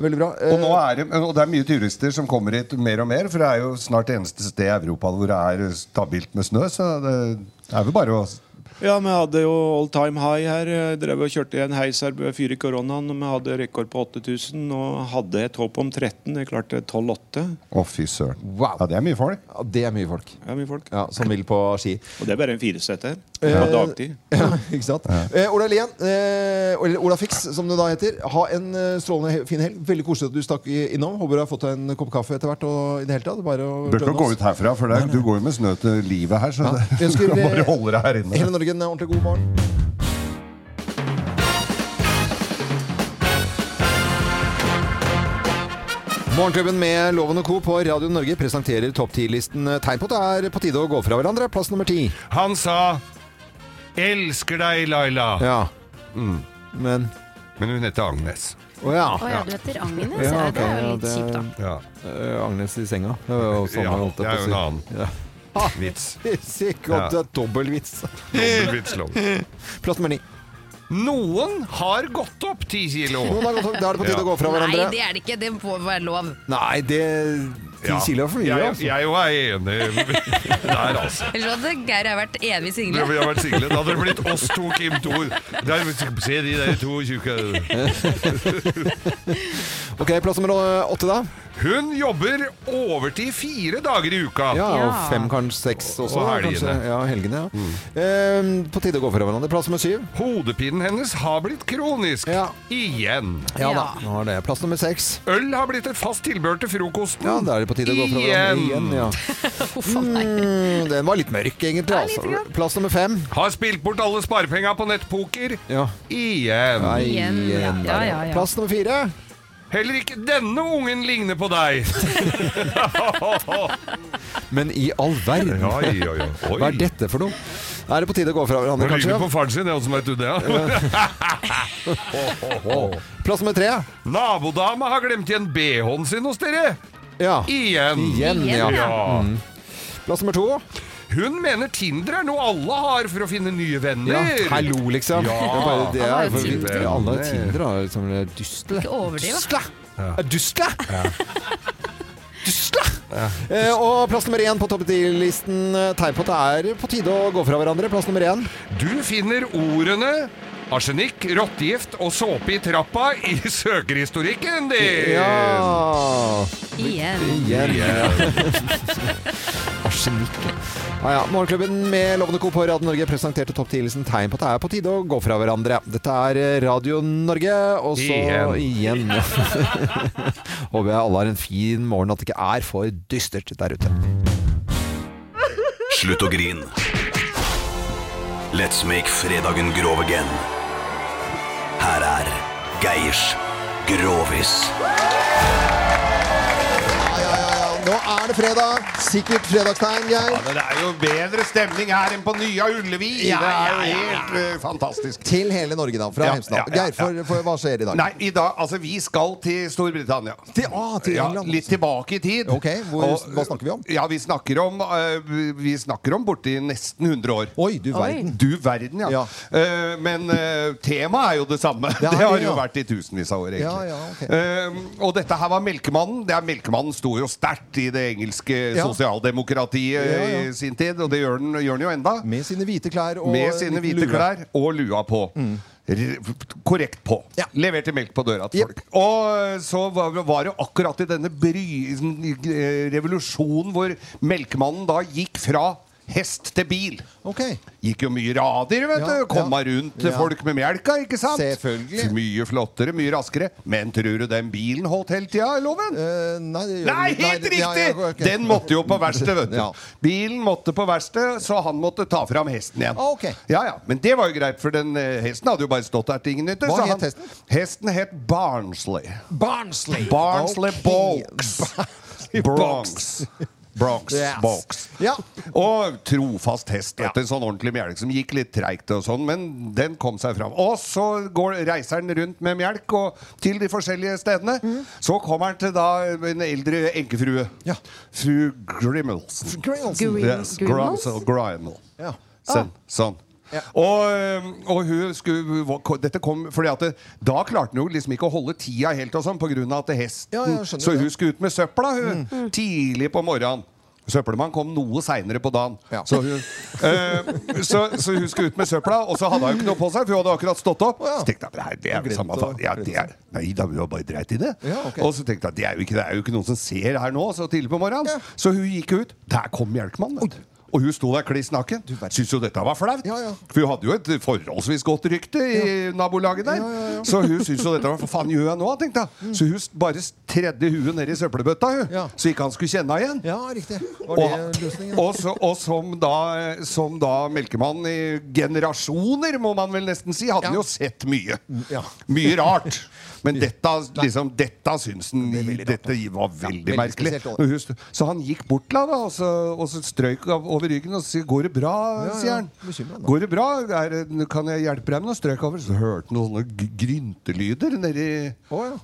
Speaker 1: Veldig bra. Eh,
Speaker 2: Og, nå er det, og det er mye turister som kommer hit mer og mer, for det er jo snart det eneste sted i Europa hvor det er stabilt med snø. Så det er vel bare å
Speaker 21: Ja, vi hadde jo all time high her. Jeg Drev og kjørte i en heis her før i koronaen. og Vi hadde rekord på 8000 og hadde et håp om 13. Jeg klarte 12-8.
Speaker 2: Å, fy søren. Ja, det er mye folk.
Speaker 1: Ja, det er mye folk.
Speaker 21: Ja, mye folk.
Speaker 1: Ja, som vil på ski.
Speaker 21: Og det er bare en fireseter på dagtid.
Speaker 1: Ja, ikke sant? Eh, Ola Lien, eh, eller Ola Fix, som det da heter. Ha en eh, strålende he- fin helg. Veldig koselig at du stakk i- innom. Håper du har fått deg en kopp kaffe etter hvert. Og i det hele tatt, bare å
Speaker 2: Bør ikke
Speaker 1: gønne
Speaker 2: gå
Speaker 1: oss.
Speaker 2: ut herfra, for det, er- du går jo med snø til livet her. Så det,
Speaker 1: Jeg
Speaker 2: du
Speaker 1: ønsker,
Speaker 2: bare
Speaker 1: eh,
Speaker 2: holder deg her inne.
Speaker 1: Hele Norge en ordentlig god morgen. Morgenklubben med Loven og Co. på Radio Norge presenterer topp 10-listen tegn på at det er på tide å gå fra hverandre. Plass nummer ti.
Speaker 19: Han sa 'Elsker deg, Laila'.
Speaker 1: Ja.
Speaker 19: Mm.
Speaker 1: Men
Speaker 19: Men hun heter Agnes.
Speaker 1: Å ja.
Speaker 3: Å ja, du heter Agnes?
Speaker 1: Ah, Ja,
Speaker 3: Ja,
Speaker 1: ok,
Speaker 3: det er
Speaker 1: ja,
Speaker 3: jo litt
Speaker 1: det-
Speaker 3: kjipt, da.
Speaker 19: Ja.
Speaker 1: Eh, Agnes i senga. Det var jo sånn
Speaker 19: Ja,
Speaker 1: han holdt
Speaker 19: det er jo
Speaker 1: på å si.
Speaker 19: en annen
Speaker 1: Ja.
Speaker 19: vits.
Speaker 1: Sikkert godt,
Speaker 19: Ja.
Speaker 1: det er dobbeltvits.
Speaker 19: Dobbeltvitslov.
Speaker 1: Plass nummer ni.
Speaker 19: Noen har gått opp ti kilo.
Speaker 1: Noen har gått opp. Da er det på tide å gå fra hverandre.
Speaker 3: Nei, det er det ikke. Det må være lov.
Speaker 1: Nei, det Ti
Speaker 19: Ja.
Speaker 1: kilo er for mye,
Speaker 19: Jeg-
Speaker 1: altså.
Speaker 19: Jeg òg er enig der, altså.
Speaker 3: Ellers hadde Geir og jeg vært evig
Speaker 19: Vi
Speaker 3: single.
Speaker 19: har vært single. Da hadde det blitt oss to, Kim Thor. Der, se de der to tjukke
Speaker 1: Ok, Plass nummer eh, åtte, da.
Speaker 19: Hun jobber overtid fire dager i uka.
Speaker 1: Ja, og fem, kanskje seks også.
Speaker 19: Og
Speaker 1: da,
Speaker 19: helgene. Mm.
Speaker 1: Kanskje. Ja, helgene, ja. Eh, på tide å gå fra hverandre. Plass nummer syv.
Speaker 19: Hodepinen hennes har blitt kronisk. Igjen.
Speaker 1: Ja da, nå er det plass nummer seks.
Speaker 19: Øl har blitt et fast tilbehør til frokosten.
Speaker 1: Ja, da er det på tide å gå fra hverandre igjen. Ja. Mm, den var litt mørk, egentlig. Altså. Plass nummer fem.
Speaker 19: Har spilt bort alle sparepenga på nettpoker.
Speaker 1: Ja.
Speaker 19: Igjen.
Speaker 1: Nei, igjen, der, ja. Plass nummer fire.
Speaker 19: Heller ikke denne ungen ligner på deg.
Speaker 1: Men i all verden!
Speaker 19: Ja, ja, ja. Oi.
Speaker 1: Hva er dette for noe? Er det på tide å gå fra
Speaker 19: Nå
Speaker 1: hverandre,
Speaker 19: ligner
Speaker 1: kanskje?
Speaker 19: du på faren sin, ja, så vet du det. Ja.
Speaker 1: Plass nummer tre.
Speaker 19: Nabodama har glemt igjen BH-en sin hos dere.
Speaker 1: Ja.
Speaker 19: Igjen.
Speaker 1: Igjen, ja. Mm. Plass nummer to.
Speaker 19: Hun mener Tinder er noe alle har for å finne nye venner.
Speaker 1: Ja, hallo, liksom.
Speaker 19: Ja.
Speaker 1: Det er bare det
Speaker 19: Alle har
Speaker 1: er,
Speaker 19: jo
Speaker 1: for, vi,
Speaker 19: Tinder.
Speaker 1: alle har Tinder har liksom dystle.
Speaker 3: Ikke overdriv, da.
Speaker 1: Dystle! Dystle!
Speaker 19: Ja.
Speaker 1: Dystle! Eh, og plass nummer én på topp 10-listen eh, tegn på at det er på tide å gå fra hverandre. Plass nummer én.
Speaker 19: Du finner ordene arsenikk, rottegift og såpe i trappa i søkerhistorikken din.
Speaker 1: Ja.
Speaker 3: Igjen.
Speaker 1: Igjen. ja. Arsenikk. Ja, ja. Morgenklubben med Lovende Co. på Radio Norge presenterte topp 10-listen tegn på at det er på tide å gå fra hverandre. Dette er eh, Radio Norge, og så igjen. Håper jeg alle har en fin morgen, at det ikke er for dystert der ute.
Speaker 22: Slutt å grin. Let's make fredagen grov again. Her er Geirs Grovis.
Speaker 1: Nå er det fredag. Sikkert fredagstegn, Geir.
Speaker 2: Men det er jo bedre stemning her enn på Nya Ullevi.
Speaker 1: Ja,
Speaker 2: det er jo
Speaker 1: ja, ja, ja.
Speaker 2: helt eh, fantastisk.
Speaker 1: Til hele Norge, da. Fra
Speaker 2: Ja,
Speaker 1: Hemsedal.
Speaker 2: ja, ja,
Speaker 1: Geir, for, for, hva skjer i dag?
Speaker 2: Nei, i dag, altså vi skal til Storbritannia.
Speaker 1: Til, ah, til England,
Speaker 2: litt tilbake i tid.
Speaker 1: Ok, hvor- hva snakker vi om?
Speaker 2: Ja, Vi snakker om, eh, vi- vi snakker om borti nesten 100 år.
Speaker 1: Oi, du verden.
Speaker 2: Du verden, ja. Eh, men eh, temaet er jo det samme. Det,
Speaker 1: er
Speaker 2: har
Speaker 1: det,
Speaker 2: jo
Speaker 1: ja.
Speaker 2: vært i tusenvis av år, egentlig.
Speaker 1: Ja, ja, ok.
Speaker 2: Eh, og dette her var Melkemannen. Det er, melkemannen sto jo sterkt i det engelske
Speaker 1: Ja.
Speaker 2: sosialdemokratiet
Speaker 1: Ja, ja.
Speaker 2: i eh, sin tid, og det gjør den, gjør den jo enda.
Speaker 1: Med sine hvite klær og Mm.
Speaker 2: Med sine
Speaker 1: en liten
Speaker 2: hvite
Speaker 1: lue.
Speaker 2: klær og lua på. R- Korrekt på. Leverte melk på døra til folk. Og eh, så var, var det jo akkurat i denne bry, eh, revolusjonen hvor melkemannen da gikk fra hest til bil.
Speaker 1: Ok.
Speaker 2: Gikk jo mye rader, vet
Speaker 1: Ja,
Speaker 2: du. Komma rundt til
Speaker 1: Ja.
Speaker 2: folk med melka, ikke sant?
Speaker 1: Selvfølgelig.
Speaker 2: Mye flottere, mye raskere. Men tror du den bilen holdt hele tida, Loven?
Speaker 1: Eh, nei, det gjør
Speaker 2: Nei,
Speaker 1: det-
Speaker 2: helt
Speaker 1: det-
Speaker 2: riktig!
Speaker 1: ja, ja, ok.
Speaker 2: Den måtte jo på verksted, vet du.
Speaker 1: Ja.
Speaker 2: Bilen måtte på verksted, så han måtte ta fram hesten igjen.
Speaker 1: Ah, ok.
Speaker 2: Ja, ja. Men det var jo greit, for den eh, hesten hadde jo bare stått der til ingen nytte.
Speaker 1: Hva
Speaker 2: så
Speaker 1: het
Speaker 2: han-
Speaker 1: hesten?
Speaker 2: Hesten het Barnsley.
Speaker 1: Barnsley.
Speaker 2: Barnsley
Speaker 1: Ok.
Speaker 2: Box. Bronx. Bronx.
Speaker 1: Yes.
Speaker 2: Box. Og trofast hest. Vet du, en Sånn ordentlig melk som gikk litt treigt, og sånn, men den kom seg fram. Og så går, reiser han rundt med melk og, til de forskjellige stedene.
Speaker 1: Mhm.
Speaker 2: Så kommer han til da en eldre enkefrue. Fru Grimmels.
Speaker 1: Grimmels. Grimmels?
Speaker 2: Yes, Grimmels. Grimmel.
Speaker 1: Ja.
Speaker 2: Sånn. sånn. Og, øhm, og hun skulle hva- Dette kom fordi at det, Da klarte hun jo liksom ikke å holde tida helt og sånn pga. at hesten
Speaker 1: Ja, ja, jeg skjønner
Speaker 2: Så
Speaker 1: det. Mm.
Speaker 2: hun skulle ut med søpla hun, tidlig på morgenen. Søppelmann kom noe seinere på dagen. Så, hun, eh, så, så hun skulle ut med søpla, og så hadde hun ikke noe på seg, for hun hadde akkurat stått opp. Så tenkte jeg, "Men her, det er jo
Speaker 1: Glemt
Speaker 2: samme
Speaker 1: å-
Speaker 2: faen. Ja, det er, nei da, hun har bare dreit i det.
Speaker 1: Ja, ok.
Speaker 2: Og så tenkte jeg, det er, jo ikke, det er jo ikke noen som ser her nå, så tidlig på morgenen. Så hun gikk ut. Der kom Hjelkmann. vet du. Og hun sto der kliss naken. Syntes jo dette var flaut. For hun hadde jo et forholdsvis godt rykte i nabolaget der. Så hun syntes jo dette var Hva faen gjør jeg nå?
Speaker 1: Mm.
Speaker 2: tenkte jeg. Så hun s- bare s- tredde huet ned i søppelbøtta, hun. Så ikke han skulle kjenne henne igjen.
Speaker 1: Ja, Ah, riktig. Var det
Speaker 2: Og, eh,
Speaker 1: løsningen?
Speaker 2: og, så, og som, da, som da melkemann i generasjoner, må man vel nesten si, hadde han jo sett mye.
Speaker 1: Ja.
Speaker 2: Mye rart. Men dette, liksom, dette syns han Dette var veldig
Speaker 1: veldig
Speaker 2: merkelig.
Speaker 1: spesielt også.
Speaker 2: Og just- Så han gikk bort til henne og, så- og så strøyk av- over ryggen og sa 'Går det
Speaker 1: Ja,
Speaker 2: bra?'
Speaker 1: ja.
Speaker 2: sier han.
Speaker 1: Bekymret nå.
Speaker 2: 'Går det bra? Er, det- kan jeg hjelpe deg med noe?' Strøyk over. Så hørte han noen sånne g- gryntelyder nedi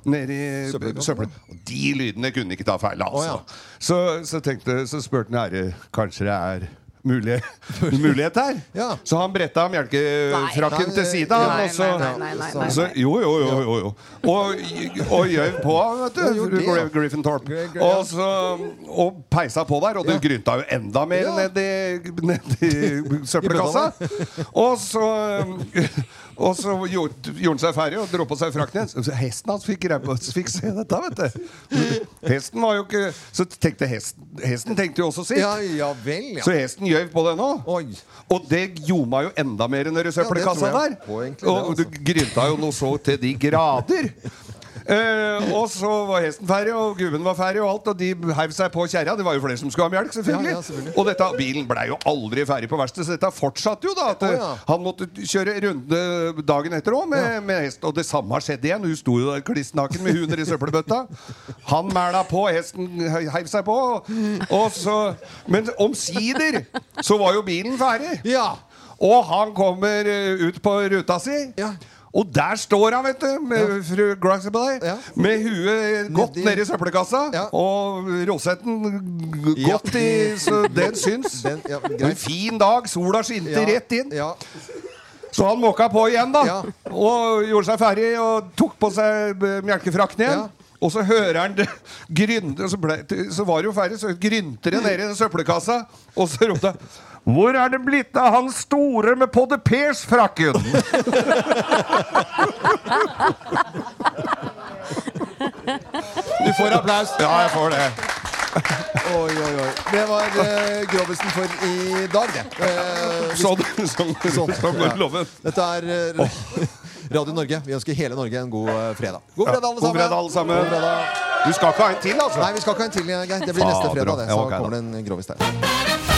Speaker 2: nedi
Speaker 1: Søppelkassen.
Speaker 2: søppel. Og de lydene kunne ikke ta feil av.
Speaker 1: Å, ja.
Speaker 2: Altså. Så, så, tenkte, så spurte han er det kanskje det er mulig, mulighet her. Så han bretta melkefrakken
Speaker 1: Nei.
Speaker 2: til sida.
Speaker 1: Nei,
Speaker 2: og
Speaker 1: nei,
Speaker 2: så-
Speaker 1: nei, nei, nei,
Speaker 2: så-
Speaker 1: nei.
Speaker 2: Jo, jo, jo. jo, jo. Og, og gjøv på, vet du.
Speaker 1: gjorde det, ja.
Speaker 2: Gri- Griffin Thorpe. Og, så, og peisa på der, og det grynta jo enda mer ned i, ned i søppelkassa. Og så og så gjorde gjorde han seg ferdig og dro på seg frakken igjen. Så Hesten hans fikk, greie på- fikk se dette, vet du. Hesten var jo ikke Så tenkte hesten, hesten tenkte jo også sitt.
Speaker 1: Ja, ja vel, ja.
Speaker 2: Så hesten gjøv på det nå. Og det ljoma jo enda mer nedi søppelkassa
Speaker 1: Ja,
Speaker 2: der.
Speaker 1: det tror jeg på egentlig, det, altså.
Speaker 2: og du grynta jo noe så til de grader. Eh, og så var hesten ferdig, og gubben var ferdig, og alt. Og de heiv seg på kjerra. Det var jo flere som skulle ha melk, selvfølgelig.
Speaker 1: Ja, ja, selvfølgelig.
Speaker 2: Og dette, bilen blei jo aldri ferdig på verkstedet, så dette fortsatte jo, da. At
Speaker 1: Å, ja.
Speaker 2: eh, Han måtte kjøre runde dagen etter òg med, med hest. Og det samme har skjedd igjen. Hun sto jo der kliss naken med hunder i søppelbøtta. Han mæla på, hesten he- heiv seg på. Og så, men omsider så var jo bilen ferdig. Og han kommer eh, ut på ruta si. Og der står han, vet du, med fru Graxabelay, med huet godt
Speaker 1: Nedi-
Speaker 2: nedi søppelkassa. Og rosetten g-
Speaker 1: Ja.
Speaker 2: godt i Så den syns.
Speaker 1: Den- ja, greit.
Speaker 2: Og en fin dag, sola skinte
Speaker 1: Ja,
Speaker 2: rett inn. Så han måka på igjen, da. Og gjorde seg ferdig og tok på seg eh, melkefrakken igjen. Og så hører han det grynte, så, ble, så var det jo ferdig, så grynter det nede i den søppelkassa. Og så ropte han Hvor er det blitt av han store med Podde Pers-frakken?
Speaker 1: Du får applaus.
Speaker 2: Ja, jeg får det.
Speaker 1: Oi, oi, oi. Det var eh, Grovisen for i dag, det. Eh, hvis-
Speaker 2: Sånn, sånn, sånn,
Speaker 1: ja.
Speaker 2: loven.
Speaker 1: Dette er eh, Radio Norge. Vi ønsker hele Norge en god eh, fredag. God
Speaker 2: Ja,
Speaker 1: fredag, alle
Speaker 2: god
Speaker 1: sammen.
Speaker 2: fredag, alle sammen.
Speaker 1: God fredag.
Speaker 2: Du skal ikke ha en til, altså?
Speaker 1: Nei, vi skal ikke ha en til, Geir. Det blir neste
Speaker 2: Fader,
Speaker 1: fredag, det. Så
Speaker 2: ja, ok, da.
Speaker 1: kommer det en Grovis der.